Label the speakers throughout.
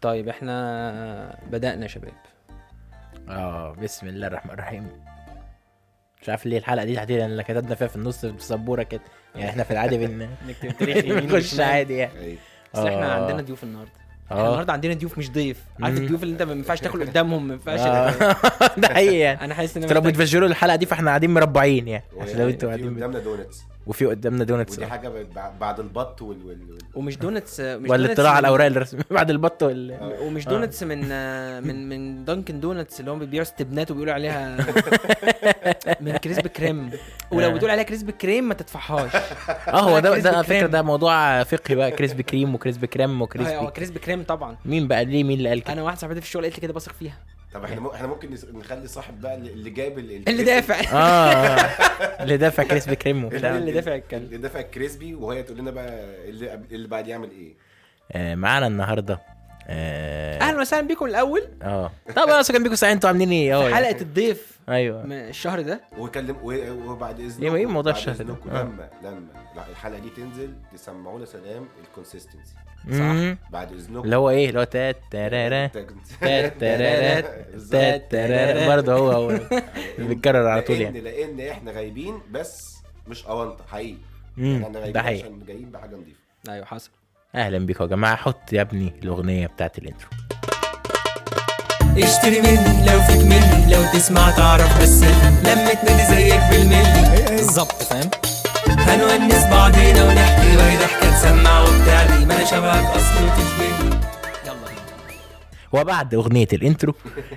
Speaker 1: طيب احنا بدأنا يا شباب
Speaker 2: اه بسم الله الرحمن الرحيم مش عارف ليه الحلقه دي تحديدا اللي كتبنا فيها في النص بسبوره كده يعني احنا في العادي بن
Speaker 1: نكتب تاريخ يمين
Speaker 2: بنخش
Speaker 1: وشمال.
Speaker 2: عادي يعني
Speaker 3: أيوة.
Speaker 1: بس احنا
Speaker 2: آه.
Speaker 1: عندنا ضيوف النهارده احنا
Speaker 2: اه
Speaker 1: النهارده عندنا ضيوف مش ضيف عارف
Speaker 2: مم.
Speaker 1: الضيوف اللي انت ما ينفعش تاكل قدامهم ما ينفعش
Speaker 2: آه. ده حقيقي يعني
Speaker 1: انا حاسس ان
Speaker 2: انتوا لو
Speaker 1: محتاج-
Speaker 2: بتفجروا الحلقه دي فاحنا قاعدين مربعين يعني عشان لو
Speaker 3: وفي
Speaker 2: انتوا قاعدين
Speaker 3: قدامنا دونتس
Speaker 2: وفي قدامنا دونتس
Speaker 3: ودي حاجه ب- بع- بعد البط وال وال وال-
Speaker 1: ومش دونتس مش
Speaker 2: والاطلاع على
Speaker 1: دونتس-
Speaker 2: الاوراق الرسميه بعد البط وال
Speaker 1: ومش
Speaker 2: آه.
Speaker 1: دونتس من آه، من من دانكن دونتس اللي هم بيبيعوا استبنات وبيقولوا عليها من كريسب كريم ولو
Speaker 2: آه.
Speaker 1: بتقول عليها كريسب كريم ما تتفحاش
Speaker 2: اه هو ده
Speaker 1: كريسبي
Speaker 2: ده على
Speaker 1: كريم.
Speaker 2: فكره ده موضوع فقهي بقى كريسبي كريم وكريسبي كريم
Speaker 1: هو
Speaker 2: وكريسبي
Speaker 1: آه، كريسب كريم طبعا
Speaker 2: مين بقى ليه مين اللي قال كده
Speaker 1: انا واحد صاحبتي في الشغل قالت لي كده بثق فيها
Speaker 3: طب
Speaker 2: إيه.
Speaker 3: احنا مو- احنا ممكن نس- نخلي صاحب بقى اللي اللي جايب ال- ال-
Speaker 1: اللي دافع
Speaker 2: اه اللي دافع كريسبي كريم وبتاع
Speaker 1: اللي دافع الكلب
Speaker 3: اللي دافع الكريسبي وهي تقول لنا بقى اللي قبل- اللي بعد يعمل ايه
Speaker 2: آه، معانا النهارده اه
Speaker 1: اهلا وسهلا بيكم الاول
Speaker 2: اه طبعا انا كان بيكم ساعتين انتوا عاملين ايه اه يعني.
Speaker 1: حلقه الضيف
Speaker 2: ايوه
Speaker 1: من الشهر ده
Speaker 3: وكلم و- وبعد اذنكم
Speaker 2: إيه- إيه موضوع
Speaker 3: بعد
Speaker 2: الشهر ده؟
Speaker 3: إذنكم،
Speaker 2: آه.
Speaker 3: لما لما لا، الحلقه دي تنزل تسمعونا سلام الكونسيستنسي
Speaker 2: مم.
Speaker 3: بعد اذنكم
Speaker 2: اللي هو ايه اللي هو تات تارارا تات تارارا
Speaker 3: بالظبط.
Speaker 2: تات تارارا برضه هو هو بيتكرر على طول
Speaker 3: لأن-
Speaker 2: يعني
Speaker 3: لان احنا غايبين بس مش اونطه حقيقي
Speaker 2: مم،
Speaker 3: احنا
Speaker 2: ده
Speaker 3: غايبين
Speaker 2: حقيقي
Speaker 3: عشان جايين بحاجه نضيفه
Speaker 1: ايوه حصل
Speaker 2: اهلا بيكم يا جماعه حط يا ابني الاغنيه بتاعت الانترو
Speaker 4: اشتري من لو فيك من لو تسمع تعرف بس لما تنادي زيك بالملي بالظبط فاهم هنونس بعضينا ونحكي وهي ضحكه تسمع وبتاع دي ما انا شبهك اصلا وتشبهني
Speaker 2: وبعد اغنيه الانترو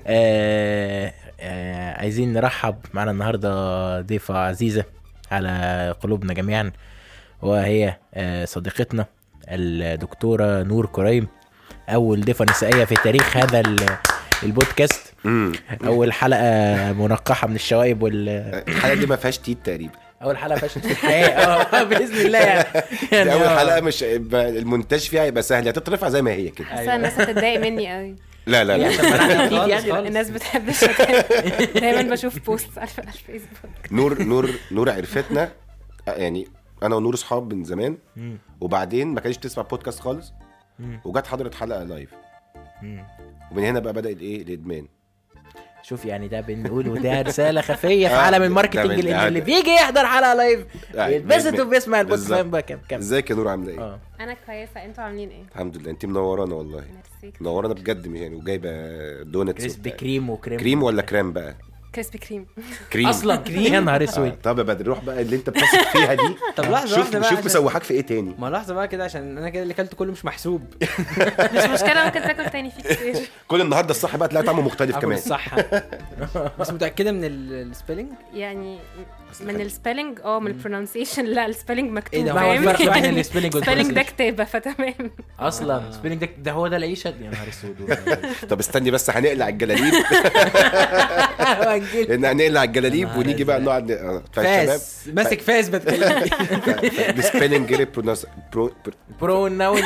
Speaker 2: آه آه عايزين نرحب معانا النهارده ضيفه عزيزه على قلوبنا جميعا وهي آه صديقتنا الدكتوره نور كريم اول ضيفه نسائيه في تاريخ هذا ال- البودكاست اول حلقه منقحه من الشوائب وال
Speaker 3: الحلقه دي ما فيهاش تيت تقريبا
Speaker 2: اول حلقه فشلت في الحياه
Speaker 4: آه،
Speaker 2: اه باذن الله يعني
Speaker 3: دي اول
Speaker 2: آه.
Speaker 3: حلقه مش هيبقى- المونتاج فيها هيبقى سهل هتترفع زي ما هي كده
Speaker 5: حاسه الناس هتتضايق مني قوي
Speaker 3: لا لا
Speaker 2: يعني
Speaker 3: لا
Speaker 1: خالص، خالص.
Speaker 5: يعني الناس بتحب الشتايم دايما بشوف بوست على على الفيسبوك
Speaker 3: نور نور نور عرفتنا آه، يعني انا ونور اصحاب من زمان
Speaker 2: مم.
Speaker 3: وبعدين ما كانتش تسمع بودكاست خالص
Speaker 2: مم.
Speaker 3: وجت حضرت حلقه لايف
Speaker 2: مم.
Speaker 3: ومن هنا بقى إيه؟ بدا الايه الادمان
Speaker 2: شوف يعني ده بنقول وده رساله خفيه في
Speaker 3: آه،
Speaker 2: عالم
Speaker 3: ده- ده
Speaker 2: الماركتنج
Speaker 3: من-
Speaker 2: اللي,
Speaker 3: ده-
Speaker 2: اللي بيجي يحضر حلقه لايف
Speaker 3: آه،
Speaker 2: بيتبسط
Speaker 3: بيدمن.
Speaker 2: وبيسمع البودكاست
Speaker 3: بالظبط.
Speaker 2: فاهم بقى كام كام
Speaker 3: ازيك يا نور عامله ايه
Speaker 4: آه.
Speaker 2: اه
Speaker 5: انا كويسه انتوا عاملين ايه
Speaker 3: الحمد لله انت منورانا والله
Speaker 5: ميرسي
Speaker 3: منورانا بجد مش يعني وجايبه دونتس
Speaker 2: كريسبي
Speaker 3: وبتاع.
Speaker 2: كريم وكريم
Speaker 3: كريم ولا كريم بقى
Speaker 5: كريسبي كريم
Speaker 3: كريم
Speaker 2: اصلا كريم يا نهار
Speaker 3: آه،
Speaker 2: اسود
Speaker 3: طب يا بدر روح بقى اللي انت بتثق فيها دي
Speaker 1: طب لحظه
Speaker 3: شوف
Speaker 1: واحده اه، بقى
Speaker 3: شوف
Speaker 1: عشان-
Speaker 3: مسوحاك في ايه تاني
Speaker 1: ما لحظه بقى كده عشان انا كده اللي كلته كله مش محسوب
Speaker 5: مش مشكله ممكن تاكل تاني في كتير
Speaker 3: كل النهارده الصح بقى تلاقي طعمه مختلف
Speaker 1: اكل
Speaker 3: كمان
Speaker 1: الصحه بس متاكده من السبيلنج
Speaker 5: يعني
Speaker 3: أصل
Speaker 5: من
Speaker 3: خلي-
Speaker 5: السبelling اه من البرونسيشن لا السبelling مكتوب
Speaker 1: إيه ده،
Speaker 2: ما هو
Speaker 1: فاهم؟
Speaker 2: الفرق بين
Speaker 5: يعني
Speaker 2: السبيلنج
Speaker 5: spelling ده كتابه فتمام
Speaker 2: اصلا
Speaker 1: آه.
Speaker 2: السبيلنج ده ده هو ده العيشه يا نهار اسود
Speaker 3: طب استني بس هنقلع الجلاليب لان هنقلع الجلاليب
Speaker 2: يا نهار
Speaker 3: ونيجي بقى
Speaker 2: أزرق.
Speaker 3: نقعد ن- آه، فالشباب
Speaker 1: فاس ماسك فاس بتكلم
Speaker 3: السبيلنج غير البرونس برو برو-
Speaker 2: بروناونس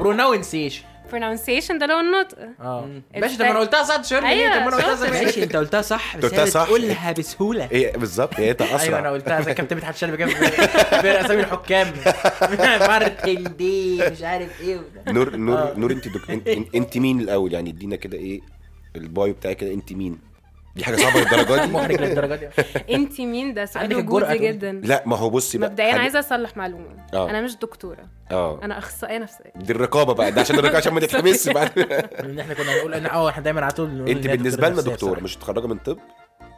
Speaker 2: بروناونسيشن
Speaker 5: pronunciation ده لو النطق
Speaker 4: آه.
Speaker 2: اه
Speaker 5: مم.
Speaker 2: باشا طب ما انا قلتها صح شرب
Speaker 5: أيوة،
Speaker 2: طب ما انا قلتها صح
Speaker 1: ماشي انت قلتها صح بس
Speaker 3: قلتها
Speaker 1: هي
Speaker 3: صح.
Speaker 1: بتقولها بسهوله
Speaker 3: ايه بالظبط هي
Speaker 4: أيوة،
Speaker 2: ايوه انا
Speaker 3: اسرع
Speaker 2: قلتها زي كابتن مدحت شلبي كده في اسامي إيه؟ الحكام مارتن دي مش عارف ايه وده.
Speaker 3: نور نور نور انت دك... إن- إن- انت مين الاول يعني ادينا كده ايه البايو بتاعي كده انت مين دي حاجه صعبه للدرجه دي
Speaker 2: محرج للدرجه دي
Speaker 5: انت مين ده سؤال
Speaker 2: عندك الجرأة
Speaker 5: وجودي
Speaker 2: تقولي.
Speaker 5: جدا
Speaker 3: لا ما هو بصي بقى
Speaker 5: مبدئيا
Speaker 3: حاجة-
Speaker 5: عايزه اصلح معلومه
Speaker 3: آه.
Speaker 5: انا مش دكتوره
Speaker 3: اه
Speaker 5: انا اخصائيه نفسيه
Speaker 3: دي الرقابه بقى ده عشان الرقابه عشان ما نتحبسش بقى
Speaker 2: ان احنا كنا نقول ان اه احنا دايما على طول نقول إن
Speaker 3: انت
Speaker 2: هي
Speaker 3: بالنسبه لنا
Speaker 2: نفسية
Speaker 3: دكتوره
Speaker 2: بصراحة.
Speaker 3: مش متخرجه من طب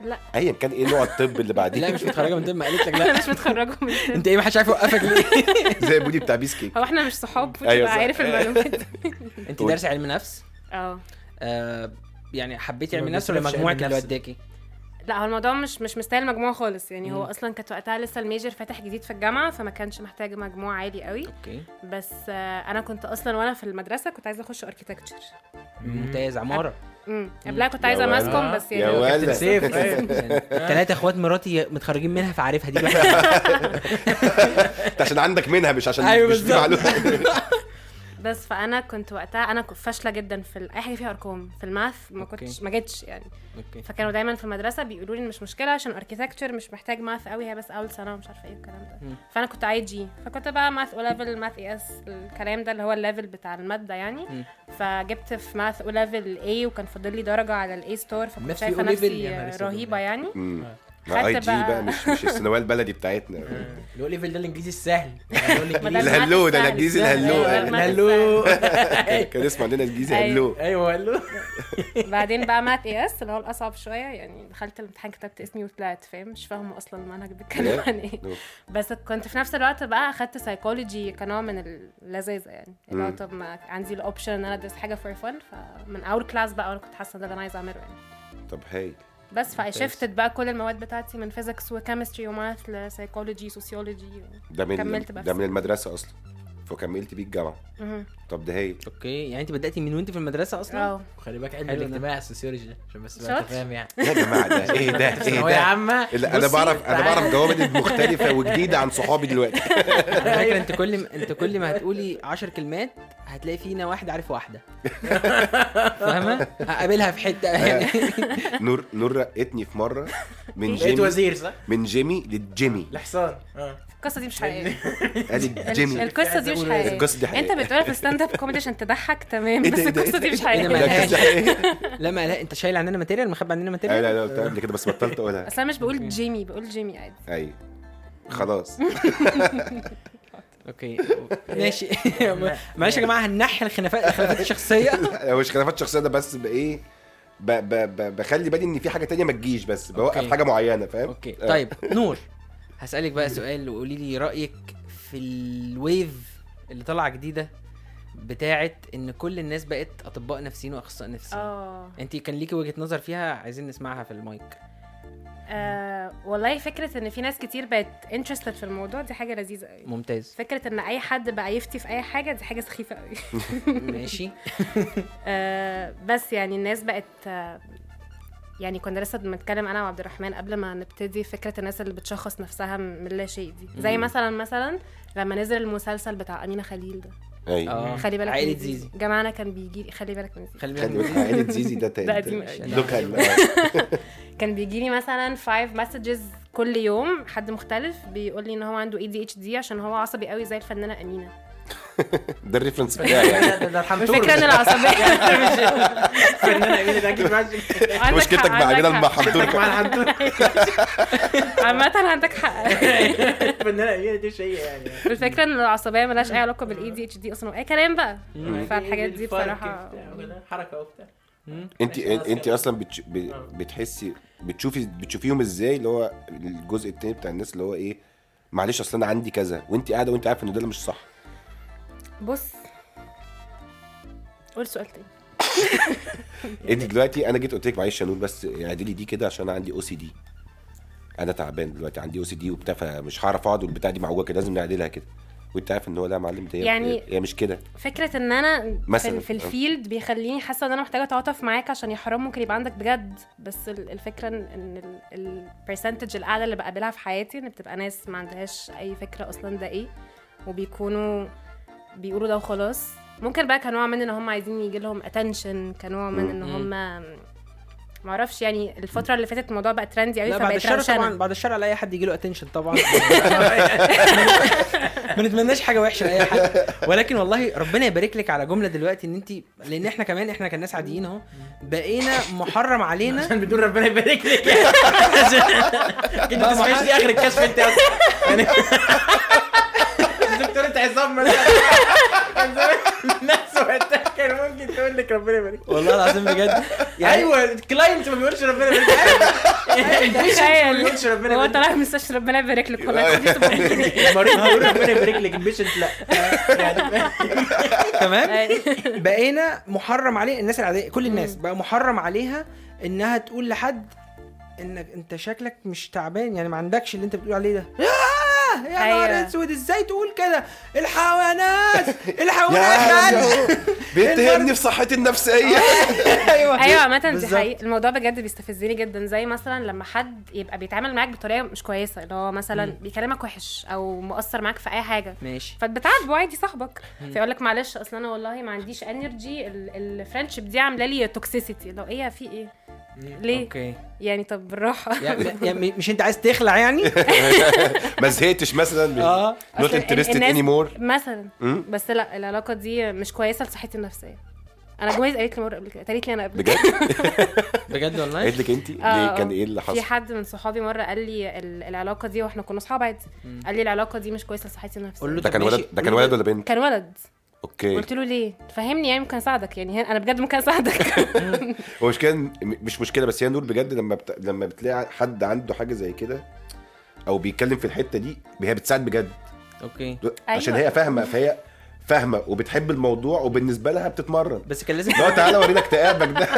Speaker 5: لا
Speaker 3: ايا كان ايه نوع الطب اللي
Speaker 1: لا
Speaker 3: بعديه
Speaker 1: مش متخرجه من طب ما قالت لك لا
Speaker 5: انا مش متخرجه من طب.
Speaker 1: انت ايه ما حدش عارف يوقفك ليه
Speaker 3: زي بودي بتاع بيس كيك
Speaker 5: هو احنا مش صحاب
Speaker 3: أيوة
Speaker 5: ايوه
Speaker 3: صح.
Speaker 5: عارف المعلومات دي
Speaker 1: انت
Speaker 3: قول.
Speaker 1: دارس علم نفس
Speaker 5: اه
Speaker 1: آه، يعني حبيتي علم
Speaker 2: ما
Speaker 1: النفس ولا
Speaker 2: بيصرفش
Speaker 1: مجموعك
Speaker 2: علم
Speaker 1: اللي
Speaker 2: نفس.
Speaker 1: وداكي
Speaker 5: لا هو الموضوع مش مش مستاهل مجموعه خالص يعني هو
Speaker 1: مم.
Speaker 5: اصلا كانت وقتها لسه الميجر فاتح جديد في الجامعه فما كانش محتاج مجموع عالي قوي
Speaker 1: اوكي
Speaker 5: بس آه، انا كنت اصلا وانا في المدرسه كنت عايزه اخش اركيتكتشر
Speaker 1: ممتاز عماره
Speaker 5: امم قبلها كنت
Speaker 3: يا
Speaker 5: عايزه
Speaker 3: ولد.
Speaker 5: ماسكم بس
Speaker 3: يا ولد.
Speaker 5: يعني
Speaker 2: كابتن سيف أيوة.
Speaker 1: ثلاثة اخوات مراتي متخرجين منها فعارفها دي
Speaker 3: عشان عندك منها مش عشان
Speaker 1: أيوة
Speaker 3: مش
Speaker 1: بالظبط.
Speaker 3: معلومه
Speaker 5: بس فانا كنت وقتها انا كنت فاشله جدا في ال- اي حاجه فيها ارقام في الماث ما
Speaker 1: أوكي.
Speaker 5: كنتش ما جتش يعني
Speaker 1: اوكي
Speaker 5: فكانوا دايما في المدرسه بيقولوا لي إن مش مشكله عشان اركيتكتشر مش محتاج ماث قوي هي بس اول سنه ومش عارفه ايه الكلام
Speaker 1: مم.
Speaker 5: ده فانا كنت اي جي فكنت بقى ماث او ليفل ماث اي اس الكلام ده اللي هو الليفل بتاع الماده
Speaker 1: مم.
Speaker 5: يعني فجبت في ماث او ليفل اي وكان فاضل لي درجه على الاي ستور فكنت
Speaker 1: نفسي
Speaker 5: شايفه
Speaker 1: O level
Speaker 5: نفسي
Speaker 1: يا نهار أسود
Speaker 5: رهيبه
Speaker 1: والله.
Speaker 5: يعني
Speaker 3: مم.
Speaker 5: خدت
Speaker 3: ما اي جي
Speaker 5: بقى-
Speaker 3: بقى مش مش الثانويه البلدي بتاعتنا
Speaker 1: لو ليفل ده الانجليزي السهل يعني هو الإنجليزي
Speaker 5: بدل ما
Speaker 3: الهلو ده
Speaker 5: تستاهل.
Speaker 3: الانجليزي
Speaker 5: السهل.
Speaker 3: الهلو
Speaker 5: أيوة،
Speaker 3: يعني.
Speaker 5: ما
Speaker 1: الهلو
Speaker 3: كان اسمه عندنا انجليزي
Speaker 5: أيوة.
Speaker 3: هلو
Speaker 1: ايوه الهلو
Speaker 5: بعدين بقى مات اي اس اللي هو الاصعب شويه يعني دخلت الامتحان كتبت اسمي وطلعت فاهم مش فاهمه اصلا المنهج بيتكلم عن ايه
Speaker 3: أوه.
Speaker 5: بس كنت في نفس الوقت بقى اخدت سايكولوجي كنوع من اللذاذه يعني اللي هو
Speaker 3: مم.
Speaker 5: طب ما عندي الاوبشن ان انا ادرس حاجه فور فن فمن اول كلاس بقى انا كنت حاسه ده اللي انا عايزه اعمله يعني
Speaker 3: طب هايل
Speaker 5: بس فاي شفتت بقى كل المواد بتاعتي من فيزيكس وكيمستري وماث لسايكولوجي سوسيولوجي
Speaker 3: ده من
Speaker 5: كملت بس.
Speaker 3: ده من المدرسه اصلا فكملت بيه الجامعه طب ده هايل
Speaker 1: اوكي يعني انت بداتي من وانت في المدرسه اصلا
Speaker 5: اه
Speaker 4: خلي بالك علم
Speaker 1: حلو ده.
Speaker 4: الاجتماع السوسيولوجي ده عشان بس بقى انت
Speaker 5: شاطر.
Speaker 4: فاهم يعني
Speaker 3: يا جماعه ده ايه ده ايه
Speaker 4: ثانوية
Speaker 3: ده
Speaker 4: عامة
Speaker 3: لا انا
Speaker 4: بصي،
Speaker 3: بعرف انا
Speaker 4: تعالى.
Speaker 3: بعرف جوابد مختلفه وجديده عن صحابي دلوقتي
Speaker 1: على فكره انت كل ما انت كل ما هتقولي 10 كلمات هتلاقي فينا واحد عارف واحده فاهمه هقابلها في حته يعني
Speaker 3: نور نور رقتني في مره
Speaker 5: إيه؟
Speaker 3: من
Speaker 4: بقيت
Speaker 3: جيمي
Speaker 4: وزير صح؟
Speaker 3: من جيمي للجيمي
Speaker 4: الحصان اه
Speaker 2: آه.
Speaker 5: القصه دي مش حقيقيه
Speaker 3: قال جيمي
Speaker 5: القصه دي مش حقيقيه
Speaker 3: القصه دي
Speaker 5: انت
Speaker 3: حقيقيه
Speaker 5: بتقولها في ستاند اب كوميدي عشان تضحك تمام
Speaker 3: إيه ده،
Speaker 5: بس
Speaker 3: إيه ده،
Speaker 5: القصه دي مش
Speaker 1: إيه ده،
Speaker 5: حقيقيه
Speaker 1: مالهاش.
Speaker 3: لا القصة دي حقيقية.
Speaker 1: لا ما لا انت شايل عندنا ماتيريال مخبي عندنا
Speaker 3: آه،
Speaker 1: ماتيريال
Speaker 3: لا لا قلت قبل كده بس بطلت اقولها
Speaker 5: اصل انا مش بقول جيمي بقول جيمي عادي
Speaker 3: اي خلاص
Speaker 1: اوكي ماشي معلش يا جماعه هننحي الخلافات الخلافات الشخصيه
Speaker 3: هو مش خلافات شخصيه ده بس بايه ب- ب- ب- بخلي بالي ان في حاجه تانية ما تجيش بس بوقف
Speaker 1: أوكي.
Speaker 3: حاجه معينه فاهم
Speaker 1: اوكي
Speaker 3: آه.
Speaker 1: طيب نور هسألك بقى سؤال وقولي لي رأيك في الويف اللي طالعة جديدة بتاعت ان كل الناس بقت اطباء نفسيين واخصائي نفسيين
Speaker 5: اه
Speaker 1: انت كان ليكي وجهة نظر فيها عايزين نسمعها في المايك
Speaker 5: آه، والله فكره ان في ناس كتير بقت انترستد في الموضوع دي حاجه لذيذه قوي
Speaker 1: ممتاز
Speaker 5: فكره ان اي حد بقى يفتي في اي حاجه دي حاجه سخيفه قوي
Speaker 1: ماشي
Speaker 5: آه، بس يعني الناس بقت آه، يعني كنا لسه بنتكلم انا وعبد الرحمن قبل ما نبتدي فكره الناس اللي بتشخص نفسها من لا شيء دي زي
Speaker 1: مم.
Speaker 5: مثلا مثلا لما نزل المسلسل بتاع امينه خليل ده
Speaker 3: ايوه
Speaker 1: اه
Speaker 5: خلي بالك من
Speaker 1: عائلة
Speaker 5: زيزي.
Speaker 1: زيزي
Speaker 5: جماعه كان بيجي لي خلي بالك من زيزي
Speaker 1: خلي
Speaker 3: خلي
Speaker 1: بالك من
Speaker 3: بالك
Speaker 1: زيزي.
Speaker 3: عائله زيزي ده
Speaker 5: ده
Speaker 3: تاني
Speaker 5: قديم
Speaker 1: قوي.
Speaker 3: لوكال
Speaker 5: كان بيجي لي مثلا 5 مسجز كل يوم حد مختلف بيقول لي ان هو عنده اي دي اتش دي عشان هو عصبي قوي زي الفنانه امينه
Speaker 3: ده الريفرنس بتاعي يعني.
Speaker 4: ده الحنطور
Speaker 5: الفكره ان العصبيه
Speaker 4: فنان امين ده اكيد معاك
Speaker 5: عندك
Speaker 3: مشكلتك
Speaker 5: حق،
Speaker 3: مع
Speaker 5: عندك
Speaker 3: عمنا مع
Speaker 5: حق.
Speaker 3: حنطور
Speaker 4: مع الحنطور
Speaker 5: عامه عندك حق
Speaker 4: فنان امين دي شيء يعني
Speaker 5: الفكره ان العصبيه ملهاش اي علاقه بالاي دي اتش دي اصلا اي كلام بقى
Speaker 1: مم.
Speaker 4: إيه،
Speaker 5: فالحاجات دي بصراحه
Speaker 4: حركه وبتاع
Speaker 3: انت انت اصلا بتش... ب... بتحسي بتشوفي بتشوفيهم ازاي اللي هو الجزء التاني بتاع الناس اللي هو ايه معلش اصل انا عندي كذا وانت قاعده وانت عارفه ان ده اللي مش صح
Speaker 5: بص قول سؤال تاني
Speaker 3: انت دلوقتي انا جيت قلت لك معلش يا نور بس اعدلي دي كده عشان انا عندي او سي دي انا تعبان دلوقتي عندي او سي دي وبتاع فمش هعرف اقعد والبتاع دي معوجه كده لازم نعدلها كده وانت عارف ان هو لا يا معلم ده هي-
Speaker 5: يعني-
Speaker 3: هي مش كده
Speaker 5: فكره ان انا
Speaker 3: مثلاً.
Speaker 5: مثلا
Speaker 1: آه.
Speaker 5: في الفيلد بيخليني حاسه ان انا محتاجه اتعاطف معاك عشان يا حرام ممكن يبقى عندك بجد بس ال- الفكره ان- ان البرسنتج الاعلى اللي بقابلها في حياتي ان بتبقى ناس ما عندهاش اي فكره اصلا ده ايه وبيكونوا بيقولوا ده وخلاص ممكن بقى كنوع من ان هم عايزين يجي لهم اتنشن كنوع من ان
Speaker 1: مم.
Speaker 5: هم معرفش يعني الفتره اللي فاتت الموضوع بقى ترندي قوي
Speaker 1: لا بعد
Speaker 5: فبقت
Speaker 1: الشر طبعا
Speaker 5: روشنه
Speaker 1: بعد الشر على اي حد يجي له اتنشن طبعا ما نتمناش حاجه وحشه لاي حد ولكن والله ربنا يبارك لك على جمله دلوقتي ان انت لان احنا كمان احنا كناس عاديين اهو بقينا محرم علينا
Speaker 4: عشان بتقول ربنا يبارك لك كده ما تسمعيش دي اخر الكشف انت اصلا يعني دكتورة عصام مثلا كان زمان الناس وقتها كان ممكن تقول لك ربنا يبارك
Speaker 1: والله العظيم بجد
Speaker 4: ايوه الكلاينت ما بيقولش ربنا يبارك يعني ما
Speaker 5: تخيل
Speaker 4: بيقولش ربنا
Speaker 5: هو
Speaker 4: يبارك
Speaker 5: طالع من المستشفى ربنا يبارك لك والله خدي صباعك.
Speaker 4: المريض هيقول ربنا يبارك لك البيشنت لا يعني
Speaker 1: تمام
Speaker 5: أي.
Speaker 1: بقينا محرم عليه الناس العاديه كل الناس بقى محرم عليها انها تقول لحد انك انت شكلك مش تعبان يعني ما عندكش اللي انت بتقول عليه ده كده يا نهار
Speaker 5: أيوة.
Speaker 1: اسود ازاي تقول كده الحيوانات
Speaker 3: يا
Speaker 1: الحيوانات
Speaker 3: بيتهمني في صحتي النفسيه
Speaker 1: ايوه
Speaker 5: ايوه عامة دي
Speaker 1: بالظبط.
Speaker 5: حقيقة الموضوع بجد بيستفزني جدا زي مثلا لما حد يبقى بيتعامل معاك بطريقة مش كويسة اللي هو مثلا بيكلمك وحش او مقصر معاك في اي حاجة
Speaker 1: ماشي
Speaker 5: فتبتعاتبه عادي صاحبك فيقول لك معلش اصل انا والله ما عنديش انرجي الفرنشيب دي عامله لي توكسيسيتي لو ايه في ايه ليه
Speaker 1: اوكي
Speaker 5: يعني طب بالراحه
Speaker 1: يعني يعني مش انت عايز تخلع يعني
Speaker 3: ما زهقتش مثلا
Speaker 1: اه.
Speaker 3: نوت
Speaker 5: أصل
Speaker 3: انترستد
Speaker 5: الناس-
Speaker 3: اني مور
Speaker 5: مثلا
Speaker 3: مم.
Speaker 5: بس لا العلاقه دي مش كويسه لصحتي النفسيه انا جواز قالت لي مره قبل كده قالت لي انا قبل كده
Speaker 3: بجد
Speaker 1: بجد والله
Speaker 3: قالت لك انت
Speaker 5: آه،
Speaker 3: ليه كان ايه اللي
Speaker 5: في
Speaker 3: حصل
Speaker 5: حد من صحابي مره قال لي ال- العلاقه دي واحنا كنا اصحاب عادي قال لي العلاقه دي مش كويسه لصحتي النفسيه
Speaker 1: قول له
Speaker 3: ده كان
Speaker 1: طب ماشي،
Speaker 3: ولد ده كان
Speaker 1: قول له-
Speaker 3: ولد ولا بنت
Speaker 5: كان ولد
Speaker 3: اوكي
Speaker 5: قلت له ليه فهمني يعني ممكن اساعدك يعني انا بجد ممكن اساعدك
Speaker 3: هو مش كان مش مشكله بس هي نور بجد لما بت... لما بتلاقي حد عنده حاجه زي كده او بيتكلم في الحته دي هي بتساعد بجد
Speaker 1: اوكي
Speaker 3: عشان
Speaker 5: أيوة.
Speaker 3: هي فاهمه فهي فاهمه وبتحب الموضوع وبالنسبه لها بتتمرن
Speaker 1: بس كان لازم
Speaker 3: لو تعالى اورينا اكتئابك ده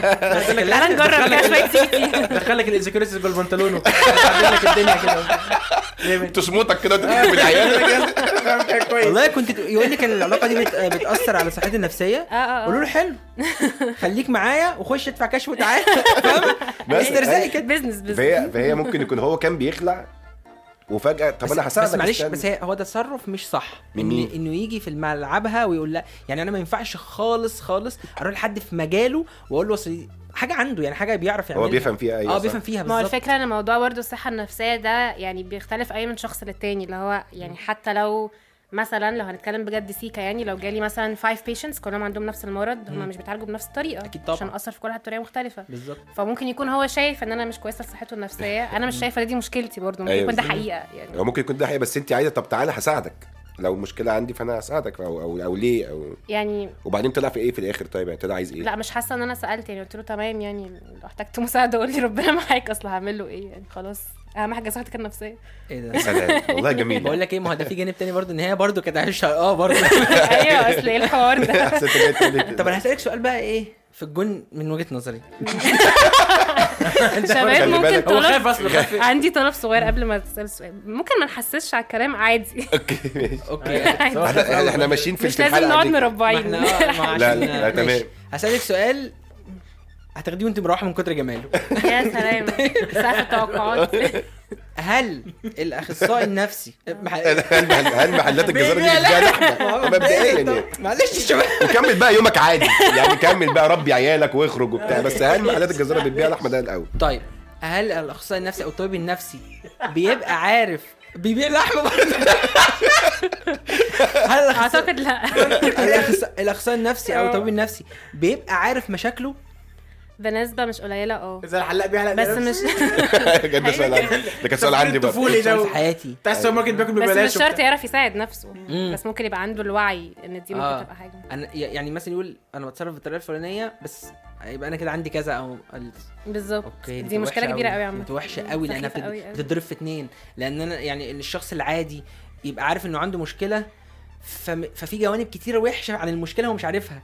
Speaker 5: تعالى نجرب كده شويه سيتي
Speaker 1: دخلك الانسكيورتيز جوه البنطلون وبعدين لك الدنيا كده ليه
Speaker 3: تصمتك كده وتكتب العيال طيب.
Speaker 1: والله كنت ت- يقول لي كان العلاقه دي بت- بتاثر على صحتي النفسيه
Speaker 5: اه
Speaker 1: قولوا له حلو خليك معايا وخش ادفع كاش وتعالى فاهم
Speaker 3: بس-
Speaker 1: استرزقي كده
Speaker 5: بزنس بزنس
Speaker 3: فهي فهي ممكن يكون هو كان بيخلع وفجاه طب
Speaker 1: بس-
Speaker 3: انا هساعدك
Speaker 1: بس معلش
Speaker 3: استنى.
Speaker 1: بس هي- هو ده تصرف مش صح
Speaker 3: من
Speaker 1: ان
Speaker 3: مين؟
Speaker 1: انه يجي في ملعبها ويقول لا يعني انا ما ينفعش خالص خالص اروح لحد في مجاله واقول له اصل حاجه عنده يعني حاجه بيعرف يعملها
Speaker 3: هو بيفهم فيها ايوه
Speaker 1: اه
Speaker 3: صح.
Speaker 1: بيفهم فيها
Speaker 5: ما هو
Speaker 1: بالظبط
Speaker 5: الفكره ان موضوع برضه الصحه النفسيه ده يعني بيختلف اي من شخص للتاني اللي هو يعني حتى لو مثلا لو هنتكلم بجد سيكا يعني لو جالي مثلا 5 بيشنتس كلهم عندهم نفس المرض هم مش بيتعالجوا بنفس الطريقه
Speaker 1: أكيد طبعاً.
Speaker 5: عشان اثر في كل واحد بطريقه مختلفه
Speaker 1: بالظبط
Speaker 5: فممكن يكون هو شايف ان انا مش كويسه لصحته النفسيه انا مش شايفه دي مشكلتي برضه ممكن
Speaker 3: أيوة
Speaker 5: يكون ده
Speaker 3: بالظبط.
Speaker 5: حقيقه يعني
Speaker 3: هو ممكن يكون ده حقيقي بس انت عايزه طب تعالى هساعدك لو مشكله عندي فانا هساعدك او او, أو ليه او
Speaker 5: يعني
Speaker 3: وبعدين طلع في ايه في الاخر طيب يعني طلع عايز ايه
Speaker 5: لا مش حاسه ان انا سالت يعني قلت له تمام يعني لو احتجت مساعده قول لي ربنا معاك اصل هعمل له ايه يعني خلاص اهم حاجه صحتك النفسيه
Speaker 1: ايه ده
Speaker 3: يا سلام والله
Speaker 1: بقول
Speaker 3: جميل
Speaker 1: لك ايه ما هو ده في جانب تاني برضه ان هي برضه كانت عايشه اه برضه
Speaker 5: ايوه اصل ايه الحوار ده
Speaker 3: أحسن تلاقي تقولي-
Speaker 1: طب انا هسالك سؤال بقى ايه في الجون من وجهه نظري
Speaker 5: شباب
Speaker 3: خلي
Speaker 5: ممكن
Speaker 3: بالك.
Speaker 1: هو إيه؟ خايف
Speaker 5: طلب
Speaker 1: اصلا خايف
Speaker 5: عندي طلب صغير قبل ما تسال السؤال ممكن ما نحسسش على الكلام عادي
Speaker 3: اوكي ماشي
Speaker 1: اوكي
Speaker 5: عادي.
Speaker 3: احنا إحنا- احنا ماشيين في
Speaker 5: مش
Speaker 3: في الحلقة
Speaker 5: لازم نقعد
Speaker 3: دي.
Speaker 1: ما
Speaker 5: مربعين
Speaker 1: احنا آه، ما
Speaker 3: طيب. لا،
Speaker 1: عشان-
Speaker 3: لا، تمام.
Speaker 1: ماشي. هسالك سؤال هتاخديه وانت مروحه من كتر جماله آه.
Speaker 5: يا سلام سقف التوقعات
Speaker 1: هل الاخصائي النفسي
Speaker 3: هل- هل هل محلات الجزار دي بتبيع لحمه مبدئيا يعني
Speaker 1: معلش يا شباب
Speaker 3: وكمل بقى يومك عادي يعني كمل بقى ربي عيالك واخرج
Speaker 1: أيوة.
Speaker 3: وبتاع بس هل محلات الجزار بتبيع إيه؟ لحمه ده الاول
Speaker 1: طيب هل الاخصائي النفسي او الطبيب النفسي بيبقى عارف بيبيع لحمه برضه هل الأخصائي-
Speaker 5: اعتقد لا
Speaker 1: الأخص- الاخصائي النفسي او الطبيب النفسي بيبقى عارف مشاكله
Speaker 5: بنسبه مش قليله اه
Speaker 2: زي الحلاق بيحلق
Speaker 5: بس مش
Speaker 3: كان ده سؤال عندي ده كان سوال عندي بقى
Speaker 2: الطفولي
Speaker 1: مش عارف
Speaker 2: ده
Speaker 1: في حياتي
Speaker 2: بتاع السوبر ماركت بياكل
Speaker 5: بس
Speaker 2: ببلاش
Speaker 5: مش شرط
Speaker 2: وبتاع.
Speaker 5: يعرف يساعد نفسه بس ممكن يبقى عنده الوعي ان دي
Speaker 1: آه.
Speaker 5: ممكن تبقى حاجه
Speaker 1: انا ي- يعني مثلا يقول انا بتصرف بالطريقه الفلانيه بس يبقى انا كده عندي كذا او ال-
Speaker 5: بالظبط
Speaker 1: اوكي
Speaker 5: دي مشكله كبيره قوي عامه
Speaker 1: انت وحشه قوي لانها
Speaker 5: سخيفة قوي
Speaker 1: بتد-
Speaker 5: قوي.
Speaker 1: بتتضرب في اتنين لان انا يعني إن الشخص العادي يبقى عارف انه عنده مشكله فم... ففي جوانب كتيره وحشه عن المشكله هو مش عارفها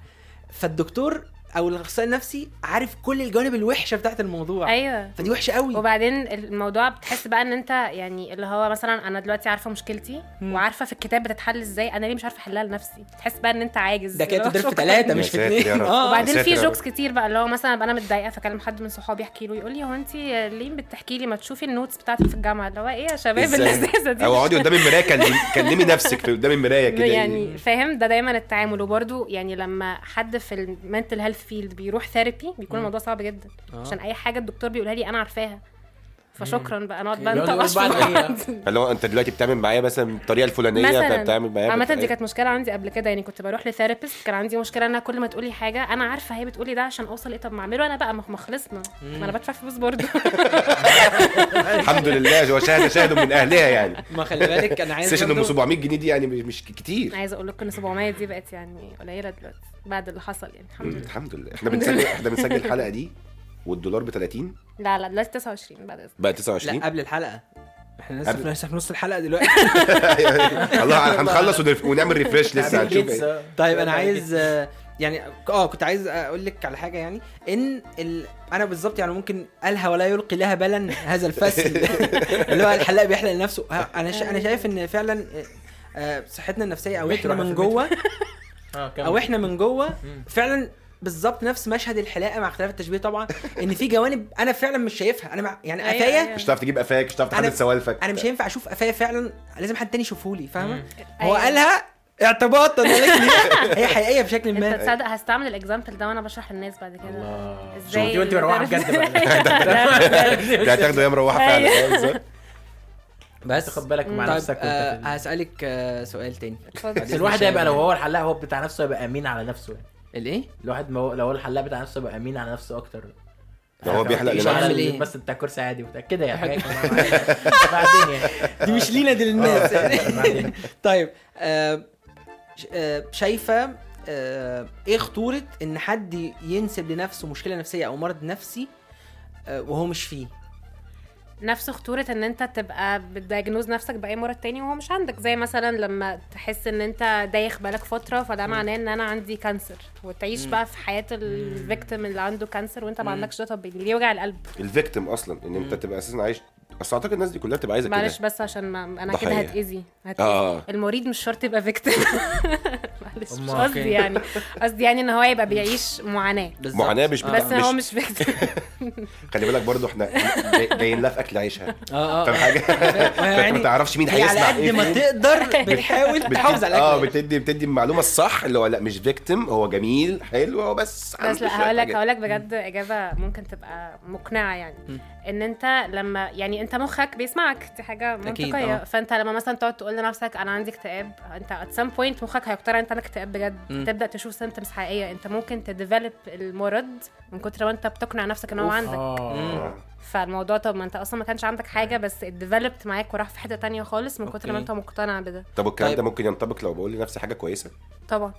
Speaker 1: فالدكتور او الاخصائي النفسي عارف كل الجوانب الوحشه بتاعت الموضوع
Speaker 5: ايوه
Speaker 1: فدي وحشه قوي
Speaker 5: وبعدين الموضوع بتحس بقى ان انت يعني اللي هو مثلا انا دلوقتي عارفه مشكلتي وعارفه في الكتاب بتتحل ازاي انا ليه مش عارفه احلها لنفسي بتحس بقى ان انت عاجز
Speaker 1: ده كده
Speaker 5: اللي هو
Speaker 1: تضرب في
Speaker 5: شكراً.
Speaker 1: ثلاثه مش في
Speaker 3: يا ساتر يا
Speaker 1: اتنين
Speaker 3: رب.
Speaker 1: اه
Speaker 5: وبعدين في
Speaker 3: ساتر يا رب.
Speaker 5: جوكس كتير بقى اللي هو مثلا ابقى انا متضايقه فاكلم حد من صحابي احكي له يقول لي هو انت ليه بتحكي لي ما تشوفي النوتس بتاعتك في الجامعه اللي هو ايه يا شباب
Speaker 3: إزاي؟
Speaker 5: اللذيذه دي
Speaker 3: او اقعدي قدام المرايه كلمي- كلمي نفسك في قدام المرايه كده
Speaker 5: يعني فاهم ده دايما التعامل وبرده يعني لما حد في المنتل هيلث فيلد بيروح ثيرابي بيكون الموضوع صعب جدا
Speaker 1: آه.
Speaker 5: عشان اي حاجه الدكتور بيقولها لي انا عارفاها فشكرا بقى نقعد بقى
Speaker 2: يقعد يقول
Speaker 5: نطقش في
Speaker 2: بعض إيه؟
Speaker 5: بعض
Speaker 3: فاللي هو انت دلوقتي بتعمل معايا مثلا بالطريقه الفلانيه فبتعمل معايا
Speaker 5: عامة
Speaker 3: بالطريقة-
Speaker 5: دي كانت مشكلة عندي قبل كده يعني كنت بروح لثيرابيست كان عندي مشكلة انها كل ما تقولي حاجة انا عارفة هي بتقولي ده عشان اوصل ايه طب ما اعمله انا بقى ما ما خلصنا ما انا بدفع فلوس برضه
Speaker 3: إيه؟ الحمد لله هو شاهد شاهد من اهلها يعني
Speaker 1: ما خلي بالك انا عايز أيوة.
Speaker 3: سيشن ام
Speaker 1: برضو-
Speaker 3: 700 جنيه دي يعني مش كتير
Speaker 5: عايزة اقول لكم ان 700 دي بقت يعني قليلة دلوقتي بعد اللي حصل يعني الحمد لله
Speaker 3: الحمد لله احنا بنسجل احنا بنسجل الحلقه دي والدولار ب 30
Speaker 5: لا لا دلوقتي 29 بعد إذنك.
Speaker 3: بقى
Speaker 1: لا
Speaker 3: 29
Speaker 1: قبل الحلقه احنا لسه
Speaker 3: قبل-
Speaker 1: في- لسه في نص الحلقه دلوقتي
Speaker 3: الله هنخلص ونرف- ونعمل ريفرش لسه هنشوف إيه.
Speaker 2: بيتزا.
Speaker 1: طيب انا طيب، عايز آه، يعني اه كنت عايز اقول لك على حاجه يعني ان ال... انا بالظبط يعني ممكن الها ولا يلقي لها بالا هذا الفسي اللي هو الحلاق بيحلق لنفسه ها، انا شا...
Speaker 5: أيوة.
Speaker 1: انا شايف ان فعلا آه، صحتنا النفسيه او احنا
Speaker 4: بيحرق
Speaker 1: من
Speaker 4: في
Speaker 1: جوه
Speaker 4: اه كمل.
Speaker 1: او احنا من جوه
Speaker 4: مم.
Speaker 1: فعلا بالظبط نفس مشهد الحلاقه مع اختلاف التشبيه طبعا ان في جوانب انا فعلا مش شايفها انا مع... يعني
Speaker 5: أيوة،
Speaker 1: قفايا
Speaker 5: أيوة.
Speaker 3: مش هتعرف تجيب قفاك مش هتعرف
Speaker 1: أنا-
Speaker 3: تحدد سوالفك
Speaker 1: انا مش هينفع اشوف قفايا فعلا لازم حد تاني يشوفه لي فاهمه
Speaker 4: مم.
Speaker 1: هو
Speaker 5: أيوة.
Speaker 1: قالها اعتباطا ولكن هي- هي حقيقيه بشكل
Speaker 5: انت
Speaker 1: ما
Speaker 5: تصدق هستعمل الاكزامبل ده وانا بشرح للناس بعد كده
Speaker 4: الله
Speaker 5: ازاي
Speaker 4: دي وانت مروحه
Speaker 5: المدرس-
Speaker 4: بجد بقى
Speaker 3: ده هتاخده ايام مروحه فعلا
Speaker 5: أيوة.
Speaker 3: أيوة بالظبط.
Speaker 1: بس
Speaker 4: تاخد بالك مع
Speaker 1: طيب
Speaker 4: نفسك
Speaker 1: آه
Speaker 4: وانت
Speaker 1: هسالك آه سؤال تاني
Speaker 5: اتفضل.
Speaker 4: بس الواحد هيبقى لو هو الحلاق هو بتاع نفسه هيبقى امين على نفسه يعني.
Speaker 1: الايه
Speaker 4: الواحد ما هو- لو هو الحلاق بتاع نفسه هيبقى امين على نفسه اكتر
Speaker 3: لو هو بيحلق
Speaker 4: مش
Speaker 1: لنفسه.
Speaker 4: على
Speaker 1: هعمل إيه؟
Speaker 4: ال- بس بتاع كرسي عادي وبتاع كده يعني حاجة كمان. بعدين يعني
Speaker 1: دي مش لينا دي للناس
Speaker 4: بعدين.
Speaker 1: آه، طيب آه ش- آه، شايفه آه ايه خطوره ان حد ينسب لنفسه مشكله نفسيه او مرض نفسي آه وهو مش فيه
Speaker 5: نفس خطورة ان انت تبقى بتدايجنوز نفسك بأي مرض تاني وهو مش عندك زي مثلا لما تحس ان انت دايخ بالك فترة فده معناه ان انا عندي كانسر وتعيش
Speaker 1: مم.
Speaker 5: بقى في حياة الفيكتيم اللي عنده كانسر وانت ما
Speaker 1: مم.
Speaker 5: عندكش ده طب ليه وجع القلب
Speaker 3: الفيكتيم اصلا ان انت
Speaker 1: مم.
Speaker 3: تبقى اساسا عايش اصل اعتقد الناس دي كلها بتبقى عايزه كده
Speaker 5: معلش بس عشان ما انا كده
Speaker 3: ضحية.
Speaker 5: هتأذي هتأذي
Speaker 4: آه.
Speaker 3: اه
Speaker 5: المريض مش شرط يبقى فيكتيم معلش مش
Speaker 4: أمال
Speaker 5: قصدي
Speaker 4: فين؟
Speaker 5: يعني قصدي يعني ان هو يبقى بيعيش معاناة
Speaker 1: بالظبط. آه.
Speaker 3: معاناه مش
Speaker 4: آه.
Speaker 5: بس
Speaker 3: بتاع
Speaker 5: هو
Speaker 3: مش
Speaker 5: مش فيكتيم
Speaker 3: خلي بالك برضو احنا جاي- جايين لها في اكل عيشها
Speaker 1: اه
Speaker 3: فاهم
Speaker 1: اه
Speaker 3: حاجه فانت ما
Speaker 1: يعني
Speaker 3: تعرفش مين
Speaker 1: هي على
Speaker 3: هيسمع
Speaker 1: قد
Speaker 3: ايه
Speaker 1: ما
Speaker 3: فين.
Speaker 1: تقدر بتحاول
Speaker 3: بتدي-
Speaker 1: تحافظ على
Speaker 3: اه
Speaker 1: الاكل
Speaker 3: بتدي بتدي المعلومه الصح اللي هو لا مش فيكتيم هو جميل حلو هو بس عنده
Speaker 5: بس لا
Speaker 3: شوية
Speaker 5: هقول لك
Speaker 3: حاجات.
Speaker 5: هقول لك بجد اجابه ممكن تبقى مقنعه
Speaker 1: م.
Speaker 5: يعني ان انت لما يعني انت مخك بيسمعك دي حاجه منطقيه
Speaker 3: أه.
Speaker 1: آه.
Speaker 5: فانت لما مثلا تقعد تقول لنفسك انا عندي اكتئاب انت ات سام بوينت مخك هيقتنع انت عندك اكتئاب
Speaker 1: م.
Speaker 5: بجد تبدا تشوف سيمتومز حقيقيه انت ممكن تديفلوب المرض من كتر ما انت بتقنع نفسك ان هو عندك
Speaker 4: آه.
Speaker 1: مم.
Speaker 5: فالموضوع طب ما انت اصلا ما كانش عندك حاجه
Speaker 3: أيوة.
Speaker 5: بس اتديفلوبت معاك وراح في حته تانية خالص من كتر ما
Speaker 1: أوكي.
Speaker 5: انت مقتنع بده
Speaker 3: طب والكلام
Speaker 1: طيب.
Speaker 3: ده ممكن ينطبق لو بقول لنفسي حاجه كويسه
Speaker 5: طبعا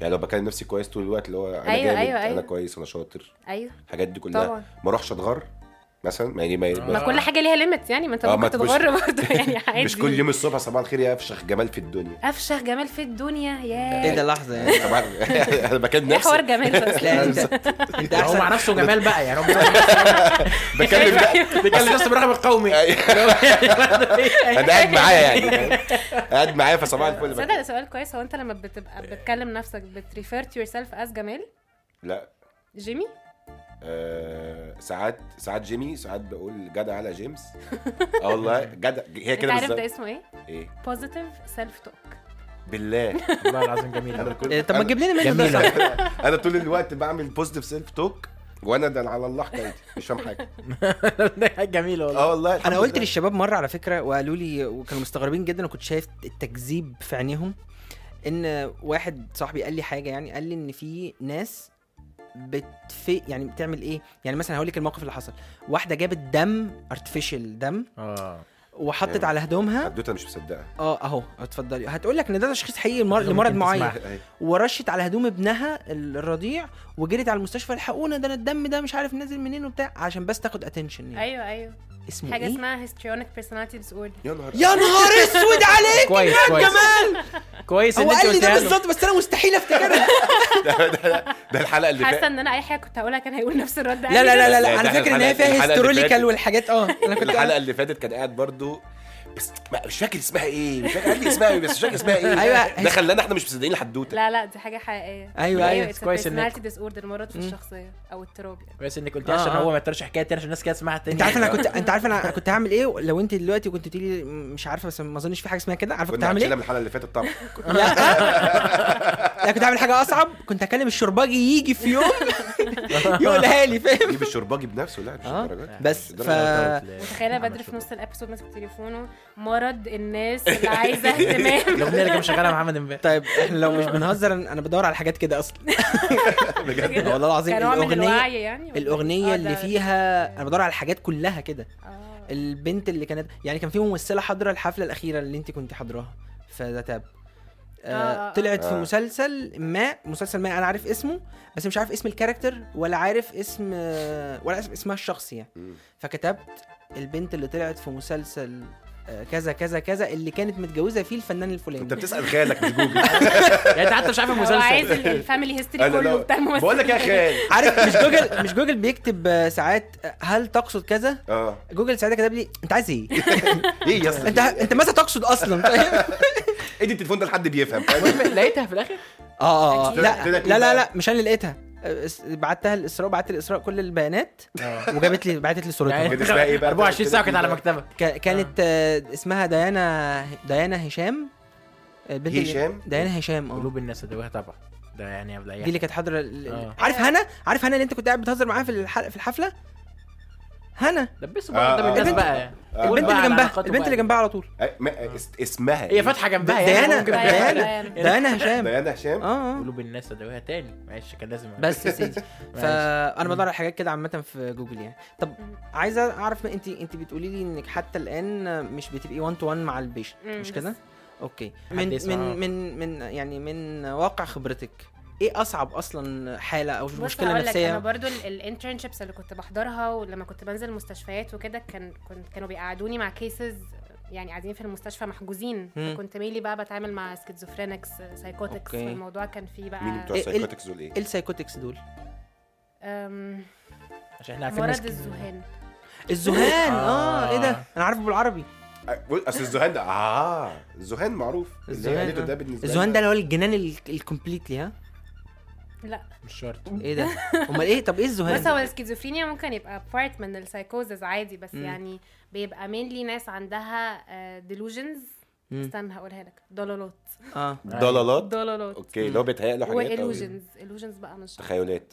Speaker 3: يعني لو بكلم نفسي كويس طول الوقت اللي هو انا
Speaker 5: أيوة،
Speaker 3: جامد
Speaker 5: أيوة،
Speaker 3: انا
Speaker 5: أيوة.
Speaker 3: كويس انا شاطر
Speaker 5: ايوه
Speaker 3: الحاجات دي كلها
Speaker 5: طبعا.
Speaker 3: ما اروحش اتغر مثلا ما يعني ما,
Speaker 5: ما كل حاجه ليها ليميت يعني ما انت
Speaker 3: آه،
Speaker 5: ممكن
Speaker 3: ما تبص-
Speaker 5: تتغر برضه يعني عادي
Speaker 3: مش كل يوم الصبح صباح الخير يا افشخ جمال في الدنيا
Speaker 5: افشخ جمال في الدنيا
Speaker 1: ايه
Speaker 5: يا
Speaker 1: ده لحظه يعني
Speaker 3: طبعا انا بكلم
Speaker 5: ايه حوار
Speaker 3: نفسي
Speaker 5: جمال ده أصلاً؟
Speaker 1: لا انت انت
Speaker 4: هو مع
Speaker 1: احسن
Speaker 4: نفسه جمال بقى يعني هو بيتكلم
Speaker 3: بكلم
Speaker 5: أيوه،
Speaker 3: لا،
Speaker 4: نفسه برقم القومي
Speaker 3: انا قاعد معايا يعني قاعد معايا فصباح الفل
Speaker 5: تصدق ده
Speaker 3: بك-
Speaker 5: سؤال كويس هو انت لما بتبقى بتكلم نفسك بتريفير تو يور سيلف از جمال
Speaker 3: لا
Speaker 5: جيمي
Speaker 3: آه، ساعات ساعات جيمي ساعات بقول جدع على جيمس اه والله جدع هي
Speaker 5: انت
Speaker 3: كده
Speaker 5: عارف ده
Speaker 3: بالظبط
Speaker 5: اسمه ايه؟
Speaker 3: ايه
Speaker 5: بوزيتيف سيلف توك
Speaker 3: بالله
Speaker 4: والله العظيم جميل
Speaker 3: انا
Speaker 4: أوي.
Speaker 3: كل
Speaker 1: إيه، طب ما
Speaker 3: أنا-
Speaker 1: تجيب لنا منه ده
Speaker 4: جميلة
Speaker 3: انا طول الوقت بعمل بوزيتيف سيلف توك وانا ده على الله حكايتي مش فاهم حاجه
Speaker 4: جميلة والله
Speaker 3: اه والله الحمد
Speaker 1: انا قلت
Speaker 3: لله.
Speaker 1: للشباب مره على فكره وقالوا لي وكانوا مستغربين جدا وكنت شايف التكذيب في عينيهم ان واحد صاحبي قال لي حاجه يعني قال لي ان في ناس بتفي يعني بتعمل ايه يعني مثلا هقول لك الموقف اللي حصل واحده جابت دم ارتفيشال دم
Speaker 4: اه
Speaker 1: وحطت
Speaker 3: مم.
Speaker 1: على هدومها
Speaker 3: حدوته مش مصدقها
Speaker 1: اه اهو اتفضلي هتقول لك ان ده تشخيص حقيقي لمر-
Speaker 4: ممكن
Speaker 1: لمرض معين
Speaker 4: تسمعها.
Speaker 3: أيوة.
Speaker 1: ورشت على هدوم ابنها الرضيع وجريت على المستشفى الحقونا ده انا الدم ده مش عارف نازل منين وبتاع عشان بس تاخد اتنشن يعني
Speaker 5: ايوه ايوه
Speaker 1: اسمه
Speaker 5: حاجه
Speaker 1: ايه؟
Speaker 5: اسمها هيستريونيك بيرسوناليتي ديس اوردر
Speaker 3: يا نهار
Speaker 1: يا نهار اسود عليك
Speaker 4: كويس
Speaker 1: يا
Speaker 4: كويس
Speaker 1: جمال
Speaker 4: كويس
Speaker 1: هو
Speaker 4: ان انت
Speaker 1: قال لي ده
Speaker 4: قلتها له
Speaker 1: بالظبط بس انا مستحيل افتكرها
Speaker 3: ده الحلقه اللي
Speaker 5: حاسه
Speaker 3: فاتت
Speaker 5: ان انا اي حاجه كنت هقولها كان هيقول نفس الرد
Speaker 1: لا لا لا لا,
Speaker 3: لا،
Speaker 1: لا انا
Speaker 3: ده
Speaker 1: فاكر ان هي
Speaker 3: الحلقة-
Speaker 1: فيها
Speaker 3: الحلقة اللي
Speaker 1: هيستوريكال
Speaker 3: فاتت.
Speaker 1: والحاجات اه انا كنت
Speaker 3: الحلقه اللي فاتت كان قاعد برضو بس ما- مش فاكر اسمها ايه مش فاكر قال لي اسمها ايه بس مش فاكر اسمها ايه
Speaker 1: أيوة.
Speaker 3: ده خلانا احنا مش مصدقين الحدوته
Speaker 5: لا لا دي أيوه، حاجه حقيقيه
Speaker 1: أيوة، أيوة،
Speaker 4: كويس إنك-
Speaker 5: بيرسوناليتي ديس اوردر مرض في الشخصيه او اضطراب يعني
Speaker 4: كويس انك قلتها عشان
Speaker 1: آه، آه.
Speaker 4: هو ما يترش حكايه تاني عشان الناس كده تسمعها تاني
Speaker 1: انت عارف انا كنت انت عارف انا كنت هعمل ايه لو انت دلوقتي كنت تقولي لي مش عارفه بس ما اظنش في حاجه اسمها كده عارفه كنت
Speaker 3: كنا
Speaker 1: هعمل
Speaker 3: هنشيلها
Speaker 1: ايه؟
Speaker 3: من الحلقه اللي فاتت طبعا
Speaker 1: لا لا كنت هعمل حاجه اصعب كنت هكلم الشرباجي يجي في يوم يقولها لي فاهم
Speaker 3: جيب الشرباجي بنفسه لا مش
Speaker 1: آه.
Speaker 3: الدرجات
Speaker 1: بس
Speaker 3: مش
Speaker 1: ف
Speaker 4: طيب، آه،
Speaker 3: الدرجات.
Speaker 5: تخيل بدر في نص الابيسود ماسك تليفونه مرض الناس اللي عايزه اهتمام
Speaker 4: الاغنيه اللي كان مشغلها محمد امبارح
Speaker 1: طيب احنا لو مش بنهزر أنا- انا بدور على حاجات كده اصلا والله العظيم
Speaker 5: كنوع من
Speaker 1: الاغنيه
Speaker 5: الوعي يعني
Speaker 1: الاغنيه
Speaker 5: آه،
Speaker 1: اللي
Speaker 5: ده-
Speaker 1: فيها انا بدور على الحاجات كلها كده
Speaker 5: آه.
Speaker 1: البنت اللي كانت يعني كان في ممثله حاضره الحفله الاخيره اللي انت كنت حاضراها في ذا تاب
Speaker 5: آه،
Speaker 1: آه
Speaker 5: آه.
Speaker 1: طلعت في
Speaker 3: آه.
Speaker 1: مسلسل ما مسلسل ما انا عارف اسمه بس مش عارف اسم الكاركتر ولا عارف اسم آه، ولا عارف اسمها الشخصي يعني
Speaker 3: مم.
Speaker 1: فكتبت البنت اللي طلعت في مسلسل آه، كذا كذا كذا اللي كانت متجوزه فيه الفنان
Speaker 3: انت
Speaker 1: الفلاني
Speaker 3: بتسال خالك مش جوجل
Speaker 4: يعني انت حتى مش عارف
Speaker 5: هو عايز
Speaker 4: المسلسل
Speaker 5: ال- الفاميلي هيستوري
Speaker 3: انا
Speaker 5: كله
Speaker 3: لو أيوة،
Speaker 5: بتاع الممثل أيوة،
Speaker 3: بقول لك يا خال
Speaker 1: عارف مش جوجل مش جوجل بيكتب آه، ساعات آه، هل تقصد كذا
Speaker 3: اه
Speaker 1: جوجل ساعتها كتب لي انت عايز ايه
Speaker 3: ايه يا اسطى
Speaker 1: انت انت ماذا تقصد اصلا فاهم؟
Speaker 3: ادي التليفون ده لحد بيفهم طيب، فاهم؟
Speaker 4: المهم لقيتها في الاخر
Speaker 1: اه اه
Speaker 3: أكيد.
Speaker 1: لا
Speaker 3: طلعت
Speaker 1: لا
Speaker 3: إيه
Speaker 1: لا
Speaker 3: بقى؟
Speaker 1: لا مش انا اللي لقيتها آه، اس- بعتها لاسراء بعت لاسراء كل البيانات
Speaker 3: آه.
Speaker 1: وجابت لي بعتت لي صورتها
Speaker 3: كان اسمها ايه بقى؟
Speaker 4: 24 ساعه كانت على مكتبك
Speaker 1: كا- كانت آه، اسمها ديانا ديانا هشام البنت اللي-
Speaker 3: هشام؟ يعني.
Speaker 1: ديانا هشام اه
Speaker 4: طيب، قلوب الناس ادواها طبعا ده يعني قبل
Speaker 1: دي اللي
Speaker 4: اي
Speaker 1: كانت حاضره ال-
Speaker 4: آه.
Speaker 1: عارف هنا عارف هنا اللي انت كنت قاعد بتهزر معاها في الحلقه في الحفله هنا
Speaker 4: دبسوا
Speaker 3: آه،
Speaker 4: بقى قدام
Speaker 3: آه.
Speaker 4: الناس
Speaker 1: البنت-
Speaker 4: بقى قول
Speaker 1: البنت اللي
Speaker 4: بقى على
Speaker 1: جنبها
Speaker 4: علاقاته
Speaker 1: البنت اللي
Speaker 4: بقى.
Speaker 1: جنبها على طول
Speaker 3: أي- ما- اس- اسمها
Speaker 4: هي
Speaker 3: إيه؟
Speaker 4: فاتحه جنبها يعني
Speaker 1: ديانا
Speaker 4: ممكن
Speaker 5: بقى-
Speaker 4: تبقى-
Speaker 1: ديانا
Speaker 5: بقى-
Speaker 1: ديانا هشام
Speaker 3: ديانا هشام
Speaker 1: اه اه
Speaker 4: قلوب الناس ادواها تاني معلش كان لازم
Speaker 1: بس يا سيدي فانا بدور على حاجات كده عامه في جوجل يعني طب عايزه اعرف انت انت بتقولي لي انك حتى الان مش بتبقي 1 تو 1 مع البيشنت
Speaker 5: مم،
Speaker 1: مش
Speaker 5: بس.
Speaker 1: كده اوكي من
Speaker 4: يسمع.
Speaker 1: من من من يعني من واقع خبرتك ايه اصعب اصلا حاله او
Speaker 5: بص
Speaker 1: مشكله
Speaker 5: هقول لك، انا
Speaker 1: نفسيه
Speaker 5: برضو الانترنشيبس اللي كنت بحضرها ولما كنت بنزل مستشفيات وكده كان كنت كانوا بيقعدوني مع كيسز يعني قاعدين في المستشفى محجوزين
Speaker 1: مم.
Speaker 5: كنت ميلي بقى بتعامل مع سكيزوفرينكس سايكوتكس
Speaker 1: أوكي.
Speaker 5: والموضوع كان فيه
Speaker 3: مين
Speaker 5: بقى
Speaker 3: بتوع
Speaker 1: إيه- إيه-
Speaker 3: السايكوتكس دول ايه؟
Speaker 1: ايه السايكوتكس دول
Speaker 5: أم،
Speaker 4: عشان احنا عارفين ناس
Speaker 5: مرض
Speaker 4: كتير.
Speaker 5: الذهان
Speaker 1: الذهان اه
Speaker 4: آه.
Speaker 1: ايه ده انا عارفه بالعربي
Speaker 3: بص، اصل الذهان ده اه الذهان معروف اللي هي
Speaker 1: الذهان
Speaker 3: قالته
Speaker 1: آه.
Speaker 3: ده بالنسبه
Speaker 1: الذهان ده
Speaker 3: لنا.
Speaker 1: اللي هو الجنان ال- الكومبليتلي ها
Speaker 5: لا
Speaker 4: مش شرط
Speaker 1: ايه ده امال ايه طب ايه الذهان
Speaker 5: بص
Speaker 1: ده؟
Speaker 5: هو السكيزوفرينيا ممكن يبقى بارت من السايكوزز عادي بس
Speaker 1: مم.
Speaker 5: يعني بيبقى مينلي ناس عندها ديلوجنز
Speaker 1: مم.
Speaker 5: استنى هقولها لك ضلالات
Speaker 1: اه
Speaker 3: ضلالات
Speaker 5: ضلالات
Speaker 3: اوكي اللي هو بيتهيأ له حاجات أو
Speaker 5: والوجنز الوجنز بقى مش
Speaker 3: تخيلات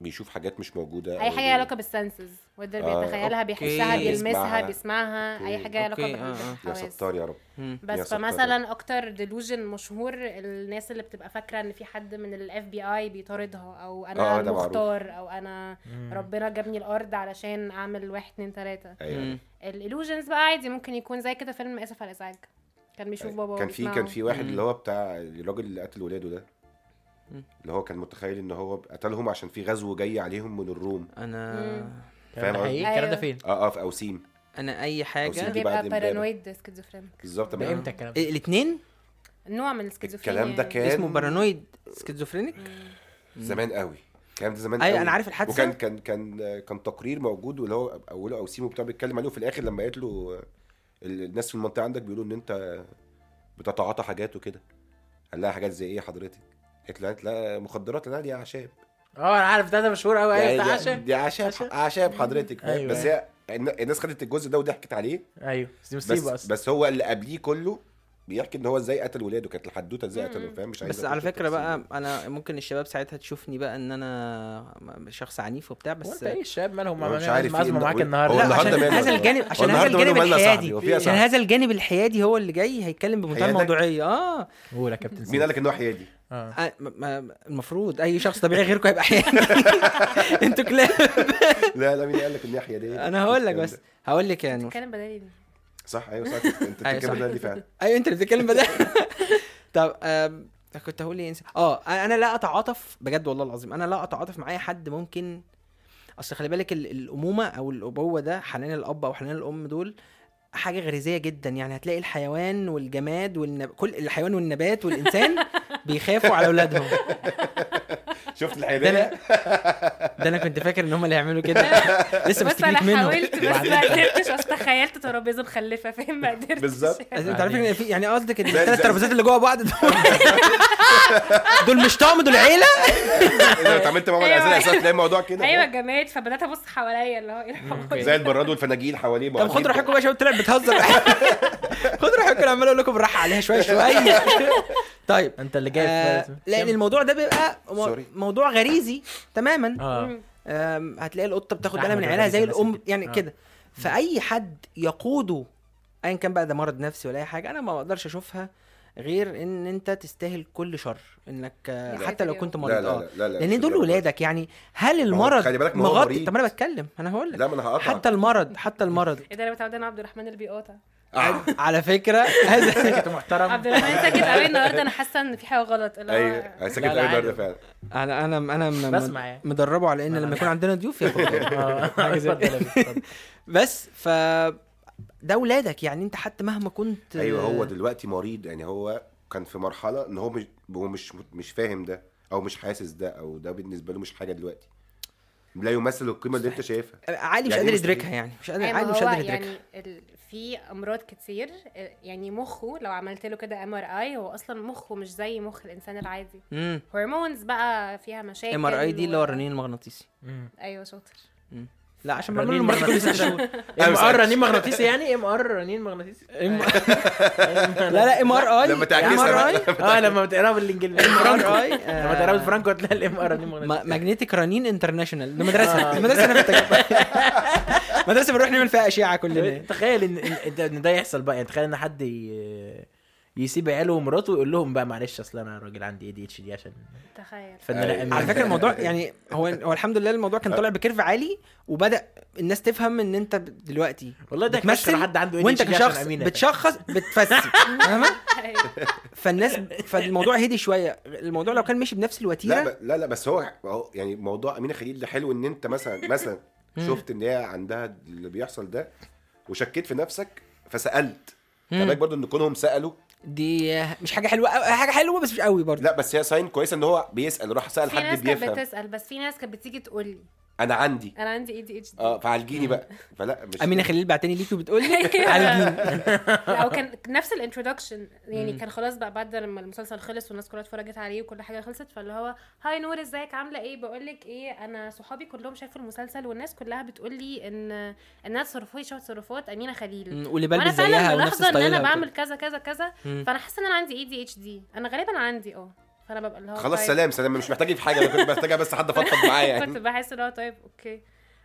Speaker 3: بيشوف حاجات مش موجوده
Speaker 5: اي
Speaker 3: أو
Speaker 5: حاجه لها علاقه بالسنسز وده
Speaker 3: آه،
Speaker 5: بيتخيلها
Speaker 1: أوكي.
Speaker 5: بيحسها بيلمسها
Speaker 3: يسمعها.
Speaker 5: بيسمعها اي
Speaker 3: أوكي.
Speaker 5: حاجه لها علاقه
Speaker 1: أوكي، آه، آه.
Speaker 3: يا
Speaker 5: بالحواس
Speaker 3: ستار يا رب
Speaker 1: مم.
Speaker 3: يا
Speaker 5: بس
Speaker 3: ستار.
Speaker 5: فمثلا اكتر ديلوجن مشهور الناس اللي بتبقى فاكره ان في حد من الاف بي اي بيطاردها او انا
Speaker 3: آه، ده معروف.
Speaker 5: المختار او انا ربنا جابني الارض علشان اعمل واحد اتنين تلاته
Speaker 3: أيوة.
Speaker 1: مم.
Speaker 5: الالوجنز بقى عادي ممكن يكون زي كده فيلم اسف على الازعاج كان بيشوف بابا
Speaker 3: كان في
Speaker 5: وبيسمعه.
Speaker 3: كان في واحد اللي هو بتاع الراجل اللي قتل ولاده ده اللي هو كان متخيل ان هو قتلهم عشان في غزو جاي عليهم من الروم
Speaker 1: انا
Speaker 3: فاهم
Speaker 4: فاهم
Speaker 3: قصدي؟
Speaker 4: حقيقي الكلام ده
Speaker 5: أيوة.
Speaker 4: فين؟
Speaker 3: اه اه في اوسيم
Speaker 1: انا اي
Speaker 3: أوصيل
Speaker 1: حاجه
Speaker 3: دي
Speaker 5: بيبقى
Speaker 3: بعد امبارح.
Speaker 5: بارانويد سكيزوفرينيك
Speaker 3: بالظبط
Speaker 4: ده
Speaker 3: بقى.
Speaker 4: امتى الكلام ده؟
Speaker 1: الاثنين
Speaker 5: نوع من السكيزوفرينيا
Speaker 3: الكلام ده
Speaker 5: يعني.
Speaker 3: كان
Speaker 1: إيه، اسمه بارانويد سكيزوفرينيك
Speaker 3: زمان قوي الكلام ده زمان
Speaker 1: أيوة،
Speaker 3: قوي.
Speaker 1: أنا عارف الحادثة.
Speaker 3: وكان كان كان كان تقرير موجود واللي هو اوله اوسيم وبتاع بيتكلم عليه وفي الاخر لما قالت له ال- الناس في المنطقه عندك بيقولوا ان انت بتتعاطى حاجات وكده قال لها حاجات زي ايه حضرتك؟ قالت له قالت لا مخدرات لا دي اعشاب
Speaker 4: اه انا عارف ده ده مشهور قوي
Speaker 1: طيب، يعني
Speaker 4: ايوه بتاع
Speaker 3: دي-
Speaker 4: عشا
Speaker 3: دي اعشاب اعشاب حضرتك فاهم؟
Speaker 4: أيوة.
Speaker 3: بس هي الن- الناس خدت الجزء ده وضحكت عليه
Speaker 4: ايوه دي
Speaker 3: بس
Speaker 4: مصيبه اصلا
Speaker 3: بس هو اللي قبليه كله بيحكي ان هو ازاي قتل ولاده كانت الحدوته ازاي قتله فاهم مش عايز
Speaker 1: بس على فكره بقى انا ممكن الشباب ساعتها تشوفني بقى ان انا شخص عنيف وبتاع
Speaker 4: وانت
Speaker 1: بس
Speaker 2: إيه؟
Speaker 4: ايه الشباب مالهم
Speaker 3: هو مش
Speaker 4: مع-
Speaker 3: عارف
Speaker 4: معزمه
Speaker 3: إيه
Speaker 4: معاك
Speaker 3: إن- هو
Speaker 1: لا
Speaker 4: النهارده
Speaker 1: عشان
Speaker 3: النهاردة ماله
Speaker 1: هذا
Speaker 3: بقى؟
Speaker 1: الجانب عشان هذا
Speaker 3: النهاردة ماله
Speaker 1: الجانب
Speaker 3: مالنا يا صاحبي؟
Speaker 1: الحيادي
Speaker 3: هو في إيه يا
Speaker 1: عشان
Speaker 3: صاحبي؟
Speaker 1: هذا الجانب الحيادي هو اللي جاي هيتكلم بمنتهى
Speaker 3: حيادك؟
Speaker 1: الموضوعيه اه
Speaker 4: قول يا كابتن
Speaker 3: مين
Speaker 4: سيف.
Speaker 3: قال لك ان هو حيادي؟
Speaker 4: اه
Speaker 1: آه، ما- ما- المفروض اي شخص طبيعي غيركم هيبقى حيادي انتوا كلاب
Speaker 3: لا لا مين قال لك ان هي حياديه؟
Speaker 1: انا هقول لك بس هقول لك يعني. يا نور
Speaker 5: بتتكلم بدالي دي.
Speaker 3: صح ايوه صح انت انت
Speaker 1: أيوة،
Speaker 3: بتتكلم
Speaker 1: صح.
Speaker 3: ده دي فعلا
Speaker 1: ايوه انت اللي بتتكلم بدأ طب آم، كنت هقول ايه انسى اه انا لا اتعاطف بجد والله العظيم انا لا اتعاطف مع اي حد ممكن اصل خلي بالك ال- الامومه او الابوه ده حنان الاب او حنان الام دول حاجه غريزيه جدا يعني هتلاقي الحيوان والجماد والنب... كل الحيوان والنبات والانسان بيخافوا على اولادهم ده
Speaker 3: شفت
Speaker 1: انا
Speaker 3: الحياديه؟
Speaker 1: ده انا كنت فاكر ان هم اللي هيعملوا كده لسه
Speaker 5: بس انا
Speaker 1: مستفيد منهم
Speaker 5: حاولت بس ما قدرتش اصل تخيلت ترابيزه مخلفه فاهم ما قدرتش
Speaker 3: بالظبط.
Speaker 1: أصل انت عارف ان في يعني قصدك ان
Speaker 3: ده- ده-
Speaker 1: الثلاث ترابيزات اللي جوه بعض دول دول مش طعم دول عيله
Speaker 3: اذا اتعاملت معاهم على
Speaker 5: أيوة.
Speaker 3: اساس تلاقي الموضوع كده
Speaker 5: ايوه
Speaker 1: أيوة.
Speaker 5: جماد فبدات ابص حواليا اللي هو ايه الحوار
Speaker 3: زي البراد والفناجيل حواليه
Speaker 1: طب خد راحتكم بقى يا شباب طلعت بتهزر خد راحتكم انا عمال اقول لكم بالراحه عليها شويه شويه طيب
Speaker 4: انت اللي جاي
Speaker 1: آه لان الموضوع ده بيبقى مو-
Speaker 3: سوري.
Speaker 1: موضوع غريزي تماما
Speaker 4: اه
Speaker 1: آم، هتلاقي القطه بتاخد
Speaker 4: لا،
Speaker 1: بالها من
Speaker 4: موضوع
Speaker 1: عيالها
Speaker 4: غريزي
Speaker 1: زي
Speaker 4: بس
Speaker 1: الام
Speaker 4: كده.
Speaker 1: يعني
Speaker 4: آه.
Speaker 1: كده فاي حد يقوده ايا كان بقى ده مرض نفسي ولا اي حاجه انا ما بقدرش اشوفها غير ان انت تستاهل كل شر انك آه،
Speaker 5: لا.
Speaker 1: حتى لو كنت مريض
Speaker 3: لا لا
Speaker 1: اه
Speaker 3: لا لا لا
Speaker 1: لان
Speaker 3: مش
Speaker 1: دول
Speaker 3: الدرجة دي.
Speaker 1: ولادك يعني هل
Speaker 3: هو
Speaker 1: المرض
Speaker 3: خلي بالك ما هو
Speaker 1: مغطي
Speaker 3: مريض.
Speaker 1: طب انا بتكلم انا هقول لك
Speaker 3: لا ما انا هقطع
Speaker 1: حتى المرض حتى المرض
Speaker 5: ايه ده انا متعوده انا عبد الرحمن اللي بيقاطع
Speaker 3: آه.
Speaker 1: على فكره هذا
Speaker 4: انت محترم
Speaker 5: عبد الرحمن ساكت قوي النهارده انا حاسه ان في حاجه غلط اللي هو
Speaker 3: ايوه ساكت
Speaker 4: لا،
Speaker 3: قوي
Speaker 4: لا،
Speaker 3: النهارده
Speaker 4: عادي.
Speaker 3: فعلا
Speaker 1: انا انا انا م-
Speaker 4: بسمع يعني.
Speaker 1: مدربه على ان لما يكون عندنا ضيوف ياخد بالي.
Speaker 4: اه
Speaker 1: حاجة زي كده.
Speaker 4: اتفضل يا بيه، اتفضل.
Speaker 1: بس ف ده ولادك يعني انت حتى مهما كنت
Speaker 3: ايوه هو دلوقتي مريض يعني هو كان في مرحله ان هو مش هو مش مش فاهم ده او مش حاسس ده او ده بالنسبه له مش حاجه دلوقتي لا يمثل القيمه اللي انت شايفها
Speaker 1: عادي مش
Speaker 3: يعني
Speaker 1: قادر
Speaker 3: مستحيل.
Speaker 1: يدركها يعني مش قادر
Speaker 5: أيوة،
Speaker 1: عادي
Speaker 5: ما
Speaker 1: مش
Speaker 5: هو
Speaker 1: قادر يدركها
Speaker 5: يعني ال... في امراض كتير آه، يعني مخه لو عملت له كده ام ار اي هو اصلا مخه مش زي مخ الانسان العادي
Speaker 1: امم
Speaker 5: هرمونز بقى فيها مشاكل
Speaker 1: ام ار اي دي اللي
Speaker 5: و-
Speaker 1: هو الرنين المغناطيسي
Speaker 5: ايوه شاطر
Speaker 1: لا عشان
Speaker 4: رنين
Speaker 1: بعمل له مرة كل ست
Speaker 4: مغناطيسي.
Speaker 1: شهور
Speaker 4: ام ار رنين مغناطيسي يعني ام ار رنين مغناطيسي
Speaker 1: لا لا ام ار اي
Speaker 3: لما تعكسها بقى.
Speaker 4: اه لما بتقراها بالانجليزي فرانكو
Speaker 1: اي
Speaker 4: لما
Speaker 3: آه.
Speaker 4: تقراها بالفرانكو هتلاقي الام ار رنين مغناطيسي
Speaker 1: ماجنتيك آه، رنين انترناشونال ده
Speaker 4: آه.
Speaker 1: مدرسه المدرسه انا كنت- مدرسه بنروح نعمل فيها اشعه كلنا
Speaker 4: تخيل ان إن- ان ده يحصل بقى يعني تخيل ان حد ي- يسيب عياله ومراته ويقول لهم بقى معلش اصل انا راجل عندي اي دي اتش دي عشان
Speaker 5: تخيل
Speaker 3: آه،
Speaker 4: فنان
Speaker 1: على فكره الموضوع يعني هو هو الحمد لله الموضوع كان طالع بكيرف عالي وبدا الناس تفهم ان انت ب- دلوقتي
Speaker 4: والله ده
Speaker 1: بتمثل
Speaker 4: كشر حد عنده ADHD
Speaker 1: وانت
Speaker 4: عشان
Speaker 1: كشخص
Speaker 4: أمينة.
Speaker 1: بتشخص بتفسي فاهمه
Speaker 5: أيوة.
Speaker 1: فالناس فالموضوع هدي شويه الموضوع لو كان مشي بنفس
Speaker 3: لا
Speaker 1: الوتيره
Speaker 3: ب- لا لا بس هو هو يعني موضوع امينه خليل ده حلو ان انت مثلا مثلا شفت ان هي عندها اللي بيحصل ده وشكيت في نفسك فسالت
Speaker 1: مم.
Speaker 3: خلي برضو ان كونهم سالوا
Speaker 1: دي مش حاجه حلوه أوي- حاجه حلوه بس مش قوي برضه
Speaker 3: لا بس هي ساين كويسه ان هو بيسال راح سال
Speaker 5: في ناس
Speaker 3: حد
Speaker 5: كانت
Speaker 3: بيفهم
Speaker 5: بتسال بس في ناس كانت بتيجي تقول لي
Speaker 3: انا عندي
Speaker 5: انا عندي اي دي اتش دي
Speaker 3: اه فعالجيني بقى فلا مش
Speaker 1: امينه خليل بعتني ليكي وبتقول لي
Speaker 5: لا، هو كان نفس الانترودكشن يعني كان خلاص بقى بعد لما المسلسل خلص والناس كلها اتفرجت عليه وكل حاجه خلصت فاللي هو هاي نور ازيك عامله ايه بقول لك ايه انا صحابي كلهم شافوا المسلسل والناس كلها بتقول لي ان انها تصرفاتي شبه تصرفات امينه خليل
Speaker 1: واللي
Speaker 5: وانا
Speaker 1: بلبس زيها
Speaker 5: فعلا
Speaker 1: ونفس
Speaker 5: ملاحظه ان
Speaker 1: ستايلها
Speaker 5: انا
Speaker 1: وكده.
Speaker 5: بعمل كذا كذا كذا
Speaker 1: مم.
Speaker 5: فانا حاسه ان انا عندي اي دي اتش دي انا غالبا عندي اه فانا ببقى اللي هو
Speaker 3: خلاص
Speaker 5: طيب.
Speaker 3: سلام سلام مش محتاج في حاجه انا كنت محتاجه بس حد فضفض معايا
Speaker 5: كنت
Speaker 3: يعني
Speaker 5: بحس اللي هو طيب اوكي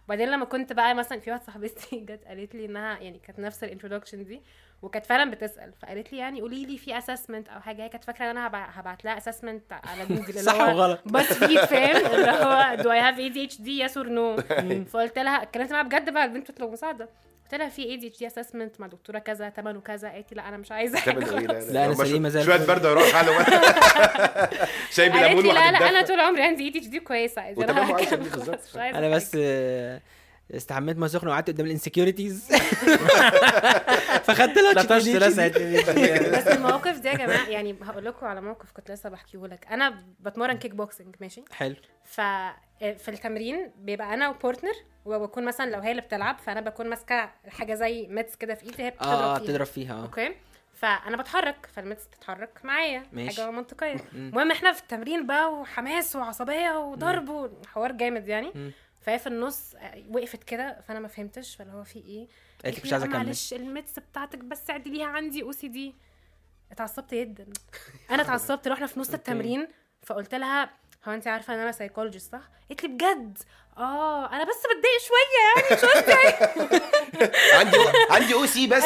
Speaker 5: بعدين لما كنت بقى مثلا في واحده صاحبتي جت قالت لي انها يعني كانت نفس الانترودكشن دي وكانت فعلا بتسال فقالت لي يعني قولي لي في اسسمنت او حاجه هي كانت فاكره ان انا هبع- هبعت لها اسسمنت على جوجل
Speaker 1: صح وغلط
Speaker 5: بس فيد فاهم اللي هو do I have ADHD yes or no فقلت لها اتكلمت معاها بجد بقى البنت بتطلب مساعده قلت لها في ADHD assessment مع دكتوره كذا تمنه كذا قالت لي لا انا مش عايزه حاجه
Speaker 3: تعمل إيه؟
Speaker 5: خلاص
Speaker 1: لا، أنا
Speaker 3: هما شو-
Speaker 1: سليمة زي
Speaker 3: شويه
Speaker 1: الفل.
Speaker 3: برد هروح حاله شاي
Speaker 5: قالت
Speaker 3: بليمون
Speaker 5: لي لا لا
Speaker 3: وهتتدفى.
Speaker 5: انا طول عمري عندي اي دي اتش دي كويسه عايزة
Speaker 3: وتمام
Speaker 5: لها
Speaker 3: وعايشة
Speaker 5: كام
Speaker 3: بيه إيه بالظبط.
Speaker 5: خلاص، مش عايزة
Speaker 1: انا
Speaker 5: حاجة.
Speaker 1: بس آه، استحميت ما سخن وقعدت قدام الانسكيورتيز فخدت
Speaker 4: لا
Speaker 1: لها
Speaker 4: طرش
Speaker 1: تشيت
Speaker 4: لسه
Speaker 1: دي.
Speaker 5: بس المواقف دي يا جماعه يعني هقول لكم على موقف كنت لسه بحكيه لك انا بتمرن كيك بوكسنج ماشي
Speaker 1: حلو
Speaker 5: ف في التمرين بيبقى انا وبارتنر وبكون مثلا لو هي اللي بتلعب فانا بكون ماسكه حاجه زي ميتس كده في ايدي هي بتضرب
Speaker 1: اه
Speaker 5: فيها
Speaker 1: تضرب فيها اه
Speaker 5: اوكي فانا بتحرك فالميتس بتتحرك معايا
Speaker 1: ماشي.
Speaker 5: حاجه منطقيه المهم احنا في التمرين بقى وحماس وعصبيه وضرب وحوار جامد يعني فهي في النص آه، وقفت كده فانا ما فهمتش فاللي هو في ايه
Speaker 1: لك
Speaker 5: قالت
Speaker 1: مش
Speaker 5: لي
Speaker 1: عايزة
Speaker 5: "لا،
Speaker 1: أكمل."
Speaker 5: معلش الميتس بتاعتك بس اعدليها عندي او سي دي اتعصبت جدا انا اتعصبت رحنا في نص التمرين فقلت لها هو انت عارفه ان انا سايكولوجيست صح؟ قالت لي بجد اه انا بس بتضايق شويه يعني مش قصدي
Speaker 3: عندي عندي او سي بس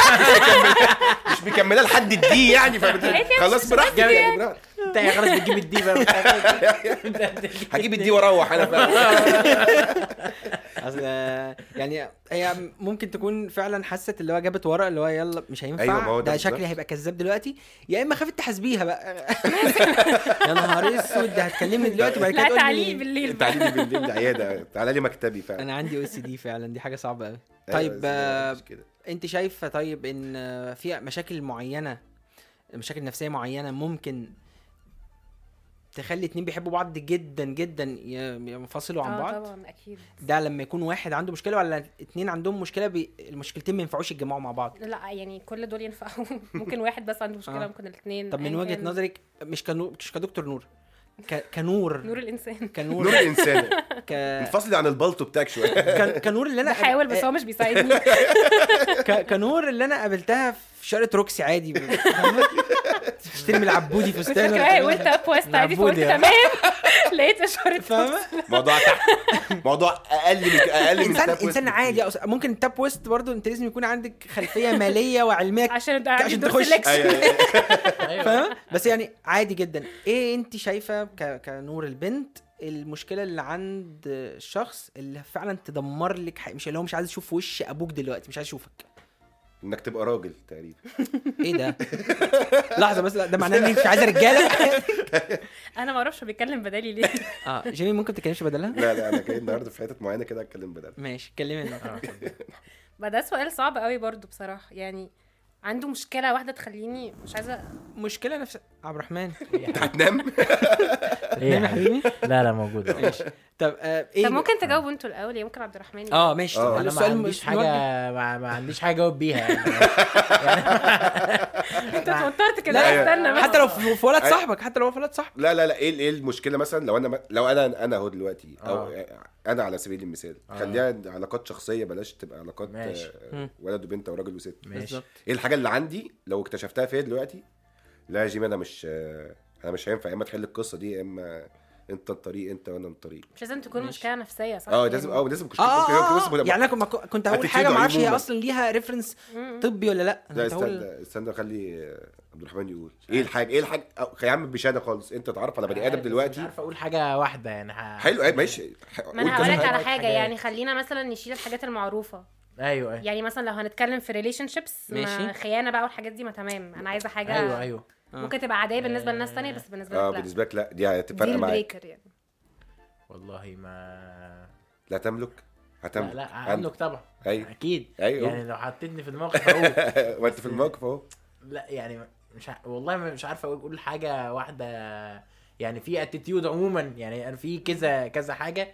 Speaker 3: مش مكمله لحد الدي يعني فبت- خلاص براحتك يعني براحتك.
Speaker 4: انت يا خلاص بتجيب الدي بقى
Speaker 3: هجيب الدي واروح انا بقى.
Speaker 1: اصل آه، يعني هي ممكن تكون فعلا حست اللي هو جابت ورق اللي هو يلا مش هينفع
Speaker 3: أيوة، ما هو ده
Speaker 1: ده
Speaker 3: بالظبط.
Speaker 1: شكلي هيبقى كذاب دلوقتي يا اما خافت تحاسبيها بقى يا نهار اسود ده هتكلمني دلوقتي وبعد كده
Speaker 5: لا
Speaker 1: تقول
Speaker 5: تعليق
Speaker 1: لي
Speaker 5: بالليل
Speaker 3: انت عندي بالليل العياده تعالى لي مكتبي فعلا
Speaker 1: انا عندي او سي دي فعلا دي حاجه صعبه قوي
Speaker 3: أيوة،
Speaker 1: طيب
Speaker 3: بس هي
Speaker 1: آه،
Speaker 3: مش كده.
Speaker 1: انت شايفه طيب ان آه، في مشاكل معينه مشاكل نفسيه معينه ممكن تخلي اتنين بيحبوا بعض جدا جدا ي- ينفصلوا عن
Speaker 5: آه،
Speaker 1: بعض
Speaker 5: طبعا اكيد
Speaker 1: ده لما يكون واحد عنده مشكله ولا اتنين عندهم مشكله بي... المشكلتين ما ينفعوش يتجمعوا مع بعض
Speaker 5: لا يعني كل دول ينفعوا ممكن واحد بس عنده مشكله
Speaker 1: آه.
Speaker 5: ممكن الاثنين
Speaker 1: طب من وجهه نظرك مش كنو... مش كدكتور نور ك... كنور
Speaker 5: نور الانسان
Speaker 1: كنور
Speaker 3: نور الانسان
Speaker 1: ك...
Speaker 3: انفصلي عن البلطو بتاعك شويه
Speaker 1: كان- كنور اللي انا
Speaker 5: بحاول بس هو مش بيساعدني
Speaker 1: ك... كنور اللي انا قابلتها في شارع روكسي عادي فاهمة؟ بتشتري من العبودي
Speaker 5: كنت
Speaker 1: فستان ولا
Speaker 5: فاكره
Speaker 1: بتعمل
Speaker 5: قلت
Speaker 1: إيه؟
Speaker 5: اب وست عادي فقلت
Speaker 1: معبود يعني.
Speaker 5: تمام لقيت اشاره
Speaker 1: فاهمه
Speaker 3: موضوع تحت موضوع اقل من اقل من
Speaker 1: انسان
Speaker 3: تاب ويست
Speaker 1: انسان عادي أص... ممكن تاب ويست برضه انت لازم يكون عندك خلفيه ماليه وعلميه
Speaker 5: عشان أبقى عندي
Speaker 1: عشان
Speaker 5: دور
Speaker 1: تخش.
Speaker 5: selection.
Speaker 3: أيوة، أيوة.
Speaker 1: فاهمه بس يعني عادي جدا ايه انت شايفه ك... كنور البنت المشكله اللي عند الشخص اللي فعلا تدمر لك حي... مش اللي هو مش عايز يشوف وش ابوك دلوقتي مش عايز يشوفك
Speaker 3: انك تبقى راجل تقريبا
Speaker 1: ايه ده لحظه بس لا، ده معناه اني مش عايزه رجاله
Speaker 5: انا ما اعرفش هو بيتكلم بدالي ليه
Speaker 1: اه جيمي ممكن تكلمش بدلها
Speaker 3: لا لا انا جاي النهارده في حتت معينه كده اتكلم بدل
Speaker 1: ماشي كلمنا
Speaker 5: ما ده سؤال صعب قوي برضو بصراحه يعني عنده مشكله واحده تخليني مش عايزه
Speaker 1: مشكله نفس عبد الرحمن
Speaker 3: انت هتنام
Speaker 4: ايه
Speaker 1: نعم يا حبيبي
Speaker 4: لا لا موجوده
Speaker 1: ماشي طب آه ايه
Speaker 5: طب ممكن تجاوبوا انتوا الاول يا ممكن عبد الرحمن يجاوب.
Speaker 1: اه ماشي
Speaker 3: آه.
Speaker 1: طب
Speaker 4: انا ما
Speaker 1: السؤال
Speaker 4: عنديش
Speaker 1: مش
Speaker 4: حاجه
Speaker 1: موجه.
Speaker 4: ما, ما عنديش حاجه اجاوب بيها يعني,
Speaker 5: انت اتوترت كده
Speaker 1: آه. لا،
Speaker 5: استنى بس
Speaker 1: حتى لو في في ولد
Speaker 3: أي-
Speaker 1: صاحبك حتى لو في ولد صاحبك
Speaker 3: لا لا لا ايه ايه المشكله مثلا لو انا م- لو انا انا اهو دلوقتي او
Speaker 4: آه.
Speaker 3: انا على سبيل المثال
Speaker 4: آه.
Speaker 3: خليها علاقات شخصيه بلاش تبقى علاقات
Speaker 4: ماشي.
Speaker 3: آه،
Speaker 1: مم.
Speaker 3: ولد وبنت او راجل وست
Speaker 4: ماشي
Speaker 1: بالظبط.
Speaker 3: ايه الحاجه اللي عندي لو اكتشفتها فيا دلوقتي لا يا جيمي انا مش آه، انا مش هينفع يا اما تحل القصه دي يا اما انت الطريق انت وانا من الطريق
Speaker 5: مش لازم تكون مشكله نفسيه صح
Speaker 3: اه
Speaker 5: يعني
Speaker 3: لازم اه لازم كنت
Speaker 1: اه اه,
Speaker 3: بص-
Speaker 1: طيب، آه. يعني انا كنت- كنت هقول
Speaker 3: attitude
Speaker 1: حاجه ما اعرفش هي
Speaker 3: عموماً.
Speaker 1: اصلا ليها ريفرنس طبي ولا لا
Speaker 3: لا
Speaker 1: كنت هقول-
Speaker 3: استنى استنى خلي آه، عبد الرحمن يقول ايه الحاجه ايه الحاجه أو- يا عم بشهاده خالص انت تعرف على بني ادم
Speaker 4: مش
Speaker 3: دلوقتي
Speaker 4: عارف اقول حاجه واحده يعني ه-
Speaker 3: حلو ايه ماشي ح-
Speaker 5: ما
Speaker 3: قول
Speaker 5: انا
Speaker 3: كذا
Speaker 5: هقول لك
Speaker 3: حاجة.
Speaker 5: على
Speaker 4: حاجات.
Speaker 5: حاجه يعني خلينا مثلا نشيل الحاجات المعروفه
Speaker 4: ايوه ايوه
Speaker 5: يعني مثلا لو هنتكلم في ريليشن شيبس
Speaker 1: ماشي.
Speaker 5: خيانه بقى والحاجات دي ما تمام انا عايزه حاجه
Speaker 4: ايوه ايوه
Speaker 5: ممكن تبقى عاديه بالنسبه لناس تانية بس بالنسبه
Speaker 3: اه
Speaker 5: لك لا
Speaker 3: بالنسبه لك لا دي هتفرق
Speaker 5: ديل
Speaker 3: معاك
Speaker 5: بريكر يعني
Speaker 4: والله ما
Speaker 3: لا تملك
Speaker 4: لا
Speaker 3: هتملك
Speaker 4: لا
Speaker 3: عندك.
Speaker 4: عندك طبعا
Speaker 3: أيوة.
Speaker 4: اكيد
Speaker 3: أيوة.
Speaker 4: يعني لو حطيتني في الموقف هقول
Speaker 3: ما انت في الموقف اهو
Speaker 4: لا يعني مش ع... والله ما- مش عارف اقول حاجه واحده يعني في اتيتيود عموما يعني انا في كذا كذا حاجه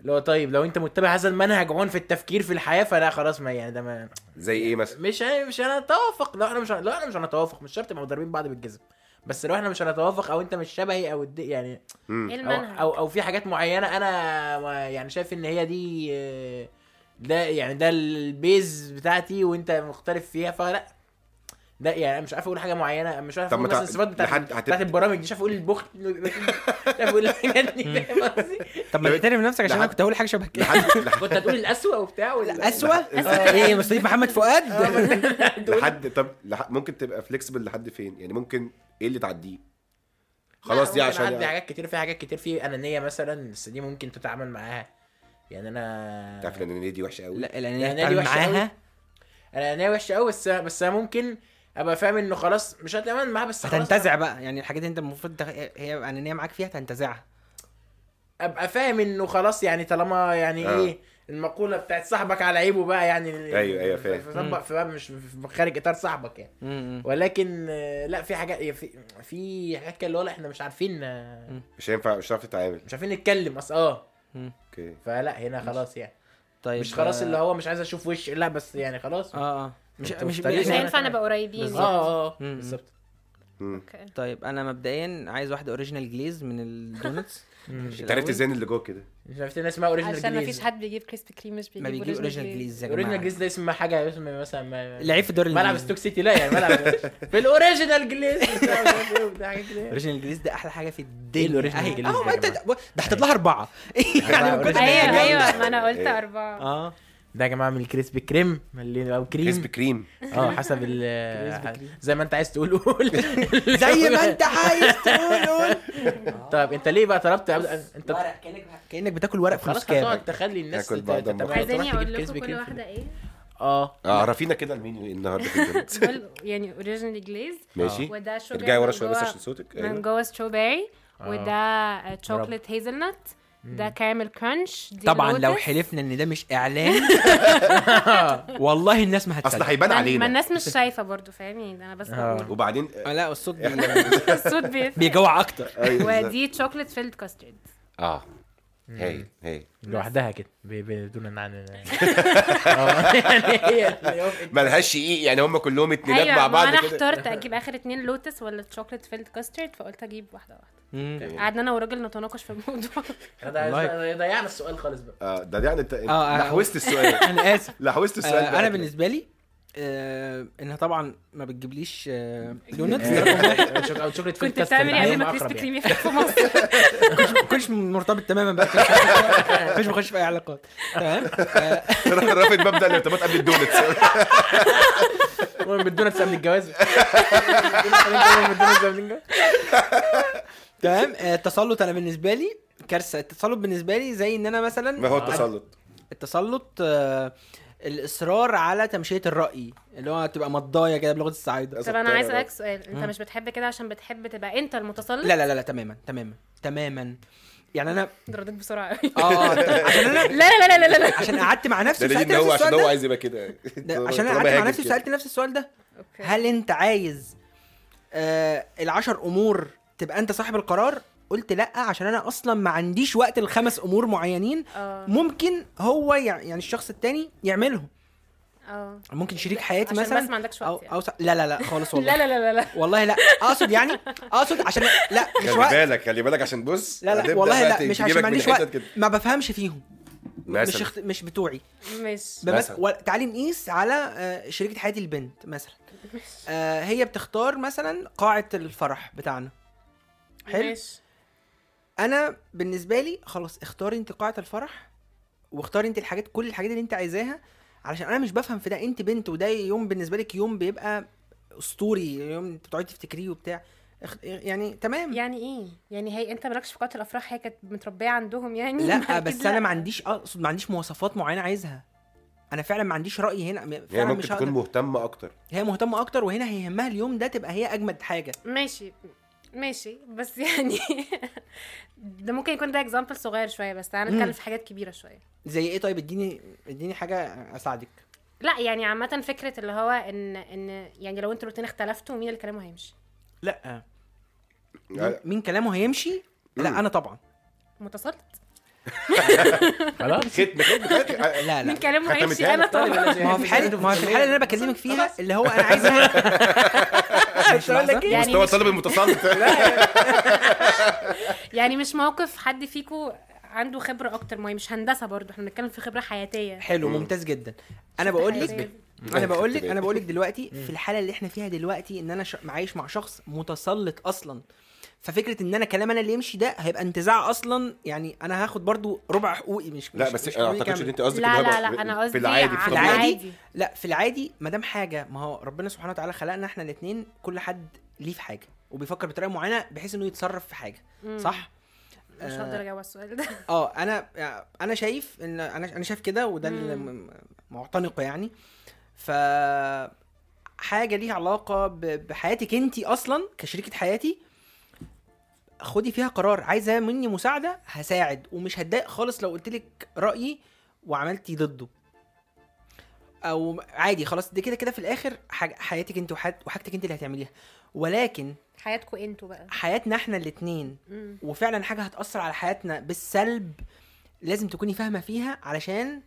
Speaker 4: اللي هو طيب لو انت متبع هذا المنهج عموما في التفكير في الحياه فلا خلاص ما يعني ده ما
Speaker 3: زي ايه مثلا
Speaker 4: مش مش هنتوافق لو احنا مش لو احنا مش هنتوافق مش شرط يبقى ضاربين بعض بالجزم بس لو احنا مش هنتوافق او انت مش شبهي او الد... يعني
Speaker 5: ايه
Speaker 4: او
Speaker 5: المنهج
Speaker 4: او, أو في حاجات معينه انا ما- يعني شايف ان هي دي آه، ده يعني ده البيز بتاعتي وانت مختلف فيها فلا ده يعني انا مش عارف اقول حاجه معينه مش عارف
Speaker 3: طب
Speaker 4: اقول
Speaker 3: ما تع-
Speaker 4: مثلا الصفات بتاعت
Speaker 3: لحد- هت-
Speaker 4: بتاعت البرامج دي مش عارف اقول البخل مش عارف اقول الحاجات دي فاهم قصدي؟
Speaker 1: طب ما
Speaker 3: لو-
Speaker 1: تعترف نفسك عشان
Speaker 3: لحد-
Speaker 1: انا كنت هقول حاجه شبه كده
Speaker 3: لحد لحد-
Speaker 4: كنت هتقول القسوه وبتاع ولا
Speaker 1: اسوأ آه، ايه مستضيف محمد فؤاد
Speaker 3: لحد طب لحد ممكن تبقى فليكسبل لحد فين يعني ممكن ايه اللي تعديه خلاص دي عشان
Speaker 4: عندي حاجات كتير في حاجات كتير في انانيه مثلا بس دي ممكن تتعامل معاها يعني انا
Speaker 3: تعرف ان الأنانية دي وحشه قوي
Speaker 1: لا لان
Speaker 4: يعني
Speaker 1: انا
Speaker 4: دي
Speaker 1: هتعامل
Speaker 4: وحشة أوي.
Speaker 1: معاها
Speaker 4: انا انانيه وحشه قوي بس بس أنا ممكن ابقى فاهم انه خلاص مش هتعامل معاها بس خلاص
Speaker 1: هتنتزع بقى يعني الحاجات اللي انت المفروض تخ- هي انانيه معاك فيها تنتزعها
Speaker 4: ابقى فاهم انه خلاص يعني طالما يعني
Speaker 3: آه.
Speaker 4: آه. ايه المقوله بتاعت صاحبك على عيبه بقى يعني
Speaker 3: أيوة، أيوة، فاهم.
Speaker 4: فطبق في بقى مش في خارج اطار صاحبك يعني
Speaker 1: م- م.
Speaker 4: ولكن آه، لا في حاجات في في حاجات كده اللي هو لا احنا مش عارفين آه،
Speaker 3: مش هينفع مش هتعرف تتعامل
Speaker 4: مش عارفين نتكلم اصل اه
Speaker 3: اوكي
Speaker 4: فلا هنا خلاص يعني
Speaker 1: طيب
Speaker 4: مش خلاص
Speaker 1: آه،
Speaker 4: اللي هو مش عايز اشوف وش لا بس يعني خلاص اه
Speaker 1: اه اه مش
Speaker 4: أنتوا
Speaker 1: مش
Speaker 4: في طريق
Speaker 5: مش
Speaker 4: يعني
Speaker 5: هينفع
Speaker 4: مثلاً-
Speaker 5: نبقى قريبين يعني.
Speaker 4: اه آه،
Speaker 1: مم.
Speaker 4: بالظبط
Speaker 5: اوكي
Speaker 1: طيب انا مبدئيا عايز واحده اوريجينال جليز من الدونتس مش
Speaker 3: انت عرفت
Speaker 1: الأول.
Speaker 3: ازاي إن اللي جوه كده
Speaker 4: مش عرفت الناس اسمها اوريجينال
Speaker 5: عشان ما فيش
Speaker 4: جليز
Speaker 5: حد بيجيب كريسبي كريم مش بيجيب
Speaker 1: ما بيجيب اوريجينال جليز يا
Speaker 4: اوريجينال
Speaker 1: جماعه
Speaker 4: جليز ده اسمها حاجه اسمها مثلا ما-
Speaker 1: لعيب في دور
Speaker 4: ملعب ستوك سيتي لا يعني ملعب في الاوريجينال جليز بتاع مش عارف إيه وبتاع حاجات كده. إيه
Speaker 1: اوريجينال جليز ده احلى حاجه في الدنيا
Speaker 4: الأوريجينال
Speaker 1: أهي.
Speaker 4: جليز
Speaker 1: أهو،
Speaker 4: يا
Speaker 1: ما أنت-
Speaker 4: جماعة؟
Speaker 1: ده هتطلع لها اربعه يعني من كتر ما هي
Speaker 5: ايوه
Speaker 1: جامدة.
Speaker 5: ايوه ما انا قلت
Speaker 3: إيه.
Speaker 5: اربعه
Speaker 1: اه
Speaker 4: ده يا جماعه من الكريسبي كريم اللي- او
Speaker 3: كريسبي
Speaker 4: كريم
Speaker 3: كريم
Speaker 4: اه حسب ال زي ما انت عايز تقول قول
Speaker 1: زي ما انت عايز تقول قول
Speaker 4: طب طيب، انت ليه بقى طلبت أبدأ- انت
Speaker 1: كانك كانك بتاكل ورق في
Speaker 4: خلاص
Speaker 1: نص
Speaker 4: هتقعد
Speaker 1: كام
Speaker 4: تخلي الناس
Speaker 3: هاكل بعض أما
Speaker 4: تتابع-
Speaker 3: أخلص.
Speaker 4: تروح
Speaker 5: عايزاني
Speaker 4: تجيب
Speaker 5: اقول لكم
Speaker 4: كريسبي
Speaker 5: كل
Speaker 4: كريم في-
Speaker 5: واحده ايه
Speaker 4: اه
Speaker 3: آه، عرفينا كده المنيو ايه النهارده في الدنيا.
Speaker 5: دول يعني اوريجينال جليز
Speaker 3: ماشي
Speaker 5: وده شوجر
Speaker 3: ارجعي ورا
Speaker 5: من
Speaker 3: شويه بس
Speaker 5: جوه-
Speaker 3: عشان صوتك
Speaker 5: من
Speaker 3: ايوه
Speaker 5: جوه ستروبيري وده تشوكلت هيزلنت ده كارميل كرانش دي
Speaker 1: طبعا
Speaker 5: لوتس.
Speaker 1: لو حلفنا ان ده مش اعلان والله الناس ما
Speaker 3: اصل
Speaker 1: هتصدق
Speaker 3: هيبان
Speaker 5: ما- ما
Speaker 3: علينا
Speaker 5: الناس مش شايفه برضو فاهم يعني انا بس
Speaker 4: آه.
Speaker 5: بقول
Speaker 3: وبعدين آه،
Speaker 1: لا الصوت بي-
Speaker 5: الصوت بيفرق
Speaker 1: بيجوع اكتر
Speaker 3: أيوة، بالظبط.
Speaker 5: ودي تشوكلت فيلد كاسترد
Speaker 3: اه هايل هايل
Speaker 4: لوحدها كده ب- بدون ان عن آه، يعني هي
Speaker 3: ملهاش ايه يعني هم كلهم اتنينات
Speaker 5: ايوه
Speaker 3: مع
Speaker 5: ما
Speaker 3: بعض
Speaker 5: انا
Speaker 3: كده
Speaker 5: اخترت اجيب اخر اتنين لوتس ولا تشوكلت فيلد كاسترد فقلت اجيب واحده واحده
Speaker 1: مم.
Speaker 5: قعدنا انا والراجل نتناقش في الموضوع
Speaker 4: ضيعنا ضيعنا السؤال خالص بقى
Speaker 3: اه ده يعني انت
Speaker 1: آه، آه.
Speaker 3: أنت لحوست السؤال
Speaker 1: انا اسف
Speaker 3: لحوست السؤال
Speaker 1: آه،
Speaker 3: بقى.
Speaker 1: انا بالنسبه لي آه، انها طبعا ما بتجيبليش آه، دونتس ده رقم واحد
Speaker 4: او شوكليت فيلد
Speaker 5: كنت
Speaker 4: كاسترد
Speaker 5: بتعمل ايه قبل
Speaker 4: عليهم
Speaker 5: ما
Speaker 4: أقرب
Speaker 1: أيوة.
Speaker 5: كريسبي
Speaker 4: يعني.
Speaker 5: كريم يفتح في مصر
Speaker 1: ما كنتش مرتبط تماما بقى ما كنتش بخش في اي علاقات تمام آه،
Speaker 3: رافض مبدا الارتباط قبل الدونتس
Speaker 4: المهم بالدونتس قبل الجواز بالدونتس قبل الجواز
Speaker 1: تمام آه، التسلط انا بالنسبه لي كارثه التسلط بالنسبه لي زي ان انا مثلا
Speaker 3: ما هو التسلط
Speaker 1: التسلط آه، الاصرار على تمشيه الراي اللي هو تبقى مضايه كده بلغه الصعايده
Speaker 5: طب انا
Speaker 3: طيب.
Speaker 5: عايز اسالك سؤال انت مش بتحب كده عشان بتحب تبقى انت المتسلط
Speaker 1: آه. لا لا لا لا تماما تماما تماما يعني انا
Speaker 5: انت رديت بسرعه قوي
Speaker 1: اه عشان انا
Speaker 5: لا لا لا لا لا لا
Speaker 1: عشان قعدت مع نفسي
Speaker 3: آه، ده
Speaker 1: وسالت نفسي
Speaker 3: لان هو عشان
Speaker 1: السؤال
Speaker 3: هو
Speaker 1: ده
Speaker 3: عايز يبقى كده
Speaker 1: ده- عشان انا
Speaker 3: طالما
Speaker 1: قعدت مع
Speaker 3: هاجم
Speaker 1: نفسي
Speaker 3: كده.
Speaker 1: وسالت نفسي السؤال ده
Speaker 5: اوكي
Speaker 1: هل انت عايز آه العشر امور تبقى انت صاحب القرار قلت لا عشان انا اصلا ما عنديش وقت لخمس امور معينين
Speaker 5: اه
Speaker 1: ممكن هو يع- يعني الشخص التاني يعملهم
Speaker 5: اه
Speaker 1: ممكن شريك حياتي
Speaker 5: عشان
Speaker 1: مثلا
Speaker 5: بس ما عندكش
Speaker 1: او
Speaker 5: وقت يعني.
Speaker 1: او ص- لا لا لا خالص والله
Speaker 5: لا لا لا لا لا
Speaker 1: والله لا اقصد يعني اقصد عشان لا مش
Speaker 3: خلي
Speaker 1: وقت
Speaker 3: بالك خلي بالك عشان بص
Speaker 1: لا لا
Speaker 3: هتبدأ
Speaker 1: والله
Speaker 3: بقى
Speaker 1: لا
Speaker 3: ت-
Speaker 1: مش
Speaker 3: تجيبك
Speaker 1: عشان
Speaker 3: من
Speaker 1: ما عنديش
Speaker 3: حتت
Speaker 1: وقت
Speaker 3: كده.
Speaker 1: ما بفهمش فيهم مش
Speaker 3: مثلا.
Speaker 1: اخت... مش بتوعي
Speaker 5: مش
Speaker 1: بس
Speaker 3: مثلا.
Speaker 1: و- تعالي نقيس على آه، شريكة حياتي البنت مثلا آه، هي بتختار مثلا قاعة الفرح بتاعنا حلو
Speaker 5: مش
Speaker 1: انا بالنسبة لي خلاص اختاري انت قاعة الفرح واختاري انت الحاجات كل الحاجات اللي انت عايزاها علشان انا مش بفهم في ده انت بنت وده يوم بالنسبة لك يوم بيبقى اسطوري يوم انت بتقعدي تفتكريه وبتاع اخ- يعني تمام
Speaker 5: يعني ايه يعني هي انت مالكش في قاعه الافراح هي كانت متربيه عندهم يعني
Speaker 1: لا آه،
Speaker 5: أكيد
Speaker 1: بس انا ما عنديش اقصد ما عنديش مواصفات معينه عايزها انا فعلا ما عنديش راي هنا فعلا
Speaker 3: هي يعني ممكن
Speaker 1: مش
Speaker 3: تكون
Speaker 1: هقدر
Speaker 3: مهتمه اكتر
Speaker 1: هي مهتمه اكتر وهنا هيهمها اليوم ده تبقى هي اجمد حاجه
Speaker 5: ماشي ماشي بس يعني ده ممكن يكون ده اكزامبل صغير شويه بس تعالى نتكلم
Speaker 1: مم.
Speaker 5: في حاجات كبيره شويه
Speaker 1: زي ايه طيب اديني اديني حاجه اساعدك
Speaker 5: لا يعني عامه فكره اللي هو ان ان يعني لو انتوا الاثنين اختلفتوا مين اللي كلامه هيمشي
Speaker 1: لا مين,
Speaker 3: لا،
Speaker 1: مين كلامه هيمشي لا انا طبعا
Speaker 5: متسلط
Speaker 4: خلاص
Speaker 3: ختم ختم ختم.
Speaker 1: لا لا
Speaker 5: مين كلامه
Speaker 3: ختمتها
Speaker 5: هيمشي
Speaker 3: لك.
Speaker 5: انا طبعا
Speaker 1: ما هو في حاله ما هو في الحاله اللي انا بكلمك فيها اللي هو انا عايز مش لك
Speaker 5: يعني
Speaker 3: مستوى
Speaker 5: مش-
Speaker 3: الطالب المتسلط
Speaker 5: يعني مش موقف حد فيكو عنده خبره اكتر ما هي مش هندسه برضه احنا بنتكلم في خبره حياتيه
Speaker 1: حلو ممتاز جدا انا بقول لك
Speaker 5: حياتية.
Speaker 1: انا بقول لك انا بقول لك دلوقتي في الحاله اللي احنا فيها دلوقتي ان انا ش- عايش مع شخص متسلط اصلا ففكره ان انا كلام انا اللي يمشي ده هيبقى انتزاع اصلا يعني انا هاخد برضو ربع حقوقي مش
Speaker 3: لا
Speaker 1: مش-
Speaker 3: بس
Speaker 1: مش
Speaker 3: انا
Speaker 1: حقوقي
Speaker 3: اعتقدش
Speaker 1: كامل.
Speaker 3: ان انت قصدك
Speaker 5: لا،
Speaker 3: إن هو
Speaker 5: لا،
Speaker 3: بقى
Speaker 5: لا، أنا
Speaker 3: في
Speaker 5: قصدي
Speaker 3: العادي في
Speaker 5: على
Speaker 1: العادي,
Speaker 3: الطبيعي.
Speaker 5: العادي.
Speaker 1: لا في العادي ما دام حاجه ما هو ربنا سبحانه وتعالى خلقنا احنا الاثنين كل حد ليه في حاجه وبيفكر بطريقه معينه بحيث انه يتصرف في حاجه صح
Speaker 5: مش هقدر اجاوب على السؤال ده
Speaker 1: اه انا انا شايف ان انا انا شايف كده وده اللي م- معتنقه يعني ف حاجه ليها علاقه ب- بحياتك انت اصلا كشريكه حياتي خدي فيها قرار عايزه مني مساعده هساعد ومش هتضايق خالص لو قلت لك رايي وعملتي ضده او عادي خلاص دي كده كده في الاخر حاج- حياتك انت وحاج- وحاجتك انت اللي هتعمليها ولكن
Speaker 5: حياتكم انتوا بقى
Speaker 1: حياتنا احنا الاتنين
Speaker 5: مم.
Speaker 1: وفعلا حاجه هتاثر على حياتنا بالسلب لازم تكوني فاهمه فيها علشان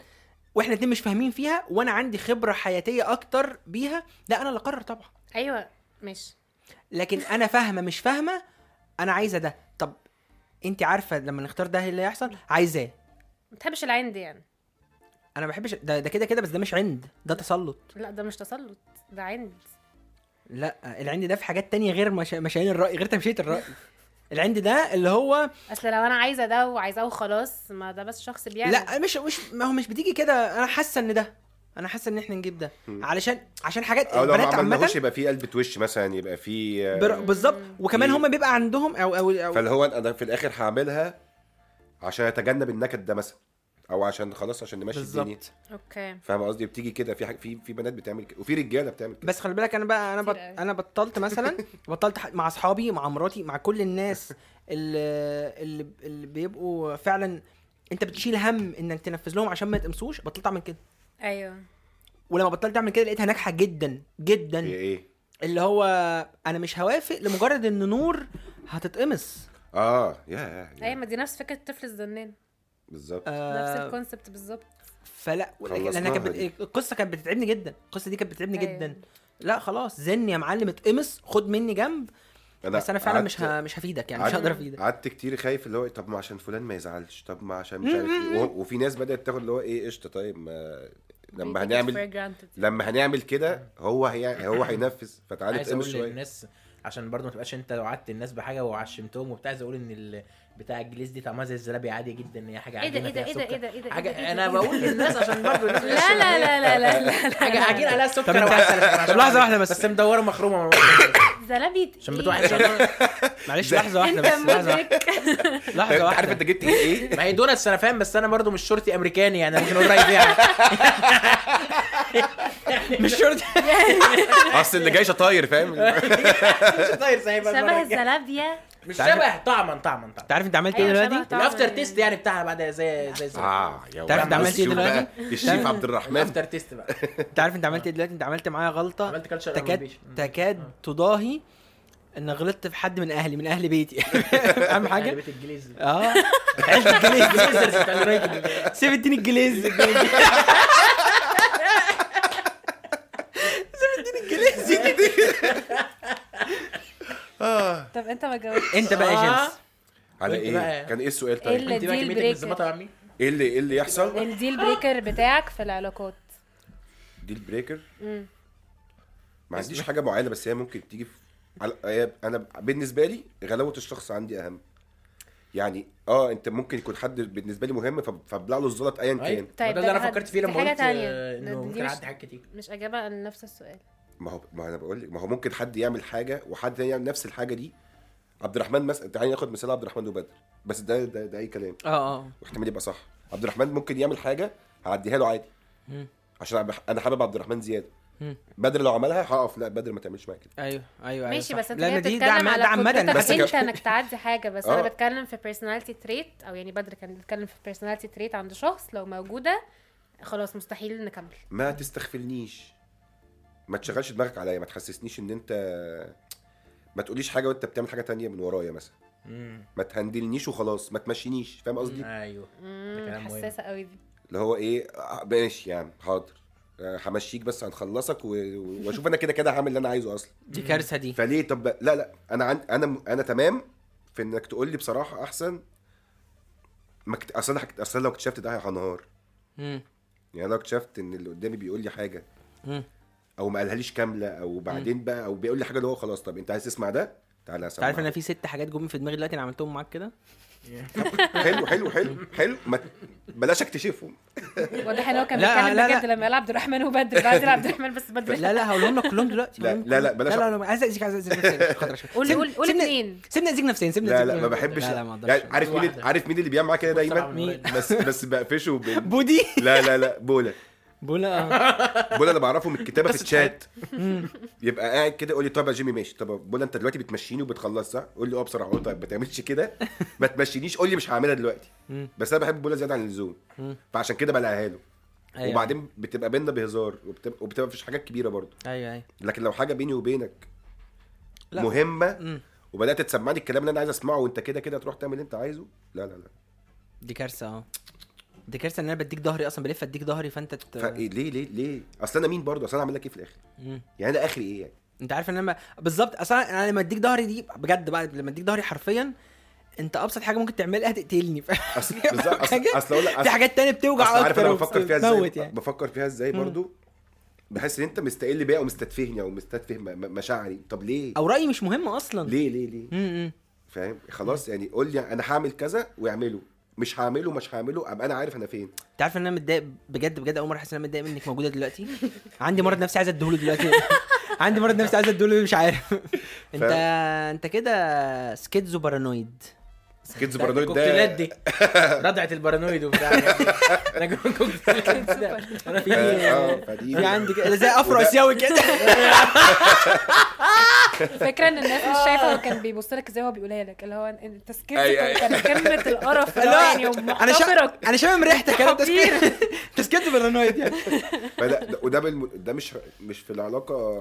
Speaker 1: واحنا الاتنين مش فاهمين فيها وانا عندي خبره حياتيه اكتر بيها لا انا اللي اقرر طبعا
Speaker 5: ايوه ماشي
Speaker 1: لكن انا فاهمه مش فاهمه انا عايزه ده طب انت عارفه لما نختار ده إيه اللي هيحصل عايزاه
Speaker 5: ما تحبش العين دي يعني
Speaker 1: انا ما بحبش ده ده كده كده بس ده مش عند ده تسلط
Speaker 5: لا ده مش تسلط ده عند
Speaker 1: لا العند ده في حاجات تانية غير مشا- مشايين الراي غير تمشيه الراي العند ده اللي هو
Speaker 5: اصل لو انا عايزه ده وعايزاه وخلاص ما ده بس شخص بيعمل
Speaker 1: لا مش مش ما هو مش بتيجي كده انا حاسه ان ده انا حاسه ان احنا نجيب ده علشان عشان حاجات
Speaker 3: او لو ما
Speaker 1: البنات عامه
Speaker 3: عملناهوش يبقى في قلب توش مثلا يبقى في آه،
Speaker 1: بر- بالظبط وكمان هم بيبقى عندهم او او, أو
Speaker 3: فاللي هو انا في الاخر هعملها عشان اتجنب النكد ده مثلا او عشان خلاص عشان نمشي الدنيا
Speaker 1: بالظبط
Speaker 5: اوكي
Speaker 3: فاهم قصدي بتيجي كده في حاجة في في بنات بتعمل كده وفي رجاله بتعمل كده
Speaker 1: بس خلي بالك انا بقى انا
Speaker 5: كتير
Speaker 1: بط...
Speaker 5: أوي.
Speaker 1: انا بطلت مثلا بطلت ح- مع اصحابي مع مراتي مع كل الناس اللي اللي, اللي بيبقوا فعلا انت بتشيل هم انك تنفذ لهم عشان ما تقمسوش بطلت اعمل كده
Speaker 5: ايوه
Speaker 1: ولما بطلت اعمل كده لقيتها ناجحه جدا جدا
Speaker 3: هي ايه
Speaker 1: اللي هو انا مش هوافق لمجرد ان نور هتتقمص
Speaker 3: اه يا- يا
Speaker 5: ايوه
Speaker 3: يا
Speaker 5: ما دي نفس فكره الطفل الزنان
Speaker 3: بالظبط
Speaker 5: نفس
Speaker 1: آه،
Speaker 5: الكونسبت بالظبط
Speaker 1: فلا ولكن- لانها كانت
Speaker 3: خلصناها
Speaker 1: بت... القصه كانت بتتعبني جدا القصه دي كانت بتتعبني
Speaker 5: أيوة.
Speaker 1: جدا لا خلاص زن يا معلم اتقمص خد مني جنب بس انا فعلا مش
Speaker 3: قعدت-
Speaker 1: ه... مش هفيدك يعني مش
Speaker 3: قعدت-
Speaker 1: هقدر افيدك
Speaker 3: قعدت كتير خايف اللي هو إيه، طب ما عشان فلان ما يزعلش طب ما عشان مش عارف ايه و- وفي ناس بدات تاخد اللي هو ايه قشطه طيب ما
Speaker 5: We take
Speaker 3: لما
Speaker 5: it
Speaker 3: هنعمل
Speaker 5: for granted.
Speaker 3: لما هنعمل كده هو هي هو هينفذ فتعالى
Speaker 4: عايز
Speaker 3: اتقمص
Speaker 4: اقول
Speaker 3: شويه
Speaker 4: للناس عشان برضه ما تبقاش انت لو وعدت الناس بحاجه وعشمتهم وبتاع زي اقول ان ال- بتاع الجليس دي طعمها زي الزلابيه عادي جدا ان هي حاجه
Speaker 5: ايه ده
Speaker 4: عجينة
Speaker 5: ايه ده
Speaker 4: فيها
Speaker 5: ايه ده
Speaker 4: سكر.
Speaker 5: ايه ده ايه ده إيه ده- إيه
Speaker 4: حاجه
Speaker 5: ده-
Speaker 4: انا
Speaker 5: إيه ده؟
Speaker 4: بقول للناس عشان برضه الناس مش
Speaker 5: لا لا لا لا لا لا لا
Speaker 4: حاجه عجينه عليها
Speaker 1: طب
Speaker 4: سكر
Speaker 1: انت-
Speaker 4: وعسل
Speaker 1: طب لحظه واحده
Speaker 4: بس
Speaker 1: بس
Speaker 4: مدوره مخرومه
Speaker 5: زلابية
Speaker 4: عشان
Speaker 5: إيه؟
Speaker 4: بتوع
Speaker 1: معلش لحظه واحده
Speaker 5: انت
Speaker 1: بس لحظه
Speaker 5: مدرك
Speaker 1: لحظه
Speaker 3: انت عارف
Speaker 1: واحده
Speaker 3: انت جبت ايه ايه
Speaker 4: ما هي دونتس انا فاهم بس انا برضو مش شرطي امريكاني يعني ممكن اقول رايي فيها مش شرطي
Speaker 3: اصل اللي جاي شطاير
Speaker 1: أيوة.
Speaker 3: فاهم
Speaker 4: مش طاير سايبها
Speaker 5: شبه الزلابية
Speaker 4: مش
Speaker 1: تعرف-
Speaker 4: شبه طعما طعما طعما
Speaker 1: انت عارف انت عملت ايه
Speaker 5: أيوة،
Speaker 1: دلوقتي؟
Speaker 5: شبه طعم
Speaker 4: الافتر
Speaker 5: ال-
Speaker 4: تيست يعني بتاعها بعد زي زي
Speaker 3: اه يا
Speaker 1: تعرف انت
Speaker 3: ولد.
Speaker 1: عملت ايه
Speaker 3: شوف بقى
Speaker 1: دلوقتي؟
Speaker 3: الشيف عبد الرحمن
Speaker 4: الافتر تيست بقى
Speaker 1: انت عارف انت عملت ايه دلوقتي؟ انت عملت معايا غلطه
Speaker 4: عملت culture
Speaker 1: تكاد
Speaker 4: appropriation.
Speaker 1: تكاد تضاهي ان غلطت في حد من اهلي من اهل بيتي اهم
Speaker 4: يعني
Speaker 1: حاجه
Speaker 4: بيت الجليز
Speaker 3: آه.
Speaker 1: اه
Speaker 4: الجليزرز بتاع الراجل.
Speaker 1: سيب اديني الجليز
Speaker 5: طب انت ما جاوبتش
Speaker 1: انت
Speaker 3: آه.
Speaker 1: بقى يا جيمس
Speaker 3: على
Speaker 4: قلت
Speaker 3: ايه
Speaker 4: بقى.
Speaker 3: كان ايه السؤال
Speaker 5: ايه
Speaker 3: طيب
Speaker 5: اللي
Speaker 4: انت بقى
Speaker 5: ديل
Speaker 4: كميتك مش
Speaker 5: بريكر
Speaker 4: ظابطه يا عمي
Speaker 3: ايه اللي ايه اللي يحصل
Speaker 5: الديل بريكر بتاعك في العلاقات
Speaker 3: ديل بريكر ما عنديش حاجه معينه بس هي ممكن تيجي في على هي- انا بالنسبه لي غلاوه الشخص عندي اهم يعني اه انت ممكن يكون حد بالنسبه لي مهم فب- فببلع له الزلط ايا كان
Speaker 4: ده
Speaker 5: طيب
Speaker 4: اللي انا
Speaker 5: ده
Speaker 4: فكرت فيه لما
Speaker 5: دي حاجة
Speaker 4: قلت
Speaker 5: تانية.
Speaker 4: آه،
Speaker 5: ده-
Speaker 4: انه
Speaker 5: دي
Speaker 4: ممكن
Speaker 5: مش-
Speaker 4: اعدي حاجات كتير
Speaker 5: مش اجابة لنفس السؤال
Speaker 3: ما هو ما انا بقول لك ما هو ممكن حد يعمل حاجه وحد تاني يعمل نفس الحاجه دي عبد الرحمن مثلا تعالى ناخد مثال عبد الرحمن وبدر بس ده ده, ده اي كلام
Speaker 1: اه اه
Speaker 3: واحتمال يبقى صح عبد الرحمن ممكن يعمل حاجه هعديها له عادي عشان أنا بح- انا حابب عبد الرحمن زياده
Speaker 1: مم.
Speaker 3: بدر لو عملها هقف لا بدر ما تعملش معايا كده
Speaker 1: ايوه ايوه
Speaker 5: ماشي
Speaker 1: أيوة
Speaker 5: بس
Speaker 1: صح.
Speaker 5: انت
Speaker 1: لأن
Speaker 5: كده
Speaker 1: دي
Speaker 5: بتتكلم
Speaker 1: عم-
Speaker 5: على
Speaker 1: عمدا
Speaker 3: بس
Speaker 5: قدرتك انت
Speaker 3: ك-
Speaker 5: انك تعدي حاجه بس
Speaker 3: آه.
Speaker 5: انا بتكلم في بيرسوناليتي تريت او يعني بدر كان بيتكلم في بيرسوناليتي تريت عند شخص لو موجوده خلاص مستحيل نكمل
Speaker 3: ما تستغفلنيش ما تشغلش دماغك عليا ما تحسسنيش ان انت ما تقوليش حاجه وانت بتعمل حاجه تانية من ورايا مثلا
Speaker 4: مم.
Speaker 3: ما تهندلنيش وخلاص ما تمشينيش فاهم قصدي
Speaker 4: ايوه
Speaker 5: مم،
Speaker 4: كلام مهم.
Speaker 5: حساسه قوي دي
Speaker 3: اللي هو ايه آه، ماشي يا عم حاضر آه، همشيك بس هنخلصك و- و- واشوف انا كده كده هعمل اللي انا عايزه اصلا
Speaker 1: دي كارثه دي
Speaker 3: فليه طب لا لا انا عن... انا انا تمام في انك تقول لي بصراحه احسن ما كت... اصل أنا- اصل أنا لو اكتشفت ده هنهار
Speaker 1: مم.
Speaker 3: يعني لو اكتشفت ان اللي قدامي بيقول لي حاجه
Speaker 1: مم.
Speaker 3: او ما قالهاليش كامله او بعدين بقى او بيقول لي حاجه اللي هو خلاص طب انت عايز تسمع ده تعالى
Speaker 1: انت
Speaker 3: اسمع
Speaker 1: عارف انا في ست حاجات جم في دماغي دلوقتي انا عملتهم معاك كده
Speaker 3: حلو حلو حلو حلو ما ت- بلاش اكتشفهم
Speaker 5: واضح ان هو كان
Speaker 1: لا، لا،
Speaker 5: بيتكلم
Speaker 1: لا.
Speaker 5: بجد لما قال عبد الرحمن وبدر بعد يلعب عبد الرحمن بس بدر
Speaker 1: لا لا هقولهم لك كلهم دلوقتي
Speaker 3: لا،
Speaker 1: هقولهم
Speaker 3: لا، لا،
Speaker 1: كلهم.
Speaker 3: بلاش
Speaker 1: لا لا لا، عايز اذيك عايز اذيك نفسياً. خد عشان.
Speaker 5: قول-
Speaker 1: سيبنا-
Speaker 5: قول- قول
Speaker 1: سيبنا-
Speaker 5: اتنين.
Speaker 1: سيبنا اذيك نفسيا سيبنا
Speaker 3: لا
Speaker 1: أذيك
Speaker 3: لا ما
Speaker 1: نفسياً.
Speaker 3: بحبش
Speaker 1: لا لا ما
Speaker 3: يعني
Speaker 1: اقدرش
Speaker 3: عارف مين
Speaker 4: واحدة.
Speaker 3: عارف مين اللي بيعمل معاه كده دايما
Speaker 4: مين؟
Speaker 3: بس بس بقفشه وب-
Speaker 1: بودي
Speaker 3: لا لا لا بولا
Speaker 1: بولا آه،
Speaker 3: بولا انا بعرفه من الكتابه في الشات يبقى قاعد كده يقول لي طب يا جيمي ماشي طب بولا انت دلوقتي بتمشيني وبتخلص صح؟ قول لي اه بصراحه أقول له طيب ما تعملش كده ما تمشينيش قول لي مش هعملها دلوقتي بس انا بحب بولا زياده عن اللزوم فعشان كده بلاقيها له
Speaker 1: أيوة.
Speaker 3: وبعدين بتبقى بينا بهزار وبتبقى وبتبقى مفيش حاجات كبيره برضه
Speaker 1: ايوه ايوه
Speaker 3: لكن لو حاجه بيني وبينك
Speaker 1: لا.
Speaker 3: مهمه وبدات تسمعني الكلام اللي انا عايز اسمعه وانت كده كده تروح تعمل اللي انت عايزه لا لا لا
Speaker 1: دي كارثه اه دي كارثه ان انا بديك ظهري اصلا بلف اديك ظهري فانت ت...
Speaker 3: فليه ليه ليه ليه اصل انا مين برضه اصل انا هعمل لك ايه في الاخر
Speaker 1: مم.
Speaker 3: يعني انا اخري ايه يعني
Speaker 1: انت عارف ان انا ب- بالظبط اصلا انا لما اديك ظهري دي بجد بقى لما اديك ظهري حرفيا انت ابسط حاجه ممكن تعملها تقتلني فاهم؟
Speaker 3: اصل بالظبط اصل
Speaker 1: حاجة؟
Speaker 3: اصل اقول لك
Speaker 1: في
Speaker 3: أصل-
Speaker 1: حاجات تانية بتوجع
Speaker 3: اصل عارف
Speaker 1: اكتر
Speaker 3: انا بفكر فيها ازاي
Speaker 1: وبتموت يعني.
Speaker 3: بفكر فيها ازاي برضو بحس ان انت مستقل بيا ومستتفهني او مستتفهم م- م- مشاعري طب ليه
Speaker 1: او رايي مش مهم اصلا
Speaker 3: ليه ليه ليه
Speaker 1: امم
Speaker 3: فاهم خلاص يعني قول لي انا هعمل كذا واعمله مش هعمله مش هعمله ابقى انا عارف انا فين
Speaker 1: انت عارف ان انا متضايق بجد بجد اول مره احس ان انا متضايق منك موجوده دلوقتي عندي مرض نفسي عايز اديهوله دلوقتي عندي مرض نفسي عايز اديهوله مش عارف انت انت كده سكيتزو بارانويد
Speaker 3: كيدز بارانويد
Speaker 4: الكوكتيلات
Speaker 3: ده
Speaker 4: دي ردعه البارانويد وبتاع انا جوه الكوكتيلات ده. أنا في-
Speaker 3: اه فدي
Speaker 1: في عندي كده زي افرو
Speaker 3: وده-
Speaker 1: اسيوي كده
Speaker 5: الفكره ان الناس
Speaker 1: آه.
Speaker 5: مش شايفه هو كان بيبص لك ازاي وهو بيقولها لك اللي هو إن- انت سكت
Speaker 3: أي- أي.
Speaker 5: كان كلمه القرف اللي هو
Speaker 1: لا،
Speaker 5: يعني
Speaker 1: انا شا...
Speaker 5: محتقرك
Speaker 1: انا شامم ريحتك انا
Speaker 5: خطير.
Speaker 1: انت سكيتزو بارانويد يعني
Speaker 3: فده ده- وده بالم... ده مش مش في العلاقه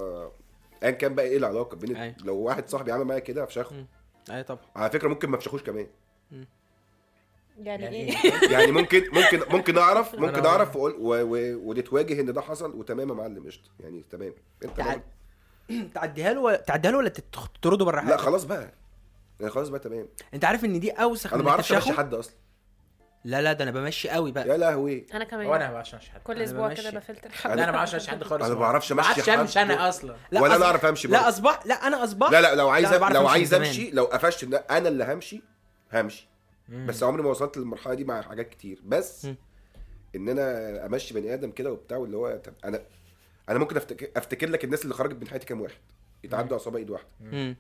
Speaker 3: ايا كان بقى ايه العلاقه بين
Speaker 1: أيوة.
Speaker 3: لو واحد صاحبي عمل معايا كده هفشخه
Speaker 1: اي طبعا
Speaker 3: على فكره ممكن ما افشخوش كمان
Speaker 5: يعني
Speaker 4: يعني
Speaker 5: ايه
Speaker 3: يعني ممكن ممكن ممكن اعرف ممكن
Speaker 4: أنا-
Speaker 3: اعرف واقول و... و... وتتواجه ان ده حصل وتمام يا معلم قشطه يعني تمام انت
Speaker 1: تع-
Speaker 3: برضه.
Speaker 1: تعديها له ولا تعديها له ولا تت- تطرده بره
Speaker 3: لا
Speaker 1: حياتك
Speaker 3: خلاص بقى يعني خلاص بقى تمام
Speaker 1: انت عارف ان دي اوسخ
Speaker 3: انا
Speaker 1: من
Speaker 3: ما
Speaker 1: إنك
Speaker 3: اعرفش امشي
Speaker 1: تفشخه؟
Speaker 3: حد اصلا
Speaker 1: لا لا ده انا بمشي قوي بقى
Speaker 3: يا لهوي
Speaker 5: انا
Speaker 4: هو انا
Speaker 5: كمان
Speaker 4: ما بعرفش حد
Speaker 5: كل
Speaker 1: أنا
Speaker 5: اسبوع
Speaker 1: بمشي.
Speaker 5: كده بفلتر
Speaker 4: لا
Speaker 5: حد
Speaker 4: انا ما بعرفش حد خالص
Speaker 3: أنا ما بعرفش
Speaker 4: ما
Speaker 3: أمشي
Speaker 4: بعرفش امشي
Speaker 3: حد.
Speaker 4: انا اصلا
Speaker 1: لا
Speaker 3: ولا
Speaker 1: أصبح-
Speaker 3: انا اعرف امشي
Speaker 1: لا
Speaker 3: برضه.
Speaker 1: اصبح لا انا اصبح
Speaker 3: لا لا لو عايز
Speaker 1: لا، بعرف
Speaker 3: لو
Speaker 1: أمشي من
Speaker 3: عايز
Speaker 1: زمان.
Speaker 3: امشي لو قفشت ان انا اللي همشي همشي بس عمري ما وصلت للمرحله دي مع حاجات كتير بس ان انا امشي بني ادم كده وبتاع واللي هو طب انا انا ممكن افتكر افتكر لك الناس اللي خرجت من حياتي كام واحد يتعدوا اصابع ايد واحده
Speaker 1: مم.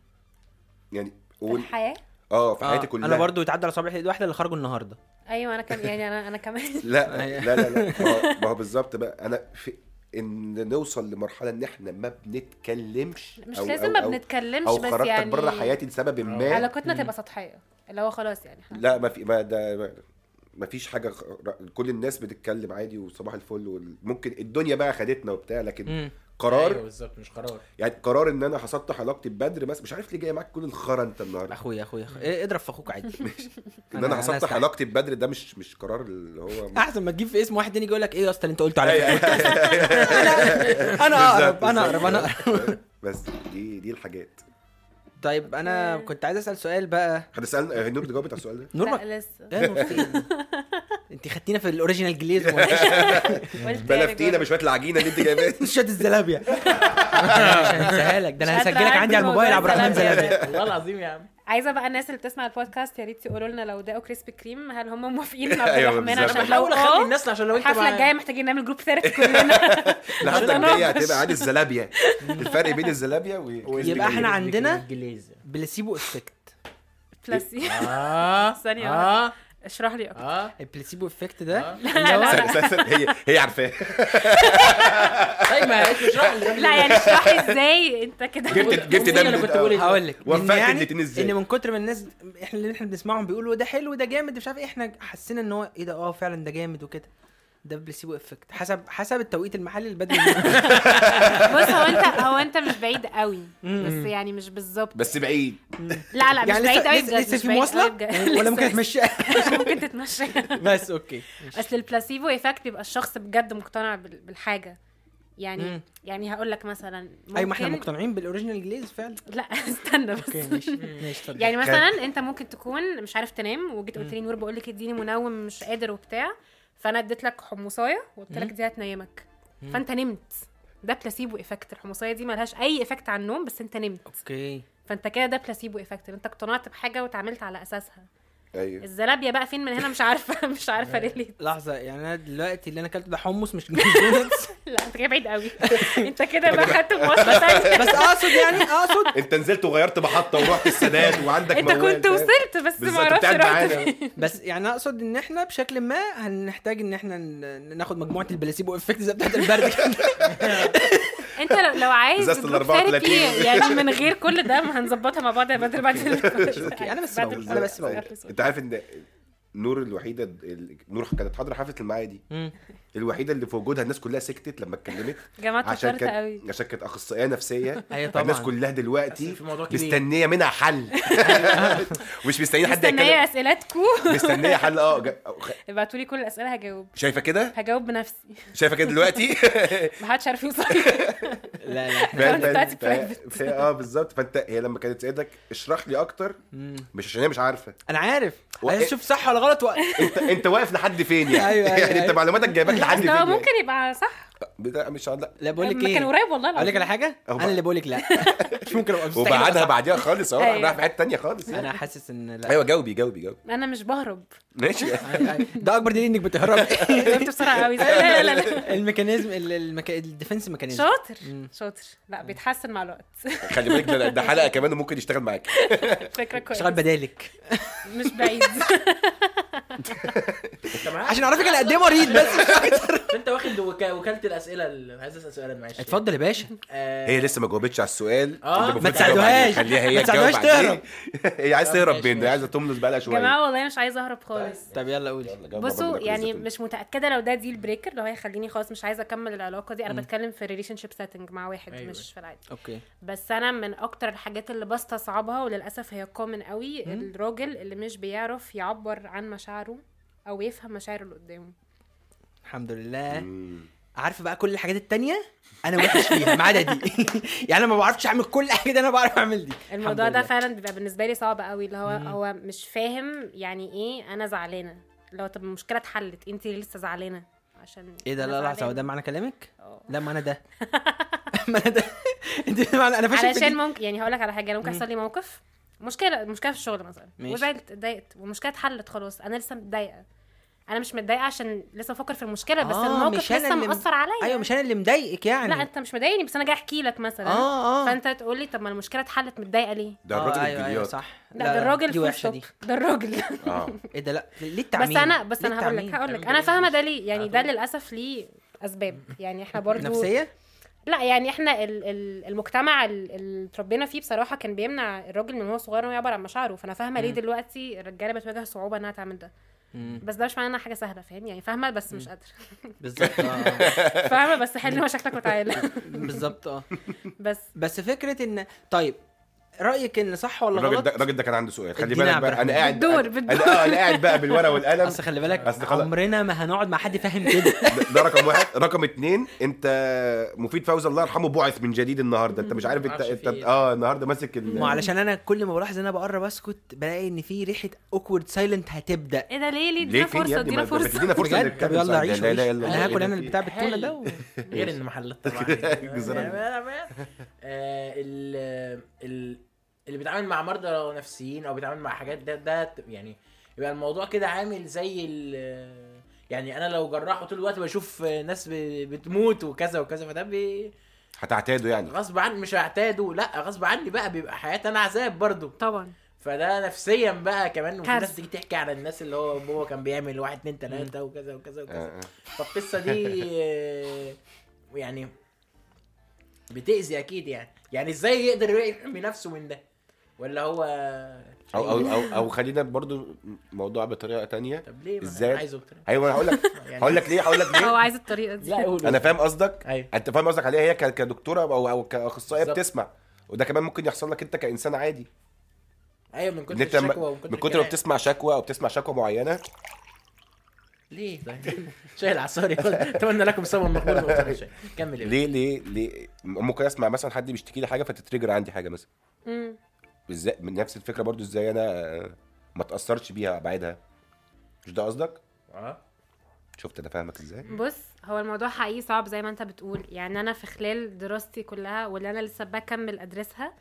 Speaker 3: يعني
Speaker 5: في
Speaker 3: وال-
Speaker 5: الحياه
Speaker 3: اه في
Speaker 1: آه،
Speaker 3: حياتي كلها
Speaker 1: انا برضو يتعدى على صباح الايد واحده اللي خرجوا النهارده
Speaker 5: ايوه انا كمان يعني انا انا كمان
Speaker 3: لا
Speaker 1: يعني.
Speaker 3: لا لا لا ما هو- ما هو بالظبط بقى انا في ان نوصل لمرحله ان احنا ما بنتكلمش
Speaker 5: مش
Speaker 3: أو-
Speaker 5: لازم
Speaker 3: أو-
Speaker 5: ما
Speaker 3: أو-
Speaker 5: بنتكلمش
Speaker 3: او
Speaker 5: بس
Speaker 3: خرجتك
Speaker 5: يعني
Speaker 3: بره حياتي لسبب
Speaker 1: آه.
Speaker 3: ما
Speaker 5: علاقتنا تبقى سطحيه اللي هو خلاص يعني احنا
Speaker 3: لا ما في ما ده ما فيش حاجه خ- كل الناس بتتكلم عادي وصباح الفل وال- ممكن الدنيا بقى خدتنا وبتاع لكن
Speaker 1: مم. أيوة.
Speaker 3: قرار
Speaker 4: ايوه بالظبط مش قرار
Speaker 3: يعني قرار ان انا هسطح علاقتي ببدر بس مش عارف ليه جاي معاك كل الخرا انت النهارده
Speaker 1: اخويا اخويا أخويا. إيه، اضرب في اخوك عادي
Speaker 3: ان انا هسطح
Speaker 1: أستحي.
Speaker 3: علاقتي ببدر ده مش مش قرار اللي هو
Speaker 1: احسن ما تجيب في اسم واحد تاني يجي يقول لك ايه يا اسطى اللي انت قلته على
Speaker 3: أيوة.
Speaker 1: فكرة؟
Speaker 3: انا
Speaker 1: انا اقرب انا اقرب انا أقرب.
Speaker 3: بس دي دي الحاجات
Speaker 1: طيب انا كنت عايز اسال سؤال بقى
Speaker 3: هتسالنا هنور تجاوبت آه، على السؤال ده
Speaker 1: نور ما-
Speaker 5: لا لسه
Speaker 1: يا نور فين؟ انت خدتينا في الاوريجينال جليز ومفيش-
Speaker 5: قلت
Speaker 3: بلفتينا
Speaker 5: يعني
Speaker 3: بشويه العجينه اللي انت جايباها دي.
Speaker 1: شوت الزلابيا عشان انساها لك ده
Speaker 5: مش
Speaker 1: انا
Speaker 5: قادرة
Speaker 1: هسجلك عندي
Speaker 5: أعدي
Speaker 1: على الموبايل
Speaker 5: موضوع
Speaker 1: عبد الرحمن
Speaker 5: الزلابية
Speaker 1: زلابيا
Speaker 5: ده.
Speaker 4: والله العظيم يا عم
Speaker 5: عايزه بقى الناس اللي بتسمع البودكاست يا ريت تقولوا لنا لو داقوا كريسبي كريم هل هم موافقين مع عبد
Speaker 3: أيوة
Speaker 5: الرحمن
Speaker 3: بالظبط.
Speaker 5: عشان لو
Speaker 4: بحاول اخلي
Speaker 5: اه
Speaker 4: الناس عشان لو انت
Speaker 5: الحفله
Speaker 4: مع-
Speaker 5: الجايه محتاجين نعمل جروب ثيرابي كلنا
Speaker 3: لحظه
Speaker 5: نتناقش.
Speaker 3: الجايه هتبقى عن الزلابيا الفرق بين الزلابيا و
Speaker 1: يبقى احنا عندنا
Speaker 4: انجليزي
Speaker 1: بلاسيبو افكت
Speaker 5: بلاسي
Speaker 1: آه.
Speaker 4: اه
Speaker 5: ثانية
Speaker 4: اه
Speaker 5: اشرح لي اكتر
Speaker 4: اه
Speaker 1: البلاسيبو افكت ده
Speaker 5: لا لا
Speaker 3: استنى، استنى، استنى، إيه؟ هي هي عارفاه
Speaker 4: طيب ما قالتش اشرح لي
Speaker 5: لا يعني اشرح لي ازاي انت كده
Speaker 3: جبت جبت
Speaker 4: قولي
Speaker 3: ده
Speaker 4: أنا
Speaker 3: من
Speaker 4: كنت بقول إيه.
Speaker 1: هقول لك
Speaker 3: وفقت
Speaker 1: إن يعني
Speaker 3: الاتنين إزاي؟
Speaker 1: ان من كتر ما الناس احنا اللي احنا بنسمعهم بيقولوا ده حلو ده جامد مش عارف إيه، احنا حسينا ان هو ايه ده اه فعلا ده جامد وكده ده بلاسيبو افكت حسب حسب التوقيت المحلي يعني البدري
Speaker 5: بص هو انت هو انت مش بعيد قوي بس يعني مش بالظبط
Speaker 3: بس بعيد
Speaker 5: لا لا مش
Speaker 1: يعني
Speaker 5: بعيد
Speaker 1: لسه
Speaker 5: قوي
Speaker 1: لسه,
Speaker 5: بجد،
Speaker 1: لسه
Speaker 5: مش
Speaker 1: في
Speaker 5: بعيد
Speaker 1: مواصله
Speaker 5: قوي بجد.
Speaker 1: ولا
Speaker 5: لسه-
Speaker 1: ممكن اتمشى
Speaker 5: ممكن تتمشى
Speaker 1: بس اوكي
Speaker 5: اصل البلاسيبو ايفكت بيبقى الشخص بجد مقتنع بال- بالحاجه يعني
Speaker 1: مم.
Speaker 5: يعني هقول لك مثلا ممكن
Speaker 1: ايوه ما احنا مقتنعين بالاوريجينال جليز فعلا
Speaker 5: لا استنى بس
Speaker 1: اوكي ماشي ماشي اتفضل.
Speaker 5: يعني مثلا انت ممكن تكون مش عارف تنام وجيت قلت لي نور بقول لك اديني منوم مش قادر وبتاع فانا اديت لك حمصايه وقلت لك دي هتنيمك فانت نمت ده بلاسيبو ايفكت الحمصايه دي ملهاش اي ايفكت على النوم بس انت نمت
Speaker 1: اوكي
Speaker 5: فانت كده ده بلاسيبو ايفكت انت اقتنعت بحاجه وتعاملت على اساسها
Speaker 3: ايوه
Speaker 5: الزلابيا بقى فين من هنا مش عارفه مش عارفه ليه ليه
Speaker 1: لحظه يعني انا دلوقتي اللي انا اكلته ده حمص مش دونتس
Speaker 5: لا انت كده بعيد قوي انت كده بقى خدت مواصله ثانيه
Speaker 1: بس اقصد يعني اقصد
Speaker 3: انت نزلت وغيرت محطه ورحت السادات وعندك
Speaker 5: انت
Speaker 3: موال،
Speaker 5: كنت
Speaker 3: فاهم؟
Speaker 5: وصلت بس ما
Speaker 3: بالظبط انت
Speaker 5: اعرفش
Speaker 3: قاعد
Speaker 5: رحت
Speaker 3: معانا
Speaker 5: فين
Speaker 1: بس يعني اقصد ان احنا بشكل ما هنحتاج ان احنا ن- ناخد مجموعه البلاسيبو افكت زي بتاعت البرد
Speaker 5: انت لو, لو عايز
Speaker 3: ازازة ال
Speaker 5: جروب
Speaker 3: 34.
Speaker 5: ثيرابي يعني من غير كل ده ما هنظبطها مع بعض يا بدر بعد
Speaker 1: اوكي،
Speaker 5: اوكي
Speaker 1: انا بس بقول-
Speaker 3: بالظبط.
Speaker 1: انا بس بقول.
Speaker 3: أيوة. انت عارف ان نور الوحيده ال- نور كانت حاضره حفله المعايا دي الوحيده اللي في وجودها الناس كلها سكتت لما اتكلمت
Speaker 5: جماعه
Speaker 3: عشان
Speaker 5: شطارة
Speaker 3: كانت
Speaker 5: قوي
Speaker 3: عشان كانت اخصائيه نفسيه
Speaker 1: أيوة طبعاً.
Speaker 3: الناس كلها دلوقتي
Speaker 4: أصل في موضوع كبير.
Speaker 3: مستنيه منها حل مش مستنيين حد
Speaker 5: مستنيه
Speaker 3: يتكلم
Speaker 5: اسئلتكم
Speaker 3: مستنيه حل اه جا-
Speaker 5: ابعتوا لي كل الاسئله هجاوب
Speaker 3: شايفه كده
Speaker 5: هجاوب بنفسي
Speaker 3: شايفه كده دلوقتي
Speaker 5: ما حدش عارف يوصل
Speaker 1: لا لا احنا
Speaker 5: الأكونت
Speaker 3: فاهم؟
Speaker 5: بتاعتي
Speaker 3: فانت- فا- اه بالظبط فانت هي لما كانت سيدك اشرح لي اكتر مش عشان هي مش عارفه
Speaker 1: انا عارف
Speaker 3: و-
Speaker 1: عايز اشوف صح ولا غلط و...
Speaker 3: انت انت واقف لحد فين يعني
Speaker 1: أيوة، أيوة،
Speaker 3: يعني انت
Speaker 1: أيوة.
Speaker 3: معلوماتك جايباك لحد
Speaker 5: اصل
Speaker 3: فين
Speaker 5: هو
Speaker 3: يعني؟
Speaker 5: ممكن يبقى صح
Speaker 3: بتاع- مش لا
Speaker 1: لا بقول لك
Speaker 5: ما كان
Speaker 1: ايه
Speaker 5: قريب والله
Speaker 1: اقول لك على
Speaker 5: العظيم
Speaker 1: حاجه
Speaker 3: أهو
Speaker 1: انا
Speaker 3: بقى.
Speaker 1: اللي بقول لك لا مش ممكن ابقى مستحيل أبقى
Speaker 3: وبعدها
Speaker 1: صح.
Speaker 3: بعديها خالص اهو
Speaker 5: أيوة.
Speaker 3: رايح في حته ثانيه خالص يعني.
Speaker 1: انا حاسس ان لا
Speaker 3: ايوه جاوبي جاوبي جاوبي
Speaker 5: انا مش بهرب
Speaker 3: ماشي
Speaker 1: ده اكبر دليل انك بتهرب
Speaker 5: جاوبت بسرعه قوي لا لا لا
Speaker 1: الميكانيزم ال- المكا- الديفنس ميكانيزم
Speaker 5: شاطر شاطر لا بيتحسن مع الوقت
Speaker 3: خلي بالك ده- ده حلقه كمان وممكن يشتغل معاك
Speaker 5: فكره كويسه
Speaker 1: شغال بدالك
Speaker 5: مش بعيد
Speaker 4: انت معاك
Speaker 1: عشان اعرفك انا قد ايه مريض بس
Speaker 4: انت واخد وكا- وكاله الاسئله اللي عايز اسال سؤال معلش
Speaker 1: اتفضل يا باشا
Speaker 4: آه،
Speaker 3: هي لسه ما جاوبتش على السؤال
Speaker 4: آه.
Speaker 3: اللي المفروض
Speaker 1: ما
Speaker 3: تجاوب عليه.
Speaker 1: تساعدوهاش.
Speaker 3: خليها
Speaker 1: ما
Speaker 3: هي
Speaker 1: تساعدوهاش
Speaker 3: تجاوب عليه. هي عايزه تهرب منه هي عايزه تملص بقالها
Speaker 5: يا
Speaker 3: شويه
Speaker 5: جماعه والله مش عايزه اهرب خالص
Speaker 2: طيب.
Speaker 1: طب يلا قول
Speaker 3: جاوب
Speaker 5: بصوا
Speaker 3: ربنا كل
Speaker 5: يعني
Speaker 3: ذاته.
Speaker 5: مش متاكده لو ده ديل بريكر لو هيخليني خلاص مش عايزه اكمل العلاقه دي انا بتكلم في ريليشن شيب سيتنج مع واحد
Speaker 4: أيوة.
Speaker 5: أيوة. مش في العادي
Speaker 1: اوكي
Speaker 5: بس انا من اكتر الحاجات اللي بستصعبها وللاسف هي كومن قوي الراجل اللي مش بيعرف يعبر عن مشاعره او يفهم مشاعر اللي قدامه
Speaker 1: الحمد لله عارفه بقى كل الحاجات التانية انا وحش فيها ما عدا دي يعني انا ما بعرفش اعمل كل حاجه انا بعرف اعمل دي الحمد
Speaker 5: الموضوع ده
Speaker 1: لله.
Speaker 5: فعلا بيبقى بالنسبه لي صعب قوي اللي هو هو مش فاهم يعني ايه انا زعلانه لو طب المشكله اتحلت انت ليه لسه زعلانه عشان
Speaker 2: ايه ده
Speaker 5: أنا
Speaker 2: لا لحظه
Speaker 5: زعلانة.
Speaker 2: هو ده معنى كلامك؟
Speaker 5: آه.
Speaker 2: لا معنى ده معنى ده انت معنى انا فاشل في
Speaker 5: علشان
Speaker 2: دي.
Speaker 5: ممكن يعني هقول لك على حاجه أنا ممكن يحصل لي موقف مشكله مشكله في الشغل مثلا
Speaker 2: ماشي.
Speaker 5: وزعلت اتضايقت والمشكله اتحلت خلاص انا لسه متضايقه انا مش متضايقه عشان لسه بفكر في المشكله بس
Speaker 2: آه،
Speaker 5: الموقف
Speaker 2: مش أنا
Speaker 5: لسه
Speaker 2: اللي م-
Speaker 5: مأثر عليا
Speaker 2: ايوه مش انا اللي مضايقك يعني
Speaker 5: لا انت مش مضايقني بس انا جاي احكي لك مثلا
Speaker 2: اه اه
Speaker 5: فانت تقول لي طب ما المشكله اتحلت متضايقه ليه
Speaker 3: ده
Speaker 2: آه،
Speaker 3: الراجل
Speaker 2: ايوه ايوه
Speaker 3: البلياردو
Speaker 2: صح
Speaker 5: لا, ده الراجل
Speaker 2: دي
Speaker 5: فول
Speaker 2: وحشه
Speaker 5: ستوب.
Speaker 2: دي
Speaker 5: ده الراجل
Speaker 3: اه
Speaker 2: ايه ده لا ليه التعميم؟
Speaker 5: بس انا بس
Speaker 2: ليه
Speaker 5: انا هقول لك
Speaker 2: التعميم؟
Speaker 5: هقول لك
Speaker 1: التعميم
Speaker 5: انا
Speaker 1: ده
Speaker 5: فاهمه ده ليه
Speaker 1: على
Speaker 5: يعني ده
Speaker 1: طول.
Speaker 5: للاسف ليه اسباب يعني احنا برضو
Speaker 2: نفسيه؟
Speaker 5: لا يعني احنا ال- ال- المجتمع ال- اللي اتربينا فيه بصراحه كان بيمنع الراجل من هو صغير انه يعبر عن مشاعره فانا فاهمه ليه
Speaker 2: مم.
Speaker 5: دلوقتي الرجاله بتواجه صعوبه انها تعمل ده
Speaker 2: مم،
Speaker 5: بس ده مش معناه انها حاجه سهله فاهم يعني فاهمه بس مش قادره
Speaker 2: بالظبط اه
Speaker 5: فاهمه بس حل مشاكلك وتعالى
Speaker 2: بالظبط اه
Speaker 5: بس
Speaker 2: بس فكره ان طيب رايك ان صح ولا
Speaker 3: الراجل
Speaker 2: غلط؟
Speaker 3: ده الراجل ده كان عنده سؤال خلي
Speaker 2: ادينا
Speaker 3: بالك بقى
Speaker 2: عبرة.
Speaker 3: انا قاعد
Speaker 5: بالدور،
Speaker 3: انا
Speaker 5: بالدور.
Speaker 3: آه، انا قاعد بقى بالورقه والقلم
Speaker 2: اصل خلي بالك
Speaker 3: أصل خلاص.
Speaker 2: عمرنا ما هنقعد مع حد فاهم كده
Speaker 3: ده- ده رقم واحد رقم اتنين انت مفيد فوزي الله يرحمه بعث من جديد النهارده انت مش عارف انت,
Speaker 4: معرفش
Speaker 3: انت
Speaker 4: في ايه.
Speaker 3: اه النهارده ماسك ال-
Speaker 2: ما علشان انا كل ما بلاحظ ان انا بقرب اسكت بلاقي ان في ريحه اوكورد سايلنت هتبدا
Speaker 5: ايه ده ليه ليه
Speaker 3: ليه
Speaker 5: ادينا
Speaker 3: فين
Speaker 5: فرصه
Speaker 3: يا ابني
Speaker 5: ادينا
Speaker 3: ما- ما
Speaker 5: فرصه
Speaker 3: تدينا فرصه
Speaker 2: بجد
Speaker 3: نتكلم
Speaker 2: طب يلا
Speaker 3: سؤال.
Speaker 2: عيش
Speaker 3: لا لا
Speaker 2: عيش.
Speaker 3: لا
Speaker 1: ايه
Speaker 2: انا هاكل انا
Speaker 3: في-
Speaker 2: البتاع بالتونه ده و...
Speaker 4: غير ان محلات طبعا
Speaker 3: الجزيرة.
Speaker 4: آه، ال- ال- اللي بيتعامل مع مرضى نفسيين او بيتعامل مع حاجات ده ده يعني يبقى الموضوع كده عامل زي ال- يعني انا لو جراح طول الوقت بشوف ناس ب- بتموت وكذا وكذا فده بي-
Speaker 3: هتعتاده يعني
Speaker 4: غصب عني مش هعتاده لا غصب عني بقى بيبقى حياتي انا عذاب برضه
Speaker 5: طبعا
Speaker 4: فده نفسيا بقى كمان وفي
Speaker 5: كارثة.
Speaker 4: ناس تيجي تحكي على الناس اللي هو بابا كان بيعمل واحد اتنين تلاته وكذا وكذا وكذا
Speaker 3: آه، آه.
Speaker 4: فالقصه دي آه، يعني بتأذي اكيد يعني يعني ازاي يقدر يحمي نفسه من ده ولا هو
Speaker 3: او او او, أو خلينا برضو موضوع بطريقه تانية
Speaker 4: طب ليه ما
Speaker 3: إزاي؟
Speaker 4: أنا يعني عايزه بطريقه
Speaker 3: ايوه انا هقول لك هقول لك ليه هقول لك
Speaker 5: هو
Speaker 3: ليه
Speaker 5: عايز الطريقه دي
Speaker 4: لا قول
Speaker 3: انا فاهم قصدك
Speaker 4: أيوة.
Speaker 3: انت فاهم قصدك عليها هي ك- كدكتوره او او كاخصائيه
Speaker 4: بالظبط.
Speaker 3: بتسمع وده كمان ممكن يحصل لك انت كانسان عادي
Speaker 4: ايوه من كتر
Speaker 3: ان انت م-
Speaker 4: الشكوى ومن
Speaker 3: من كتر ما
Speaker 4: الكلام.
Speaker 3: بتسمع شكوى او بتسمع شكوى معينه
Speaker 4: ليه طيب شايل عصاري اتمنى لكم سبب مقبول وأكتر شيء. كمل يا
Speaker 3: ليه ليه ليه ممكن اسمع مثلا حد بيشتكي لي حاجه فتتريجر عندي حاجه مثلا
Speaker 5: مم.
Speaker 3: ازاي من نفس الفكره برضو ازاي انا آه، ما اتاثرش بيها ابعدها مش ده قصدك
Speaker 4: اه
Speaker 3: شفت انا فاهمك ازاي
Speaker 5: بص هو الموضوع حقيقي صعب زي ما انت بتقول يعني انا في خلال دراستي كلها واللي انا لسه بكمل ادرسها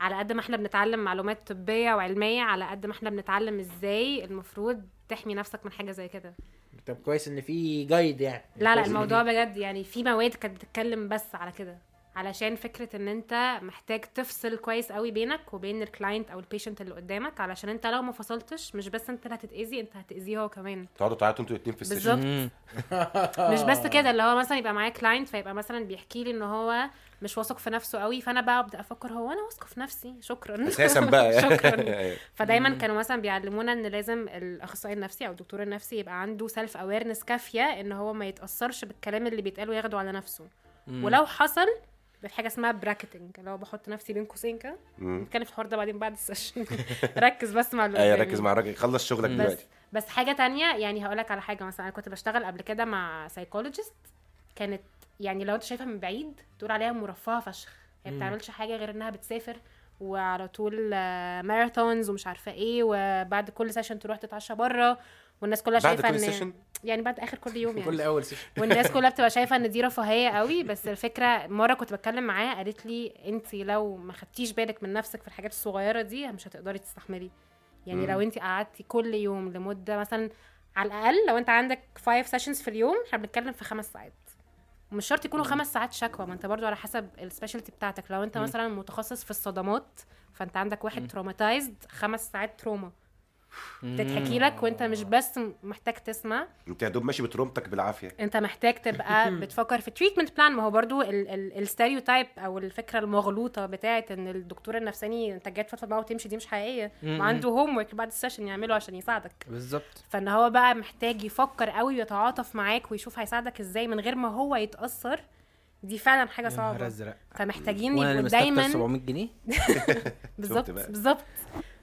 Speaker 5: على قد ما احنا بنتعلم معلومات طبية وعلمية على قد ما احنا بنتعلم ازاي المفروض تحمي نفسك من حاجة زي كده
Speaker 4: طب كويس ان في جايد يعني
Speaker 5: لا لا
Speaker 4: كويس إن
Speaker 5: الموضوع بجد يعني في مواد كانت بتتكلم بس على كده علشان فكرة ان انت محتاج تفصل كويس قوي بينك وبين الكلاينت او البيشنت اللي قدامك علشان انت لو ما فصلتش مش بس انت اللي هتتأذي انت هتأذيه هو كمان
Speaker 3: تقعدوا تعيطوا انتوا الاتنين في السيشن
Speaker 5: بالظبط مش بس
Speaker 3: آه.
Speaker 5: كده اللي هو مثلا يبقى معايا كلاينت فيبقى مثلا بيحكي لي ان هو مش واثق في نفسه قوي فانا بقى ابدا افكر هو انا واثقه في نفسي شكرا
Speaker 3: اساسا بقى
Speaker 5: شكرا فدايما كانوا مثلا بيعلمونا ان لازم الاخصائي النفسي او الدكتور النفسي يبقى عنده سيلف اويرنس كافيه ان هو ما يتاثرش بالكلام اللي بيتقال وياخده على نفسه ولو حصل في حاجه اسمها براكتنج اللي هو بحط نفسي بين قوسين كده
Speaker 3: مم.
Speaker 5: نتكلم في الحوار ده بعدين بعد السيشن ركز بس مع اللي
Speaker 3: ايوه
Speaker 5: قدامي.
Speaker 3: ركز مع الراجل خلص شغلك
Speaker 5: بس
Speaker 3: دلوقتي
Speaker 5: بس حاجه تانية يعني هقولك على حاجه مثلا انا كنت بشتغل قبل كده مع سايكولوجيست كانت يعني لو انت شايفها من بعيد تقول عليها مرفهه فشخ هي ما بتعملش حاجه غير انها بتسافر وعلى طول آه، ماراثونز ومش عارفه ايه وبعد كل سيشن تروح تتعشى بره والناس كلها
Speaker 3: بعد
Speaker 5: شايفه
Speaker 3: كل
Speaker 5: ان
Speaker 3: سيشن
Speaker 5: يعني بعد اخر كل يوم يعني
Speaker 4: كل اول سيشن
Speaker 5: والناس كلها بتبقى شايفه ان دي رفاهيه قوي بس الفكره مره كنت بتكلم معاها قالت لي انت لو ما خدتيش بالك من نفسك في الحاجات الصغيره دي مش هتقدري تستحملي يعني لو انت قعدتي كل يوم لمده مثلا على الاقل لو انت عندك 5 سيشنز في اليوم احنا بنتكلم في خمس ساعات ومش شرط يكونوا خمس ساعات شكوى ما انت برضو على حسب السبيشالتي بتاعتك لو انت مثلا متخصص في الصدمات فانت عندك واحد تروماتايزد خمس ساعات تروما بتتحكي لك وانت مش بس محتاج تسمع
Speaker 3: انت يا دوب ماشي بترومتك بالعافيه
Speaker 5: انت محتاج تبقى بتفكر في تريتمنت بلان ما هو برضو الستيريوتايب او الفكره المغلوطه بتاعه ان الدكتور النفساني انت جاي تفضفض معاه وتمشي دي مش حقيقيه
Speaker 2: مم.
Speaker 5: وعنده هوم ورك بعد السيشن يعمله عشان يساعدك
Speaker 2: بالظبط
Speaker 5: فان هو بقى محتاج يفكر قوي ويتعاطف معاك ويشوف هيساعدك ازاي من غير ما هو يتاثر دي فعلا حاجه
Speaker 2: نهار
Speaker 5: صعبه
Speaker 2: ازرق
Speaker 5: فمحتاجين
Speaker 2: وانا اللي مستكتر
Speaker 5: يبقوا دايما
Speaker 2: 700 جنيه
Speaker 5: بالظبط
Speaker 3: بقى.
Speaker 5: بالظبط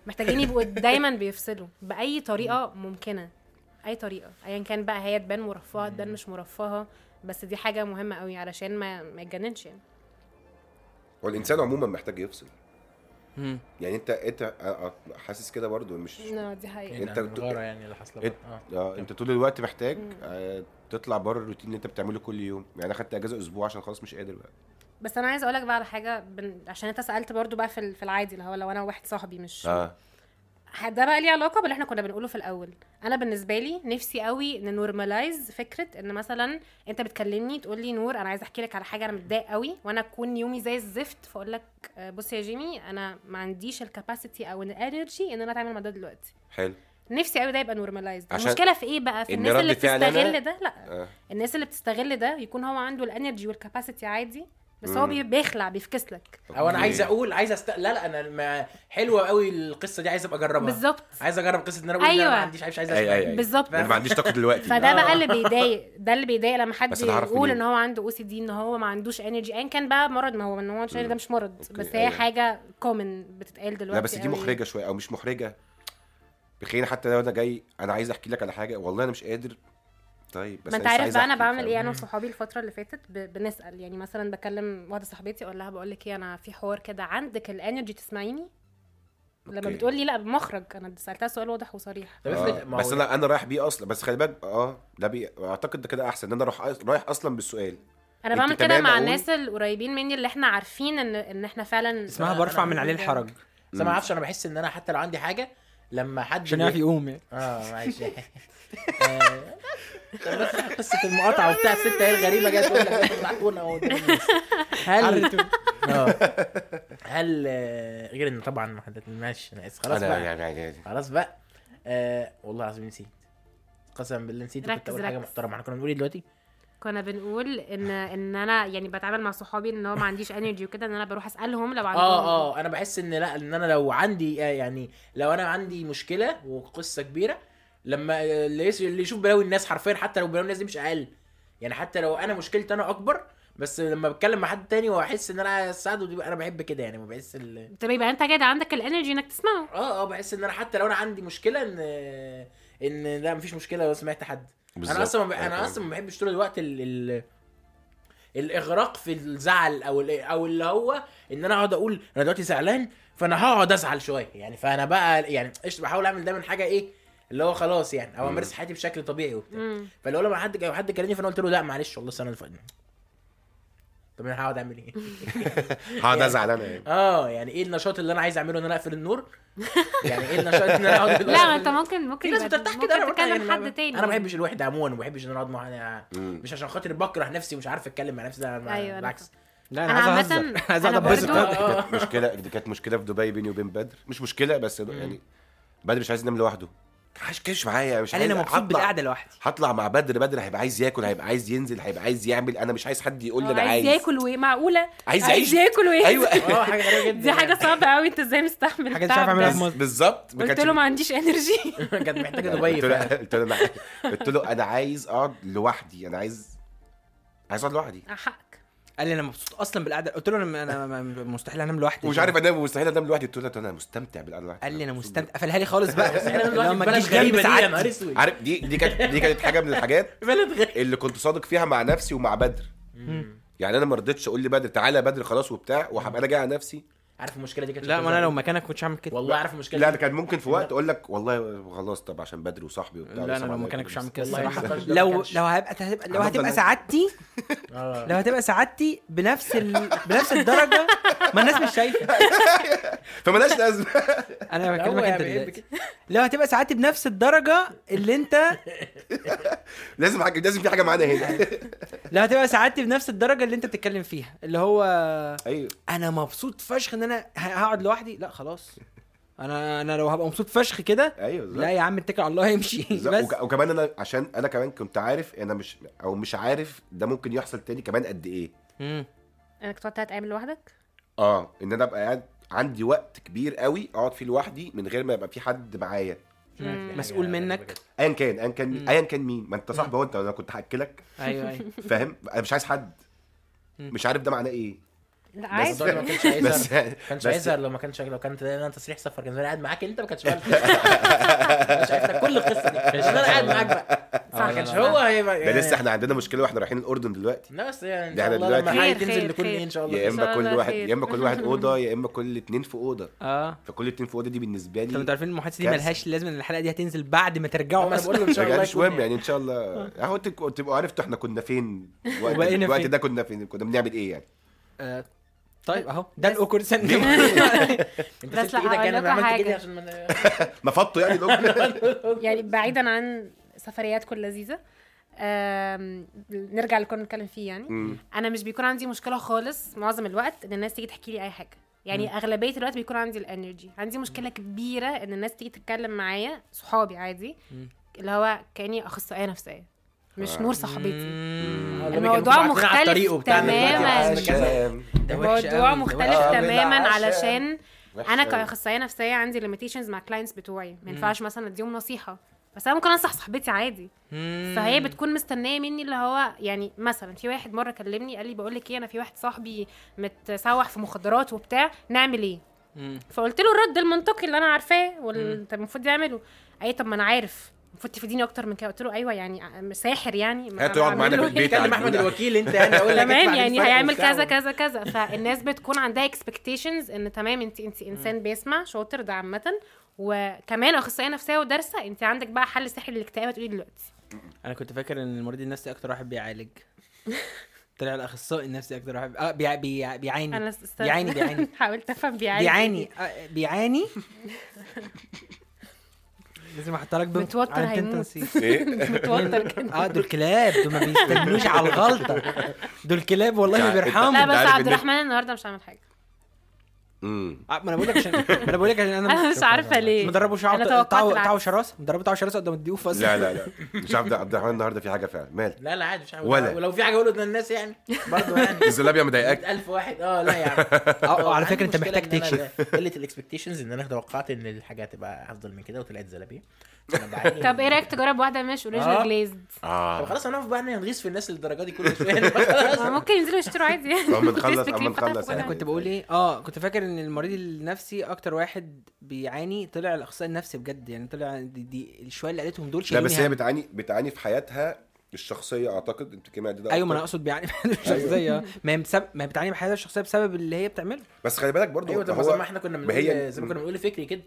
Speaker 5: محتاجين يبقوا دايما بيفصلوا باي طريقه ممكنه اي طريقه ايا كان بقى هي تبان مرفهه تبان مش مرفهه بس دي حاجه مهمه قوي علشان ما ما يتجننش يعني
Speaker 3: هو الانسان عموما محتاج يفصل
Speaker 1: مم.
Speaker 3: يعني انت انت أ- أ- آه، حاسس كده برضو مش
Speaker 5: لا دي حقيقة
Speaker 3: انت بت-
Speaker 4: الغارة يعني اللي حاصله
Speaker 3: انت,
Speaker 4: بقى.
Speaker 3: آه. انت طول الوقت محتاج آه تطلع بره الروتين اللي انت بتعمله كل يوم يعني انا خدت اجازه اسبوع عشان خلاص مش قادر بقى
Speaker 5: بس انا عايزه اقولك بقى على حاجه بن... عشان انت سالت برضو بقى في ال- في العادي اللي هو لو انا وواحد صاحبي مش
Speaker 3: اه
Speaker 5: ح- ده بقى ليه علاقه باللي احنا كنا بنقوله في الاول انا بالنسبه لي نفسي قوي ننورماليز فكره ان مثلا انت بتكلمني تقول لي نور انا عايزه احكي لك على حاجه انا متضايق قوي وانا اكون يومي زي الزفت فاقول لك آه، بص يا جيمي انا ما عنديش الكاباسيتي او الانرجي ان انا اتعامل مع ده دلوقتي
Speaker 3: حلو
Speaker 5: نفسي قوي ده يبقى نورماليزد
Speaker 3: عشان-
Speaker 5: المشكله في ايه بقى في
Speaker 3: إن
Speaker 5: الناس
Speaker 3: رد
Speaker 5: اللي
Speaker 3: فعل أنا-
Speaker 5: بتستغل ده لا
Speaker 3: آه.
Speaker 5: الناس اللي بتستغل ده يكون هو عنده الانرجي والكاباسيتي عادي بس هو بي- بيخلع بيفكس لك
Speaker 4: او انا
Speaker 3: أوكي.
Speaker 4: عايز اقول عايز است... لا لا انا ما... حلوه قوي القصه دي عايز ابقى اجربها
Speaker 5: بالظبط
Speaker 4: عايز اجرب قصه ان انا اقول إن انا
Speaker 5: أيوة.
Speaker 4: ما عنديش عايز عايز
Speaker 3: أي- أي-
Speaker 4: أسمع.
Speaker 3: أي.
Speaker 5: بالظبط
Speaker 3: انا ما عنديش طاقه دلوقتي
Speaker 5: فده
Speaker 4: آه.
Speaker 5: بقى اللي بيضايق ده اللي بيضايق لما حد
Speaker 3: بس أنا هعرف
Speaker 5: يقول
Speaker 3: منين؟
Speaker 5: ان هو عنده او سي دي ان هو ما عندوش انرجي ايا كان بقى مرض ما هو ان هو مش ده مش مرض
Speaker 3: أوكي،
Speaker 5: بس هي
Speaker 3: أيوة.
Speaker 5: حاجه كومن بتتقال دلوقتي
Speaker 3: لا بس دي
Speaker 5: قوي.
Speaker 3: محرجه شويه او مش محرجه بخير حتى لو انا جاي انا عايز احكي لك على حاجه والله انا مش قادر طيب بس
Speaker 5: ما انت
Speaker 3: لسه
Speaker 5: عارف
Speaker 3: عايز
Speaker 5: بقى انا
Speaker 3: أحكي،
Speaker 5: بعمل
Speaker 3: فاهم؟
Speaker 5: ايه انا وصحابي الفتره اللي فاتت ب... بنسال يعني مثلا بكلم واحده صاحبتي اقول لها بقول لك ايه انا في حوار كده عندك الانرجي تسمعيني لما
Speaker 3: أوكي.
Speaker 5: بتقول لي لا بمخرج انا سالتها سؤال واضح وصريح
Speaker 4: طب
Speaker 3: آه.
Speaker 4: افرض ما
Speaker 3: بس
Speaker 4: هو-
Speaker 3: انا انا رايح بيه اصلا بس خلي بالك اه ده بي... اعتقد ده كده احسن ان انا اروح رايح اصلا بالسؤال
Speaker 5: انا
Speaker 3: أنت
Speaker 5: بعمل كده
Speaker 3: تمام
Speaker 5: مع
Speaker 3: أقول؟
Speaker 5: الناس القريبين مني اللي احنا عارفين ان ان احنا فعلا
Speaker 1: اسمها
Speaker 4: أنا-
Speaker 1: برفع
Speaker 4: أنا
Speaker 1: من عليه
Speaker 4: بقول-
Speaker 1: الحرج
Speaker 4: بس ما اعرفش انا بحس ان انا حتى لو عندي حاجه لما حد
Speaker 1: عشان يعرف يقوم يعني
Speaker 4: اه معلش آه، طب بس قصه المقاطعه وبتاع الست هي الغريبه جايه تقول لك بتضحكونا اهو هل آه. هل آه، غير ان طبعا ما حد ماشي انا اسف خلاص
Speaker 3: انا
Speaker 4: بقى
Speaker 3: يعني يعني
Speaker 4: خلاص بقى آه، والله العظيم نسيت قسما بالله نسيت كنت
Speaker 5: ركز،
Speaker 4: اقول حاجه
Speaker 5: ركز.
Speaker 4: محترمه احنا كنا بنقول ايه دلوقتي
Speaker 5: كنا بنقول ان ان انا يعني بتعامل مع صحابي ان هو ما عنديش انرجي وكده ان انا بروح اسالهم لو عندهم
Speaker 4: اه اه انا بحس ان لا ان انا لو عندي آه، يعني لو انا عندي مشكله وقصه كبيره لما آه، اللي يس- اللي يشوف بلاوي الناس حرفيا حتى لو بلاوي الناس دي مش اقل يعني حتى لو انا مشكلتي انا اكبر بس لما بتكلم مع حد تاني واحس ان انا عايز اساعده دي بقى انا بحب كده يعني ما بحس ال...
Speaker 5: طب يبقى انت كده عندك الانرجي انك تسمعه
Speaker 4: اه اه بحس ان انا حتى لو انا عندي مشكله ان ان لا مفيش مشكله لو سمعت حد
Speaker 3: بالظبط.
Speaker 4: انا اصلا ما ب... انا
Speaker 3: أيوة.
Speaker 4: اصلا ما بحبش طول الوقت ال... ال... الاغراق في الزعل او ال... او اللي هو ان انا اقعد اقول انا دلوقتي زعلان فانا هقعد ازعل شويه يعني فانا بقى يعني قشطه بحاول اعمل دايما حاجه ايه اللي هو خلاص يعني او امارس حياتي بشكل طبيعي وبتاع
Speaker 5: مم.
Speaker 4: فلو لما حد جاي حد كلمني فانا قلت له لا معلش والله السنه اللي فاتت طب انا هقعد اعمل ايه؟
Speaker 3: هقعد ازعل انا يعني
Speaker 4: اه يعني ايه النشاط اللي انا عايز اعمله ان انا اقفل النور؟ يعني ايه النشاط ان انا اقعد
Speaker 5: لا ما انت ممكن
Speaker 4: في
Speaker 5: ممكن
Speaker 4: ناس
Speaker 5: يبقى-
Speaker 4: بترتاح
Speaker 5: ممكن
Speaker 4: كده انا برضه يعني
Speaker 5: تكلم
Speaker 4: ما-
Speaker 5: حد تاني
Speaker 4: انا ما بحبش الوحده عموما وما بحبش ان انا اقعد مع أنا-
Speaker 3: مم.
Speaker 4: مش عشان خاطر بكره نفسي ومش عارف اتكلم مع نفسي ده أنا-
Speaker 5: أيوة، أنا
Speaker 4: بالعكس
Speaker 1: لا
Speaker 5: انا
Speaker 1: عايز
Speaker 5: عامه
Speaker 1: اهزر عايز
Speaker 5: انا
Speaker 1: اقعد
Speaker 3: بس
Speaker 1: اتبسط
Speaker 5: برضو
Speaker 4: آه.
Speaker 3: دي كانت مشكله دي كانت مشكله في دبي بيني وبين بدر مش مشكله بس يعني بدر مش عايز ينام لوحده عايش كش معايا مش
Speaker 1: قال لي
Speaker 3: عايز
Speaker 1: انا مبسوط
Speaker 3: هطلع-
Speaker 1: بالقعده لوحدي
Speaker 3: هطلع مع بدر بدر هيبقى عايز ياكل هيبقى عايز ينزل هيبقى عايز يعمل انا مش عايز حد يقول لي
Speaker 5: آه،
Speaker 3: انا
Speaker 5: عايز
Speaker 3: عايز
Speaker 5: ياكل وايه معقوله
Speaker 3: عايز
Speaker 5: عايز
Speaker 3: يعيش.
Speaker 5: ياكل وايه
Speaker 3: ايوه
Speaker 4: اه حاجه غريبه جدا
Speaker 5: دي حاجه صعبه قوي انت ازاي مستحمل
Speaker 1: حاجة مش
Speaker 5: التعب
Speaker 1: عارف أعملها
Speaker 5: ده؟
Speaker 1: في مصر.
Speaker 3: بالظبط ما
Speaker 5: قلت
Speaker 3: كانش
Speaker 5: له ما عنديش انرجي
Speaker 4: يعني. كانت محتاجه دبي
Speaker 3: قلت له
Speaker 4: فعلا.
Speaker 3: قلت له انا قلت له انا عايز اقعد لوحدي انا عايز عايز اقعد لوحدي
Speaker 5: آه، حقك
Speaker 1: قال لي انا مبسوط اصلا بالقعده قلت له انا انا أنا مستحيل انام لوحدي
Speaker 3: ومش عارف انام مستحيل انام لوحدي قلت له أنا- انا مستمتع بالقعده لوحدي
Speaker 1: قال لي انا مستمتع قفلها لي خالص بقى
Speaker 4: بس احنا
Speaker 1: لو
Speaker 4: دلوقتي
Speaker 1: ما
Speaker 4: في بلد
Speaker 1: تجيش جنب
Speaker 4: غريبه دي يا
Speaker 1: ساعات
Speaker 4: نهار اسود
Speaker 3: عارف دي دي كانت دي كانت حاجه من الحاجات
Speaker 4: بلد غريبه
Speaker 3: اللي كنت صادق فيها مع نفسي ومع بدر يعني انا ما رضيتش اقول لي بدر تعالى يا بدر خلاص وبتاع وهبقى انا جاي على نفسي
Speaker 4: عارف المشكله دي كانت
Speaker 1: لا ما
Speaker 4: شكلها
Speaker 1: انا لو
Speaker 4: إيه؟
Speaker 1: مكانك كنتش هعمل كده
Speaker 4: والله عارف المشكله
Speaker 3: لا
Speaker 4: دي؟
Speaker 3: انا كان ممكن في وقت اقول لك والله خلاص طب عشان بدر وصاحبي وبتاع
Speaker 1: لا انا
Speaker 3: وسلام
Speaker 1: لو
Speaker 3: عليكم.
Speaker 1: مكانك مش هعمل كده
Speaker 4: والله
Speaker 1: الصراحه
Speaker 4: النقاش ده ما
Speaker 1: لو
Speaker 4: كانش-
Speaker 1: لو هبقى هتبقى لو
Speaker 3: هفضل
Speaker 1: هتبقى
Speaker 3: أنا-
Speaker 1: سعادتي
Speaker 4: آه.
Speaker 1: لو هتبقى سعادتي بنفس ال... بنفس الدرجه ما الناس مش شايفه
Speaker 3: فمالهاش لازمه
Speaker 1: انا
Speaker 4: هو
Speaker 1: بكلمك
Speaker 4: يا
Speaker 1: انت
Speaker 4: بقيت
Speaker 1: دلوقتي لو هتبقى سعادتي بنفس الدرجه اللي انت
Speaker 3: لازم حاجه لازم في حاجه معانا هنا
Speaker 1: لو هتبقى سعادتي بنفس الدرجه اللي انت بتتكلم فيها اللي هو
Speaker 3: ايوه
Speaker 1: انا مبسوط فشخ ان انا ه- هقعد لوحدي لا خلاص انا انا لو هبقى مبسوط فشخ كده
Speaker 3: ايوه
Speaker 1: لا
Speaker 3: بالظبط.
Speaker 1: يا عم اتكل على الله يمشي
Speaker 3: بالظبط.
Speaker 1: بس
Speaker 3: وك- وكمان انا عشان انا كمان كنت عارف انا مش او مش عارف ده ممكن يحصل تاني كمان قد ايه
Speaker 1: مم.
Speaker 5: انك تقعد تلات ايام لوحدك
Speaker 3: اه ان انا ابقى قاعد عندي وقت كبير قوي اقعد فيه لوحدي من غير ما يبقى في حد معايا
Speaker 5: مم.
Speaker 1: مسؤول منك.
Speaker 3: ايا كان ايا كان مين- ايا كان مين ما انت صاحبي هو انت انا كنت هاكلك
Speaker 1: ايوه ايوه
Speaker 3: فاهم انا مش عايز حد مش عارف ده معناه ايه
Speaker 5: لا
Speaker 4: بس
Speaker 5: عادي
Speaker 4: برضه ما كانش عايز
Speaker 3: بس يعني
Speaker 4: كانش
Speaker 3: بس-
Speaker 4: هيظهر لو ما كانش لو كانت انا تصريح سفر كان زمان قاعد معاك انت ما كانش فاهم مش عارف كل القصه دي كان زمان قاعد معاك بقى ما كانش هو هيبقى
Speaker 3: ده
Speaker 5: آه.
Speaker 3: لسه احنا عندنا مشكله واحنا رايحين الاردن دلوقتي
Speaker 4: لا بس يعني ان
Speaker 3: ده
Speaker 4: شاء
Speaker 3: احنا
Speaker 4: الله
Speaker 3: دلوقتي-
Speaker 4: لما
Speaker 5: خير،
Speaker 4: حاجه
Speaker 5: خير،
Speaker 4: تنزل لكل
Speaker 5: خير.
Speaker 4: ايه ان شاء الله
Speaker 3: يا
Speaker 5: إن شاء
Speaker 3: اما كل
Speaker 5: الله
Speaker 3: واحد
Speaker 5: خير.
Speaker 3: يا اما كل واحد اوضه يا اما كل اتنين في اوضه
Speaker 1: اه
Speaker 3: فكل اتنين في اوضه دي بالنسبه
Speaker 1: طب انتوا
Speaker 3: لي
Speaker 1: عارفين المحادثه دي
Speaker 3: كارثة.
Speaker 1: ملهاش لازمه ان الحلقه دي هتنزل بعد ما ترجعوا
Speaker 4: انا بقول
Speaker 1: مثلا
Speaker 4: له ان شاء
Speaker 3: رجع
Speaker 4: الله آه.
Speaker 3: مش
Speaker 4: يكون
Speaker 3: مهم يعني ان شاء الله اهو تبقوا تبقوا عرفتوا احنا كنا فين وقت
Speaker 1: وبقينا
Speaker 3: الوقت
Speaker 1: فين.
Speaker 3: ده كنا فين كنا بنعمل ايه يعني
Speaker 1: آه، طيب اهو ده الاوكر سنة
Speaker 4: انت
Speaker 5: بس
Speaker 4: سبت
Speaker 5: لا،
Speaker 4: ايدك
Speaker 5: هقول
Speaker 4: انا
Speaker 5: لكم
Speaker 4: عملت
Speaker 5: حاجة.
Speaker 4: يعني كده عشان ما-
Speaker 3: نفضتوا يعني الأوضة؟
Speaker 5: يعني بعيدا عن سفرياتكم اللذيذه آم، نرجع اللي كنا بنتكلم فيه يعني
Speaker 3: مم.
Speaker 5: انا مش بيكون عندي مشكله خالص معظم الوقت ان الناس تيجي تحكي لي اي حاجه يعني اغلبيه الوقت بيكون عندي الانرجي عندي مشكله كبيره ان الناس تيجي تتكلم معايا صحابي عادي اللي هو كاني اخصائيه نفسيه
Speaker 4: آه.
Speaker 5: مش نور صاحبتي الموضوع
Speaker 4: بعتنا على الطريق
Speaker 5: مختلف
Speaker 4: وبتاع دلوقتي
Speaker 5: تماما
Speaker 4: عشان كذا.
Speaker 1: ده وحش
Speaker 5: موضوع
Speaker 1: قوي، ده
Speaker 5: مختلف
Speaker 3: وحش قوي.
Speaker 5: تماما
Speaker 3: بالعشاء.
Speaker 5: علشان
Speaker 3: وحش
Speaker 5: انا
Speaker 3: قوي.
Speaker 5: كاخصائيه نفسيه عندي ليميتيشنز مع كلاينتس بتوعي ما ينفعش مثلا اديهم نصيحه بس انا ممكن انصح صاحبتي عادي فهي بتكون مستنيه مني اللي هو يعني مثلا في واحد مره كلمني قال لي بقول لك ايه انا في واحد صاحبي متسوح في مخدرات وبتاع نعمل ايه فقلت له الرد المنطقي اللي انا عارفاه واللي المفروض يعمله اي طب ما انا عارف المفروض تفيديني اكتر من كده قلت له ايوه يعني ساحر يعني ما
Speaker 3: هتقعد
Speaker 5: أنا
Speaker 3: معانا
Speaker 5: أعمل له
Speaker 3: في البيت
Speaker 4: كلم احمد الوكيل انت انا اقول لك
Speaker 5: تمام
Speaker 4: ادفع
Speaker 5: يعني
Speaker 4: الفرق
Speaker 5: هيعمل
Speaker 4: وبتاع
Speaker 5: كذا كذا كذا فالناس بتكون عندها اكسبكتيشنز ان تمام انت انت انسان بيسمع شاطر ده عامه وكمان اخصائيه نفسيه ودارسه انت عندك بقى حل سحر للاكتئاب هتقولي دلوقتي
Speaker 1: انا كنت فاكر ان المريض النفسي اكتر واحد بيعالج طلع الاخصائي النفسي اكتر واحد اه بيع... بيع... بيعاني
Speaker 5: انا استاذ
Speaker 1: بيعاني بيعاني
Speaker 5: حاولت افهم بيعاني
Speaker 1: بيعاني آه، بيعاني لازم احط لك بنت
Speaker 5: متوتر هيموت.
Speaker 3: إيه؟
Speaker 5: متوتر كده
Speaker 1: اه دول كلاب دول ما بيستنوش على الغلطه دول كلاب والله ما آه،
Speaker 3: يعني
Speaker 1: بيرحموا
Speaker 5: لا
Speaker 3: أنت عارف
Speaker 5: بس عبد
Speaker 3: إن-
Speaker 5: الرحمن النهارده مش عامل حاجه
Speaker 3: أمم.
Speaker 1: آه، ما انا بقول لك عشان ما انا بقول لك عشان انا
Speaker 5: انا مش عارفه ليه
Speaker 1: ما ضربوش
Speaker 5: انا إيه. توقعت العكس.
Speaker 1: تعو شراسه مدربوا تعو شراسه قدام الضيوف اصلا
Speaker 3: لا لا لا مش عبد عبد الرحمن النهارده في حاجه فعلا مال
Speaker 4: لا لا عادي مش عارف
Speaker 3: ولا.
Speaker 4: ولو في حاجه اقوله للناس يعني برضه يعني
Speaker 3: الزلابيا مضايقاك
Speaker 4: 100000 واحد اه لا يا عم
Speaker 1: اه على
Speaker 4: عندي
Speaker 1: فكره انت
Speaker 4: مشكلة
Speaker 1: محتاج
Speaker 4: إن أنا
Speaker 1: تكشف
Speaker 4: قله الاكسبكتيشنز ان انا توقعت ان الحاجه هتبقى افضل من كده وطلعت زلابيه أنا بعاني
Speaker 5: طب ايه
Speaker 4: من-
Speaker 5: رايك تجرب واحده مش اوريجينال
Speaker 4: آه.
Speaker 5: جليزد
Speaker 4: طب
Speaker 3: اه
Speaker 4: خلاص هنقف بقى إن نغيظ في الناس للدرجه دي كل شويه خلاص
Speaker 5: آه، ممكن ينزلوا يشتروا عادي يعني.
Speaker 3: أما نخلص-
Speaker 5: كريسبي
Speaker 3: أما
Speaker 5: كريم فتح
Speaker 3: نخلص
Speaker 5: فوق
Speaker 1: انا
Speaker 3: يعني.
Speaker 5: الهوا.
Speaker 1: كنت بقول ايه اه كنت فاكر ان المريض النفسي اكتر واحد بيعاني طلع الاخصائي النفسي بجد يعني طلع دي, دي الشويه اللي قالتهم دول يعني شايلين
Speaker 3: لا بس هي
Speaker 1: هم.
Speaker 3: بتعاني بتعاني في حياتها الشخصيه اعتقد انت كلمه ده
Speaker 1: ايوه ما انا
Speaker 3: أكتر.
Speaker 1: اقصد بيعاني الشخصيه ما هي بسبب ما هي بتعاني بحياتها الشخصيه بسبب اللي هي بتعمله
Speaker 3: بس خلي بالك برضو
Speaker 4: ايوه طب
Speaker 3: هو-
Speaker 4: زي ما احنا كنا
Speaker 3: ما هي-
Speaker 4: بنقول زي ما كنا بنقول فكري كده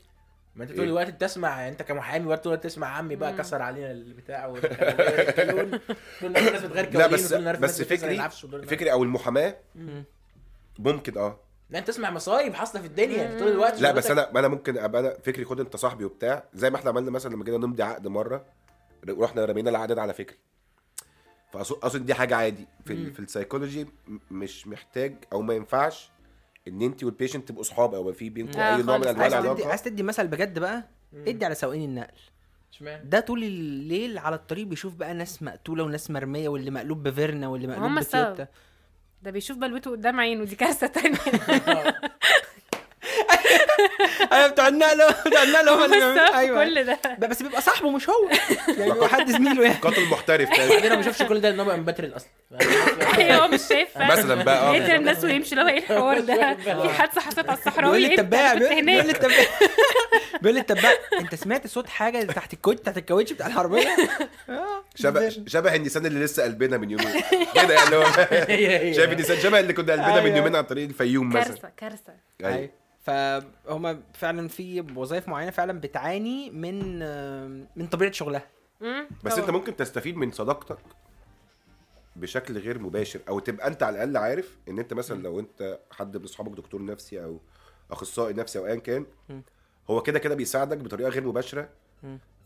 Speaker 4: ما انت
Speaker 3: إيه؟
Speaker 4: طول الوقت بتسمع انت كمحامي برضه طول الوقت تسمع عمي بقى كسر علينا البتاع و- طول الوقت الناس
Speaker 3: لا
Speaker 4: بتغير كوالين
Speaker 3: بس
Speaker 4: وطول الوقت
Speaker 3: بس
Speaker 4: الناس بتسأل
Speaker 3: فكري
Speaker 4: العفش وطول الوقت-
Speaker 3: فكري او المحاماه ممكن اه
Speaker 4: لا انت تسمع مصايب حاصله في الدنيا طول الوقت
Speaker 3: لا بس
Speaker 4: شغلتك-
Speaker 3: انا انا ممكن ابقى انا فكري خد انت صاحبي وبتاع زي ما احنا عملنا مثلا لما جينا نمضي عقد مره رحنا رمينا العقد ده على فكري فاقصد أقصد دي حاجه عادي في ال- في السايكولوجي م- مش محتاج او ما ينفعش ان انت والبيشنت تبقوا صحاب او في بينكم
Speaker 5: آه،
Speaker 3: اي نوع من
Speaker 5: خالص.
Speaker 3: انواع
Speaker 1: عايز تدي
Speaker 3: العلاقه
Speaker 1: عايز تدي مثل بجد بقى ادي على سواقين النقل
Speaker 4: اشمعنى؟
Speaker 1: ده طول الليل على الطريق بيشوف بقى ناس مقتوله وناس مرميه واللي مقلوب بفيرنا واللي مقلوب
Speaker 5: هم السبب.
Speaker 1: بتويوتا
Speaker 5: ده بيشوف بلوته قدام عينه دي كارثه تانية
Speaker 1: ايوه بتوع النقل بتوع النقل هم اللي بيعملوا-
Speaker 5: ايوه
Speaker 3: أيوة.
Speaker 1: ايوه
Speaker 5: كل ده
Speaker 1: ب- بس بيبقى صاحبه مش هو يعني هو حد زميله يعني
Speaker 3: قاتل محترف تاني.
Speaker 4: بعدين انا ما بشوفش كل ده ان هو بقى مبترل اصلا
Speaker 5: ايوه هو مش شايف فعلا.
Speaker 3: مثلا بقى اه
Speaker 5: يقتل الناس ويمشي اللي هو ايه الحوار ده في حادثه حصلت على
Speaker 1: بيقول
Speaker 5: الصحراوي
Speaker 1: لي
Speaker 5: إيه؟
Speaker 1: التباع
Speaker 5: أنا
Speaker 1: بيقول بيقول لي
Speaker 5: كنت هناك
Speaker 1: التباع بيقول لي التباع انت سمعت صوت حاجه تحت الكوت تحت الكاوتش بتاع العربيه
Speaker 3: شبه شبه النسان اللي لسه قلبنا من يومين كده يعني هو شايف النسان شبه اللي كنا قلبنا من
Speaker 1: أيوه.
Speaker 3: يومين عن طريق الفيوم مثلا
Speaker 5: كارثه كارثه
Speaker 3: أيوه.
Speaker 1: فهم فعلا في وظائف معينه فعلا بتعاني من من طبيعه شغلها
Speaker 5: مم،
Speaker 3: بس
Speaker 5: طبعاً.
Speaker 3: انت ممكن تستفيد من صداقتك بشكل غير مباشر او تبقى انت على الاقل عارف ان انت مثلا لو انت حد من اصحابك دكتور نفسي او اخصائي نفسي او ايا كان هو كده كده بيساعدك بطريقه غير مباشره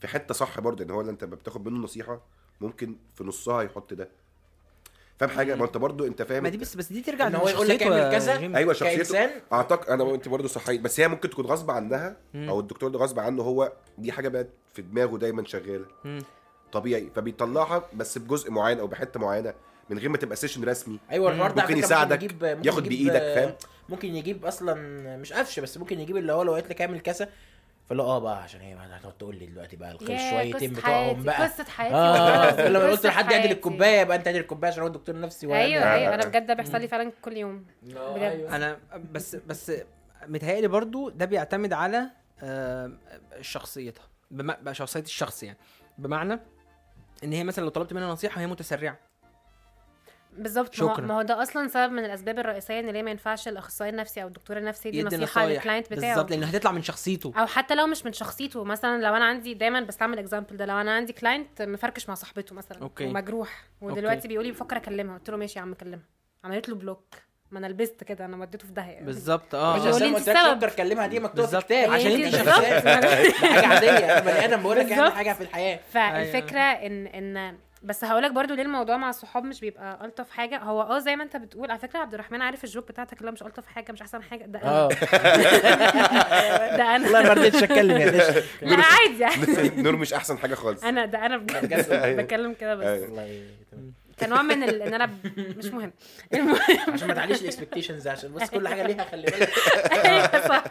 Speaker 3: في حته صح برضه ان هو اللي انت بتاخد منه نصيحه ممكن في نصها يحط ده فاهم حاجه ما انت برضه انت فاهم
Speaker 1: ما دي بس بس دي ترجع
Speaker 4: ان هو يقول لك
Speaker 1: لشخصيته
Speaker 4: اعمل
Speaker 1: يا
Speaker 4: كذا.
Speaker 1: جيمي.
Speaker 3: ايوه شخصيته
Speaker 4: كإنسان؟
Speaker 3: اعتقد انا وانت برضه صحيح بس هي ممكن تكون غصب عنها او الدكتور ده غصب عنه هو دي حاجه بقت في دماغه دايما شغاله طبيعي فبيطلعها بس بجزء معين او بحته معينه من غير ما تبقى سيشن رسمي
Speaker 4: ايوه الحوار ده على
Speaker 3: ممكن
Speaker 4: فكرة
Speaker 3: يساعدك،
Speaker 4: يجيب- ممكن
Speaker 3: ياخد
Speaker 4: يجيب-
Speaker 3: بإيدك، فاهم؟
Speaker 4: ممكن يجيب اصلا مش قفش بس ممكن يجيب اللي هو لو قلت لك اعمل كذا فلا اه بقى عشان ايه بقى هتقعد تقول لي دلوقتي بقى الخير
Speaker 5: يا
Speaker 4: شويتين
Speaker 5: قصة
Speaker 4: بتوعهم
Speaker 5: حياتي،
Speaker 4: بقى
Speaker 5: قصة حياتي
Speaker 4: اه
Speaker 5: والله.
Speaker 4: كل ما
Speaker 5: قصة
Speaker 4: قلت لحد يعدل
Speaker 5: حياتي.
Speaker 4: الكوبايه يبقى انت عدل الكوبايه عشان هو الدكتور النفسي إيه؟ وأنا-
Speaker 5: ايوه
Speaker 3: آه،
Speaker 5: ايوه
Speaker 3: آه،
Speaker 5: انا
Speaker 3: آه.
Speaker 5: بجد ده بيحصل لي فعلا كل يوم
Speaker 4: آه،
Speaker 5: بجد.
Speaker 4: أيوة.
Speaker 1: انا بس بس متهيألي برضو ده بيعتمد على آه، آم، شخصيتها بم- بقى شخصيه الشخص يعني بمعنى ان هي مثلا لو طلبت منها نصيحه وهي متسرعه
Speaker 5: بالظبط ما هو-
Speaker 1: شكراً.
Speaker 5: ما هو ده اصلا سبب من الاسباب الرئيسيه ان ليه ما ينفعش الاخصائي النفسي او الدكتور النفسي يدي
Speaker 1: يدي
Speaker 5: نصيحه
Speaker 1: نصايح
Speaker 5: للكلاينت بتاعه
Speaker 1: بالظبط لانه هتطلع من شخصيته
Speaker 5: او حتى لو مش من شخصيته مثلا لو انا عندي دايما بستعمل اكزامبل ده لو انا عندي كلاينت مفركش مع صاحبته مثلا
Speaker 1: أوكي.
Speaker 5: ومجروح
Speaker 1: أوكي.
Speaker 5: ودلوقتي بيقول لي بفكر اكلمها قلت له ماشي يا عم كلمها عملت له بلوك ما انا لبست كده انا وديته في داهيه يعني
Speaker 1: بالظبط
Speaker 5: بس
Speaker 1: اه
Speaker 5: يقول لي
Speaker 4: ما قلتلكش
Speaker 5: أنت السبب. يعني
Speaker 4: فكر كلمها دي مكتوبه في
Speaker 1: بالظبط.
Speaker 4: الكتاب
Speaker 5: هي
Speaker 4: عشان
Speaker 5: دي
Speaker 4: انت
Speaker 5: بالظبط.
Speaker 4: شغال حاجه عاديه بني ادم بقول لك اهم
Speaker 5: بالظبط.
Speaker 4: حاجه في الحياه
Speaker 5: فالفكره
Speaker 1: أيوة.
Speaker 5: ان ان بس هقولك برضو ليه الموضوع مع الصحاب مش بيبقى الطف حاجه هو اه زي ما انت بتقول على فكره عبد الرحمن عارف الجوك بتاعتك اللي هو مش الطف حاجه مش احسن حاجه ده انا
Speaker 3: آه.
Speaker 4: اه
Speaker 5: ده
Speaker 4: والله
Speaker 5: انا
Speaker 4: ما رضيتش اتكلم يا باشا
Speaker 5: لا عادي عادي.
Speaker 3: نور مش احسن حاجه خالص
Speaker 5: انا ده انا بجد
Speaker 3: أيوة.
Speaker 5: بتكلم كده بس
Speaker 3: أيوة.
Speaker 4: والله تمام.
Speaker 5: كنوع من ال- ان انا ب- مش مهم المهم
Speaker 4: عشان ما تعليش الاكسبكتيشنز عشان بس كل حاجه ليها خلي بالك
Speaker 5: ايوه صح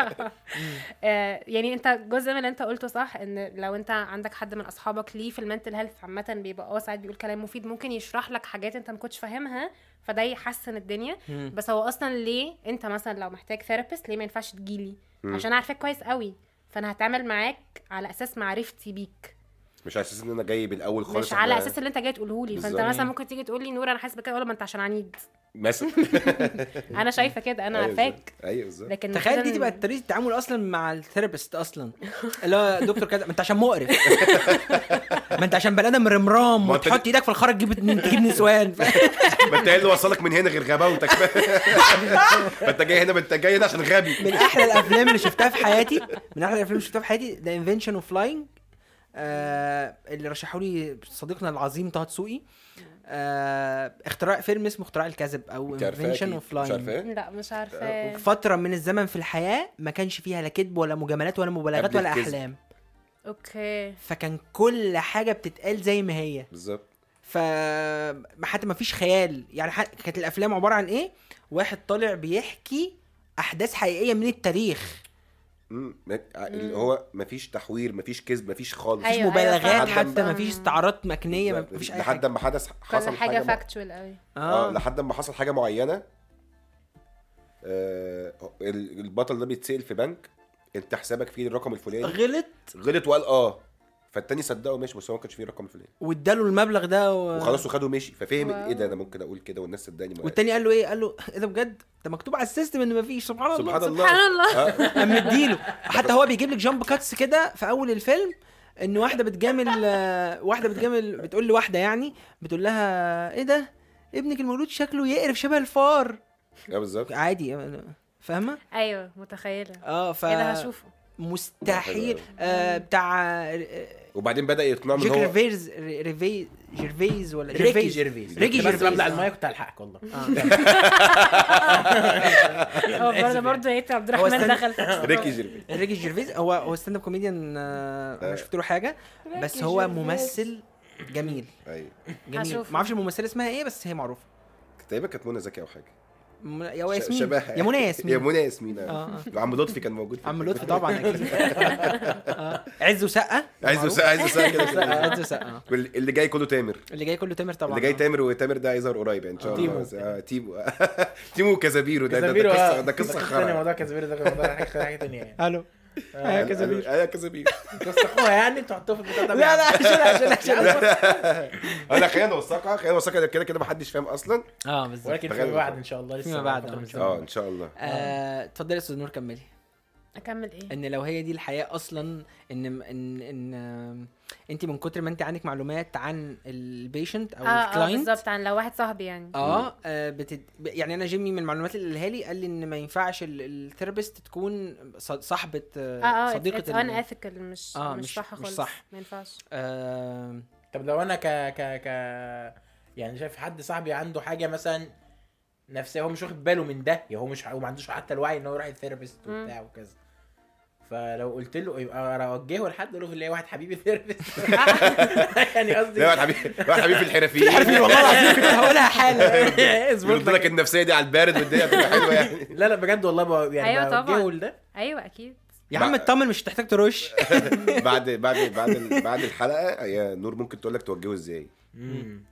Speaker 5: آه، يعني انت جزء من اللي انت قلته صح ان لو انت عندك حد من اصحابك ليه في المنتل هيلث عامه بيبقى اه ساعات بيقول كلام مفيد ممكن يشرح لك حاجات انت ما كنتش فاهمها فده يحسن الدنيا
Speaker 1: مم.
Speaker 5: بس هو اصلا ليه انت مثلا لو محتاج ثيرابيست ليه ما ينفعش تجيلي
Speaker 3: مم.
Speaker 5: عشان عارفك كويس قوي فانا هتعامل معاك على اساس معرفتي بيك
Speaker 3: مش على اساس ان انا جاي بالاول خالص
Speaker 5: مش على
Speaker 3: أنا-
Speaker 5: اساس اللي انت جاي تقوله لي فانت
Speaker 3: بالظبط.
Speaker 5: مثلا ممكن تيجي تقول لي نور انا حاسس بكده اقول ما انت عشان عنيد
Speaker 3: مثلا
Speaker 5: انا شايفه كده انا
Speaker 3: أيوة
Speaker 5: عارفاك
Speaker 3: بالظبط. ايوه بالظبط
Speaker 5: لكن
Speaker 1: تخيل دي
Speaker 5: مثلاً-
Speaker 1: تبقى طريقه التعامل اصلا مع الثيرابيست اصلا اللي هو دكتور كذا ما انت عشان مقرف ما انت عشان بني ادم رمرام
Speaker 3: ما أنت-
Speaker 1: وتحط ايدك في الخرج تجيب تجيب نسوان
Speaker 3: ما انت إيه اللي وصلك من هنا غير غباوتك ما انت جاي هنا ما انت جاي هنا عشان غبي
Speaker 1: من احلى الافلام اللي شفتها في حياتي من احلى الافلام اللي شفتها في حياتي ذا انفنشن اوف فلاينج آه، اللي رشحه لي صديقنا العظيم طه دسوقي آه اختراع فيلم اسمه اختراع الكذب او
Speaker 3: انت عارفاه
Speaker 1: انفنشن اوف
Speaker 3: أكيد. مش إيه.
Speaker 1: فلاينج
Speaker 3: عارفاه
Speaker 5: لا مش
Speaker 3: أه.
Speaker 5: عارفه
Speaker 1: فتره من الزمن في الحياه ما كانش فيها لا كذب ولا مجاملات ولا مبالغات
Speaker 3: قبل
Speaker 1: ولا
Speaker 3: الكذب.
Speaker 1: احلام
Speaker 5: اوكي
Speaker 1: فكان كل حاجه بتتقال زي ما هي
Speaker 3: بالظبط
Speaker 1: ف ما- حتى ما فيش خيال يعني ح- كانت الافلام عباره عن ايه واحد طالع بيحكي احداث حقيقيه من التاريخ
Speaker 3: مم. ما- اللي هو مفيش تحوير مفيش كذب مفيش خالص
Speaker 1: مفيش
Speaker 5: أيوة، أيوة،
Speaker 1: مبالغات
Speaker 3: فاهمة.
Speaker 1: حتى ما فيش استعارات مكنيه ما فيش اي
Speaker 3: لحد
Speaker 1: حاجه
Speaker 3: ما حدث
Speaker 5: كل
Speaker 3: حصل
Speaker 5: حاجه
Speaker 3: حاجه م-
Speaker 5: فاكتشوال قوي
Speaker 3: اه
Speaker 1: اه
Speaker 3: لحد ما حصل حاجه معينه آه، ال- البطل ده بيتسال في بنك انت حسابك فيه الرقم الفلاني
Speaker 1: غلط
Speaker 3: غلط وقال اه فالتاني صدقه ماشي بس هو ما كانش فيه الرقم الفلاني
Speaker 1: واداله المبلغ ده و...
Speaker 3: وخلاص وخده ماشي ففهم
Speaker 1: آه.
Speaker 5: واو.
Speaker 3: ايه ده انا ممكن اقول كده والناس صدقني ما-
Speaker 1: والتاني قال له ايه قال له ايه ده بجد ده مكتوب على السيستم ان ما فيش سبحان الله
Speaker 3: سبحان الله
Speaker 5: سبحان الله
Speaker 3: آه،
Speaker 1: قام مديله حتى هو بيجيب لك جامب كاتس كده في اول الفيلم ان واحده بتجامل آه، واحده بتجامل بتقول لواحده يعني بتقول لها ايه ده ابنك المولود شكله يقرف شبه الفار
Speaker 3: آه، بالظبط
Speaker 1: عادي فاهمه
Speaker 5: ايوه متخيله
Speaker 1: اه ف
Speaker 5: ايه ده هشوفه
Speaker 1: مستحيل آه بتاع آه،
Speaker 3: وبعدين بدا يقنعه ان
Speaker 1: جيك
Speaker 3: هو
Speaker 1: ريفيرز ريفي جيرفيز ولا
Speaker 4: ريكي
Speaker 1: جيرفيز
Speaker 4: جيرفيز
Speaker 1: ريكي آه.
Speaker 4: كنت
Speaker 1: جيرفيز.
Speaker 4: بس ببلع المايه كنت هلحقك والله
Speaker 5: هو برضه برضه ايه عبد الرحمن
Speaker 1: استنى.
Speaker 5: دخل في الموضوع.
Speaker 3: ريكي جيرفي
Speaker 1: ريكي جيرفيز هو هو ستاند اب كوميديان آه ما شفت له حاجه بس هو
Speaker 5: جيرفيز.
Speaker 1: ممثل جميل
Speaker 3: ايوه
Speaker 1: جميل
Speaker 5: هشوفه.
Speaker 1: ما اعرفش الممثله اسمها ايه بس هي معروفه
Speaker 3: تقريبا كانت منى زكي او حاجه
Speaker 1: م- يا هو
Speaker 3: ش-
Speaker 1: ياسمين
Speaker 3: شبهها
Speaker 1: يا منى يا
Speaker 3: يا
Speaker 1: ياسمين
Speaker 3: منى ياسمين آه.
Speaker 1: اه
Speaker 3: عم لطفي كان موجود في
Speaker 1: عم
Speaker 3: الفيلم.
Speaker 1: لطفي طبعا اكيد آه. عز وسقه
Speaker 3: عايز
Speaker 1: معروف.
Speaker 3: وسع عايز وسع كده
Speaker 1: عز وسقه
Speaker 3: واللي- اللي جاي كله تامر
Speaker 1: اللي جاي كله تامر طبعا
Speaker 3: اللي جاي
Speaker 1: آه.
Speaker 3: تامر وتامر ده هيظهر قريب يعني ان شاء
Speaker 4: آه.
Speaker 3: الله بس- آه، تيمو تيمو وكزابيرو ده ده-
Speaker 4: كازابيرو،
Speaker 3: ده
Speaker 4: آه.
Speaker 3: قصه ده قصه
Speaker 4: تانية،
Speaker 3: خرا
Speaker 4: موضوع كازابيرو ده موضوع حاجه حاجة تانية يعني
Speaker 1: الو آه، كازابيرو.
Speaker 3: ايوه كزابيرو
Speaker 4: توثقوها يعني تحطوها في البتاع ده
Speaker 1: لا لا شيلها شيلها شيلها
Speaker 3: انا خيانه وثقه خيانه وثقه ده كده كده محدش فاهم اصلا
Speaker 1: اه بالظبط
Speaker 4: ولكن فيما بعد ان شاء الله لسه
Speaker 1: فيما بعد،
Speaker 4: فترة من
Speaker 1: آه.
Speaker 4: الزمن.
Speaker 3: اه ان شاء الله
Speaker 1: آه، اتفضلي يا استاذ نور كملي
Speaker 5: اكمل ايه
Speaker 1: ان لو هي دي الحياه اصلا ان ان ان آم، انت من كتر ما انت عندك معلومات عن البيشنت او
Speaker 5: اه اه
Speaker 1: الكلاينت
Speaker 5: بالظبط عن لو واحد صاحبي يعني
Speaker 1: اه آه، بتد... ب- يعني انا جيمي من المعلومات اللي قالها لي قال لي ان ما ينفعش ال- الثيرابيست تكون ص- صاحبه
Speaker 5: اه اه
Speaker 1: صديقه
Speaker 5: صديقه ان
Speaker 1: ال...
Speaker 5: اثيكال مش
Speaker 1: آه،
Speaker 5: مش
Speaker 1: مش-
Speaker 5: صح
Speaker 1: مش
Speaker 5: خالص
Speaker 1: صح.
Speaker 5: ما ينفعش
Speaker 1: آه...
Speaker 4: طب لو انا ك ك ك يعني شايف حد صاحبي عنده حاجه مثلا نفسيه هو مش واخد باله من ده يعني هو مش هو ما عندوش حتى الوعي ان هو يروح الثيرابيست
Speaker 5: مم.
Speaker 4: وبتاع وكذا فلو قلت له يبقى اوجهه لحد اقول له ليه واحد حبيبي ثيرابيست يعني قصدي
Speaker 3: لا واحد حبيبي واحد حبيبي في الحرفيين
Speaker 1: والله العظيم كنت هقولها حالا
Speaker 4: اظبط
Speaker 3: بيقول
Speaker 4: لك
Speaker 3: لك النفسيه دي على البارد والدنيا بتبقى حلوه يعني
Speaker 4: لا لا بجد والله بقى يعني
Speaker 5: أيوة طبعاً.
Speaker 4: بوجهه لده
Speaker 5: ايوه اكيد
Speaker 1: يا عم اطمن مش هتحتاج ترش
Speaker 3: بعد بعد بعد ال- بعد الحلقه يا نور ممكن تقول لك توجهه ازاي
Speaker 4: مم.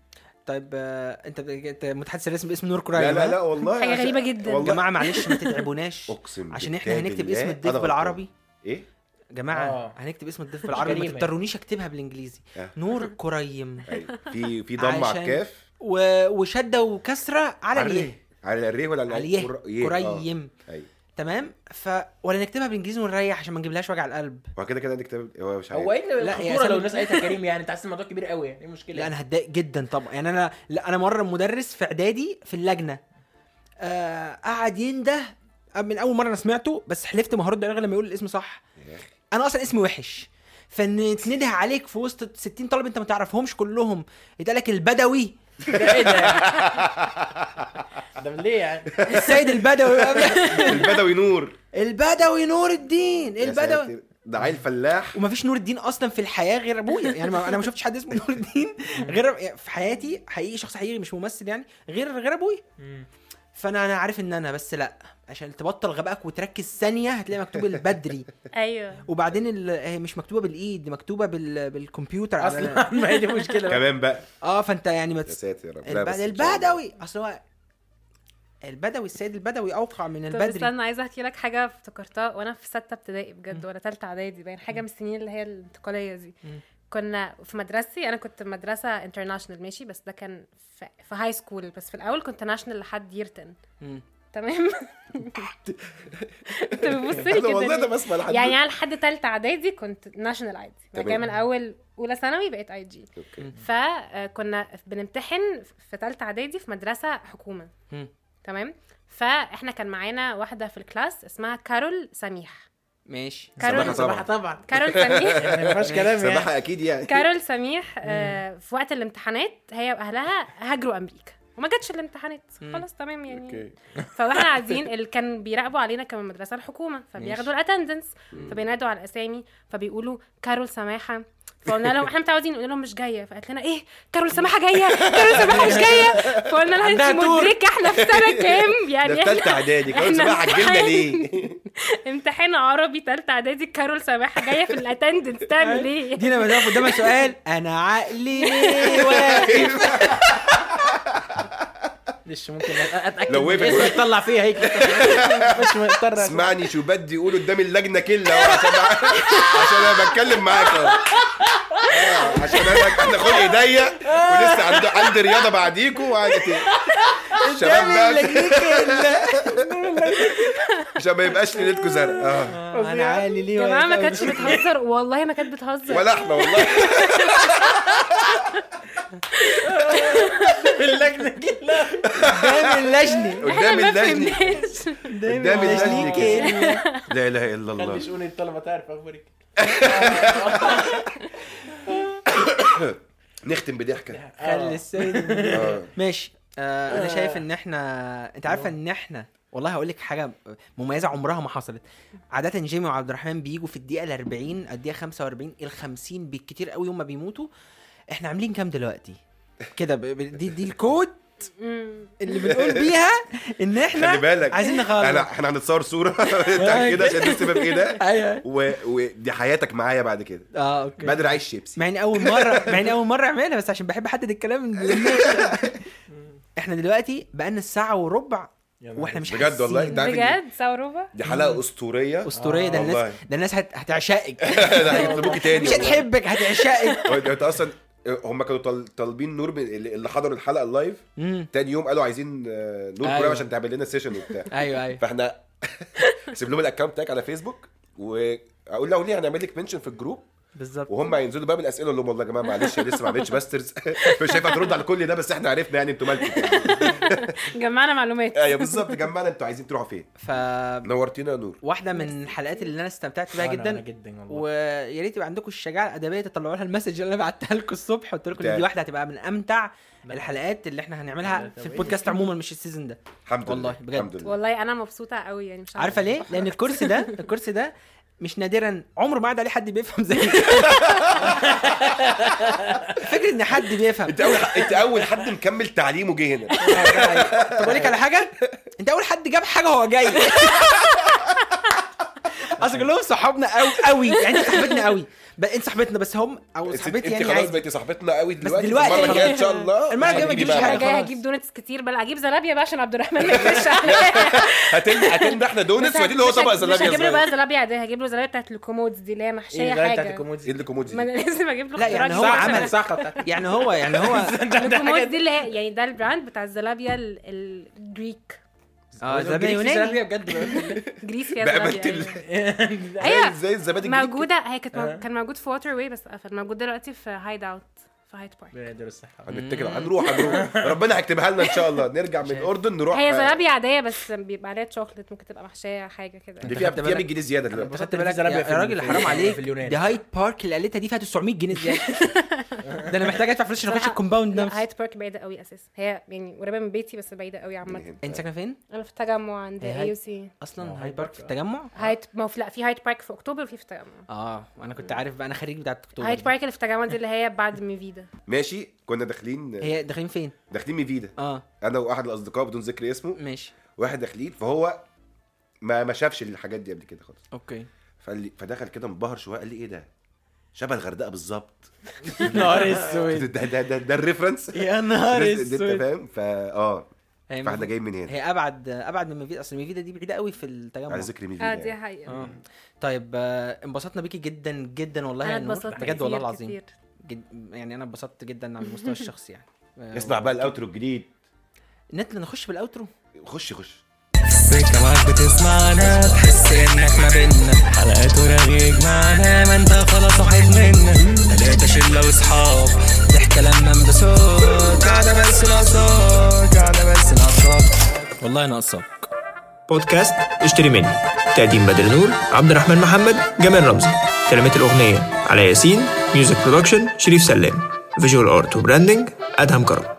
Speaker 1: طيب آه... انت أنت متحدث الرسم باسم نور كرايم
Speaker 3: لا لا
Speaker 1: ها؟
Speaker 3: لا والله
Speaker 5: حاجه
Speaker 3: عشان-
Speaker 5: غريبه جدا
Speaker 1: يا جماعه معلش ما تتعبوناش
Speaker 3: اقسم
Speaker 1: عشان احنا
Speaker 3: بالله
Speaker 1: هنكتب اسم
Speaker 3: أنا
Speaker 1: الضيف
Speaker 3: غلطان.
Speaker 1: بالعربي
Speaker 3: ايه
Speaker 1: جماعه
Speaker 4: آه.
Speaker 1: هنكتب اسم الضيف بالعربي ما
Speaker 4: جريمة.
Speaker 1: تضطرونيش اكتبها بالانجليزي
Speaker 3: آه.
Speaker 1: نور كريم
Speaker 3: أيوة. في في ضم على
Speaker 1: عشان-
Speaker 3: الكاف
Speaker 1: و... وشده وكسره على اليه
Speaker 3: على الريه ولا على
Speaker 1: على اليه
Speaker 3: كر- يه، آه.
Speaker 1: كريم
Speaker 3: ايوه
Speaker 1: تمام ف ولا نكتبها بالانجليزي ونريح عشان ما نجيبلهاش وجع القلب
Speaker 3: هو كده كده نكتب هو مش عارف
Speaker 4: هو ايه اللي-
Speaker 1: لا، يا
Speaker 4: الخطوره لو
Speaker 1: سامي-
Speaker 4: الناس قالتها كريم يعني انت حاسس الموضوع كبير قوي يعني ايه المشكله
Speaker 1: لا انا هتضايق جدا طبعا يعني انا لا انا مره مدرس في اعدادي في اللجنه آه قعد ينده من اول مره انا سمعته بس حلفت ما هرد عليه غير لما يقول الاسم صح
Speaker 3: يا أخي.
Speaker 1: انا اصلا اسمي وحش فان تنده عليك في وسط 60 طالب انت ما تعرفهمش كلهم يتقال لك البدوي
Speaker 4: ده ايه ده ده من ليه يعني
Speaker 1: السيد البدوي
Speaker 3: البدوي نور
Speaker 1: البدوي نور الدين
Speaker 3: يا
Speaker 1: البدوي
Speaker 3: ساتر. ده عيل فلاح
Speaker 1: ومفيش نور الدين اصلا في الحياه غير ابويا يعني ما انا ما شفتش حد اسمه نور الدين غير يعني في حياتي حقيقي شخص حقيقي مش ممثل يعني غير غير ابويا فانا انا عارف ان انا بس لا عشان تبطل غبائك وتركز ثانيه هتلاقي مكتوب البدري
Speaker 5: ايوه
Speaker 1: وبعدين ال- هي مش مكتوبه بالايد دي مكتوبه بال... بالكمبيوتر على
Speaker 4: اصلا ما هي دي مشكله بقى.
Speaker 3: كمان بقى
Speaker 1: اه فانت يعني ما
Speaker 3: يا
Speaker 1: تس...
Speaker 3: ساتر ربنا
Speaker 1: الب...
Speaker 3: بس إن شاء الله.
Speaker 1: البدوي اصل هو البدوي السيد البدوي اوقع من
Speaker 5: طب
Speaker 1: البدري
Speaker 5: استنى عايزه احكي لك حاجه افتكرتها وانا في سته ابتدائي بجد ولا ثالثه اعدادي باين حاجه من السنين اللي هي الانتقاليه دي
Speaker 1: مم.
Speaker 5: كنا في مدرستي انا كنت في مدرسه انترناشونال ماشي بس ده كان في, في هاي سكول بس في الاول كنت ناشونال لحد يير 10
Speaker 1: مم.
Speaker 5: تمام انت بتبص لي
Speaker 3: أنا
Speaker 5: كده
Speaker 3: والله
Speaker 5: ليه؟
Speaker 3: ده بسمع لحد
Speaker 5: يعني انا لحد ثالثه اعدادي كنت ناشونال عادي بعد كده
Speaker 3: تمام.
Speaker 5: من اول اولى ثانوي بقيت اي جي
Speaker 3: أوكي.
Speaker 5: فكنا آه، بنمتحن في ثالثه اعدادي في مدرسه حكومه
Speaker 1: مم.
Speaker 5: تمام فاحنا كان معانا واحده في الكلاس اسمها كارول سميح
Speaker 1: ماشي
Speaker 5: كارول
Speaker 3: صباحة
Speaker 4: صراحه طبعا
Speaker 5: كارول سميح
Speaker 4: ما فيهاش كلام يعني
Speaker 3: سماحة اكيد يعني
Speaker 5: كارول سميح آه، في وقت الامتحانات هي واهلها هاجروا امريكا وما جاتش الامتحانات خلاص تمام يعني
Speaker 3: اوكي
Speaker 5: فاحنا قاعدين اللي كان بيراقبوا علينا كان من المدرسه الحكومه فبياخدوا الاتندنس فبينادوا على الاسامي فبيقولوا كارول سماحه فقلنا لهم احنا متعودين نقول لهم مش جايه فقالت لنا ايه كارول سماحه جايه كارول سماحه مش جايه فقلنا لها انت
Speaker 1: عندها تور.
Speaker 5: مدركه احنا في سنه كام
Speaker 3: ده
Speaker 5: يعني
Speaker 3: في
Speaker 5: احنا
Speaker 3: ثالثه اعدادي كمان
Speaker 5: إحنا
Speaker 3: سماحة عجلنا
Speaker 5: امتحان.
Speaker 3: ليه؟
Speaker 5: امتحان عربي ثالثه اعدادي كارول سماحه جايه في الاتندنس تعمل ايه
Speaker 1: دينا ما تقف قدامها سؤال انا عقلي ليه واقف
Speaker 4: معلش ممكن اتاكد
Speaker 3: لو
Speaker 4: من
Speaker 3: وقفت
Speaker 4: الاسم
Speaker 3: بقى.
Speaker 4: تطلع فيها هيك مش مضطر أسمع.
Speaker 3: اسمعني شو بدي اقوله قدام اللجنه كلها عشان عشان انا بتكلم معاك أهو. آه، عشان انا انا خلقي ضيق ولسه عندي عندي رياضه بعديكوا وقعدت الشباب بقى عشان ما يبقاش ليلتكوا زرق آه.
Speaker 1: انا عقلي ليه
Speaker 5: يا
Speaker 1: واقف
Speaker 5: جماعه ما كانتش بتهزر والله ما كانت بتهزر
Speaker 3: ولا احنا والله
Speaker 4: اللجنه كلها
Speaker 1: قدام اللجنه
Speaker 5: احنا
Speaker 3: قدام
Speaker 5: ما
Speaker 3: اللجنه
Speaker 5: فهمناش
Speaker 3: قدام اللجنه كده. لا اله الا
Speaker 4: يعني. خلي
Speaker 3: الله
Speaker 4: شؤون الطلبه تعرف آه، اخبارك
Speaker 3: نختم بضحكه
Speaker 1: خلي السيد
Speaker 3: آه.
Speaker 1: ماشي آه انا شايف ان احنا انت عارفه ان احنا والله هقول لك حاجه مميزه عمرها ما حصلت عاده جيمي وعبد الرحمن بيجوا في الدقيقه ال 40 الدقيقه 45 ال 50 بالكتير قوي هم بيموتوا احنا عاملين كام دلوقتي كده ب- ب- دي دي الكود
Speaker 5: مم.
Speaker 1: اللي بنقول بيها ان احنا
Speaker 3: خلي بالك
Speaker 1: عايزين نخلص
Speaker 3: انا احنا هنتصور صوره بتاع كده عشان إيه نكتب كده
Speaker 1: ايوه
Speaker 3: ودي حياتك معايا بعد كده
Speaker 1: اه اوكي
Speaker 3: بدر عايش شيبسي
Speaker 1: مع ان اول مره مع ان اول مره اعملها بس عشان بحب احدد الكلام احنا دلوقتي بقالنا الساعه وربع واحنا مش
Speaker 3: بجد والله
Speaker 1: حاسين.
Speaker 3: انت عارف إن
Speaker 5: بجد ساوروبا
Speaker 3: دي حلقه اسطوريه
Speaker 1: اسطوريه ده
Speaker 3: آه،
Speaker 1: الناس
Speaker 3: والله.
Speaker 1: ده الناس هت... هتعشقك
Speaker 3: لا هيطلبوكي تاني
Speaker 1: مش هتحبك هتعشقك
Speaker 3: هو انت اصلا هم كانوا طال- طالبين نور من اللي اللي حضروا الحلقه اللايف
Speaker 1: مم.
Speaker 3: تاني يوم قالوا عايزين آه، نور
Speaker 1: أيوة.
Speaker 3: كريم عشان تعمل لنا سيشن وبتاع
Speaker 1: ايوه ايوه
Speaker 3: فاحنا سيب لهم الاكونت بتاعك على فيسبوك واقول له ليه هنعمل لك منشن في الجروب
Speaker 1: بالظبط
Speaker 3: وهم هينزلوا بقى بالاسئله اقول لهم والله يا جماعه معلش لسه ما عملتش باسترز مش هينفع ترد على كل ده بس احنا عرفنا يعني انتوا مالكم
Speaker 5: جمعنا معلومات
Speaker 3: ايوه بالظبط جمعنا انتوا عايزين تروحوا فين
Speaker 1: ف
Speaker 3: نورتينا يا نور
Speaker 1: واحدة من الحلقات اللي انا استمتعت بيها
Speaker 4: أنا- أنا
Speaker 1: جدا
Speaker 4: جدا والله
Speaker 1: ويا ريت يبقى عندكم الشجاعه الادبيه تطلعوا لها المسج اللي انا بعتها لكم الصبح قلت لكم ان دي
Speaker 3: ده.
Speaker 1: واحده هتبقى من امتع الحلقات اللي احنا هنعملها في البودكاست عموما مش السيزون ده
Speaker 3: الحمد لله
Speaker 1: والله بجد.
Speaker 3: الحمد لله
Speaker 5: والله انا مبسوطه قوي يعني مش
Speaker 1: عارفه ليه؟ لان الكرسي ده الكرسي ده مش نادرا عمره ما عاد عليه حد بيفهم زي فكره ان حد بيفهم
Speaker 3: انت اول انت اول حد مكمل تعليمه جه هنا
Speaker 1: طب اقول لك على حاجه انت اول حد جاب حاجه هو جاي اصل كلهم صحابنا قوي قوي يعني انت صاحبتنا قوي ب- انت صاحبتنا بس هم او
Speaker 3: انت
Speaker 1: صاحبتي
Speaker 3: انت
Speaker 1: يعني
Speaker 3: خلاص
Speaker 1: عادي
Speaker 3: بقيتي صاحبتنا قوي دلوقتي بس
Speaker 1: دلوقتي
Speaker 3: المره الجايه ان شاء
Speaker 1: المرة
Speaker 3: الله
Speaker 1: الجاية ما
Speaker 3: هتجيبي
Speaker 1: تجيبيش
Speaker 3: بقى
Speaker 1: حاجة.
Speaker 5: المره الجايه
Speaker 1: يعني خلاص.
Speaker 5: هجيب دونتس كتير بل اجيب زلابيا بقى عشان عبد الرحمن ما يكرهش عليا.
Speaker 3: هتن هتن احنا دونتس ودي اللي هو
Speaker 5: مش هج-
Speaker 3: طبق
Speaker 5: مش هجيب له
Speaker 3: زلابيا
Speaker 5: بقى زلابيا عاديه هجيب له زلابيا بتاعت الكومودز دي اللي هي
Speaker 4: إيه،
Speaker 5: محشيه حاجه
Speaker 3: ايه اللي كومودي
Speaker 5: ما
Speaker 3: دي؟
Speaker 5: انا لازم اجيب له
Speaker 1: لا يعني
Speaker 5: اختراع
Speaker 1: هو
Speaker 5: جديد.
Speaker 1: عمل يعني هو يعني هو
Speaker 5: الكومودز دي اللي هي يعني ده البراند بتاع الزلابيا ال- الجريك
Speaker 1: اه زلابيا يوناني بجد
Speaker 5: جريس فيها
Speaker 3: بقبلت
Speaker 5: زلابيا
Speaker 3: ال-
Speaker 5: ايوه
Speaker 3: زي الزبادي الجديد كده.
Speaker 5: موجوده هي كانت
Speaker 1: آه.
Speaker 5: مو- كان موجود في ووتر واي بس قفل موجود دلوقتي في هايد اوت في هايد بارك
Speaker 3: هنتكل هنروح هنروح ربنا هيكتبها لنا ان شاء الله نرجع من الاردن نروح آه،
Speaker 1: آه.
Speaker 5: هي زلابيا عاديه بس بيبقى عليها تشوكلت ممكن تبقى محشيه حاجه كده
Speaker 3: دي فيها
Speaker 1: خدت
Speaker 3: فيها
Speaker 1: بالك؟
Speaker 3: 100 جنيه زياده دلوقتي
Speaker 1: خدت بالك يا راجل حرام عليك دي هايد بارك اللي قالتها دي فيها 900 جنيه زياده ده انا محتاج ادفع فلوس عشان اخش الكومباوند
Speaker 5: لا،
Speaker 1: ده
Speaker 5: هايد بارك بعيده قوي اساسا هي يعني قريبه من بيتي بس بعيده قوي عامه
Speaker 1: انت ساكنه فين؟
Speaker 5: انا في التجمع عند
Speaker 1: هي
Speaker 5: اي
Speaker 1: هايد-
Speaker 5: يو سي
Speaker 1: اصلا هايد بارك في التجمع؟
Speaker 5: هايد ما هو في لا في هايد بارك في اكتوبر وفي في التجمع
Speaker 1: اه انا كنت عارف بقى انا خريج بتاع اكتوبر
Speaker 5: هايد
Speaker 1: دي.
Speaker 5: بارك اللي في التجمع دي اللي هي بعد ميفيدا
Speaker 3: ماشي كنا داخلين
Speaker 1: هي داخلين فين؟
Speaker 3: داخلين ميفيدا
Speaker 1: اه
Speaker 3: انا واحد الاصدقاء بدون ذكر اسمه
Speaker 1: ماشي
Speaker 3: واحد داخلين فهو ما ما شافش الحاجات دي قبل كده خالص
Speaker 1: اوكي
Speaker 3: فقال لي فدخل كده منبهر شويه قال لي ايه ده شبه الغردقه بالظبط
Speaker 4: نهار
Speaker 3: ده
Speaker 4: اسود
Speaker 3: ده ده, ده الريفرنس ده-
Speaker 4: يا
Speaker 3: ده-
Speaker 4: نهار
Speaker 3: ده انت
Speaker 4: اسود
Speaker 3: فاهم فا اه
Speaker 1: هي
Speaker 3: فاحنا
Speaker 1: المفروض-
Speaker 3: جايين من هنا
Speaker 1: يعني هي ابعد ابعد من ميفيدا اصل ميفيدا دي بعيده قوي في التجمع
Speaker 3: على ذكر ميفيدا
Speaker 5: اه دي
Speaker 3: يعني.
Speaker 5: حقيقه
Speaker 1: اه طيب آه، انبسطنا بيكي جدا جدا والله
Speaker 5: انا
Speaker 1: يا نور.
Speaker 5: اتبسطت
Speaker 1: يعني بجد والله
Speaker 5: كتير
Speaker 1: العظيم
Speaker 5: كتير.
Speaker 1: جد يعني انا اتبسطت جدا على المستوى الشخصي يعني آه،
Speaker 3: اسمع بقى الاوترو الجديد
Speaker 1: نت نخش بالاوترو
Speaker 3: خش خش
Speaker 6: السكة معاك بتسمعنا تحس انك ما بينا حلقات ورغيك معانا ما انت خلاص واحد منا تلاتة شلة واصحاب ضحكة لما بصوت قاعدة بس ناقصاك قاعدة بس ناقصاك والله ناقصاك
Speaker 7: بودكاست اشتري مني تقديم بدر نور عبد الرحمن محمد جمال رمزي كلمات الأغنية على ياسين ميوزك برودكشن شريف سلام فيجوال ارت وبراندنج أدهم كرم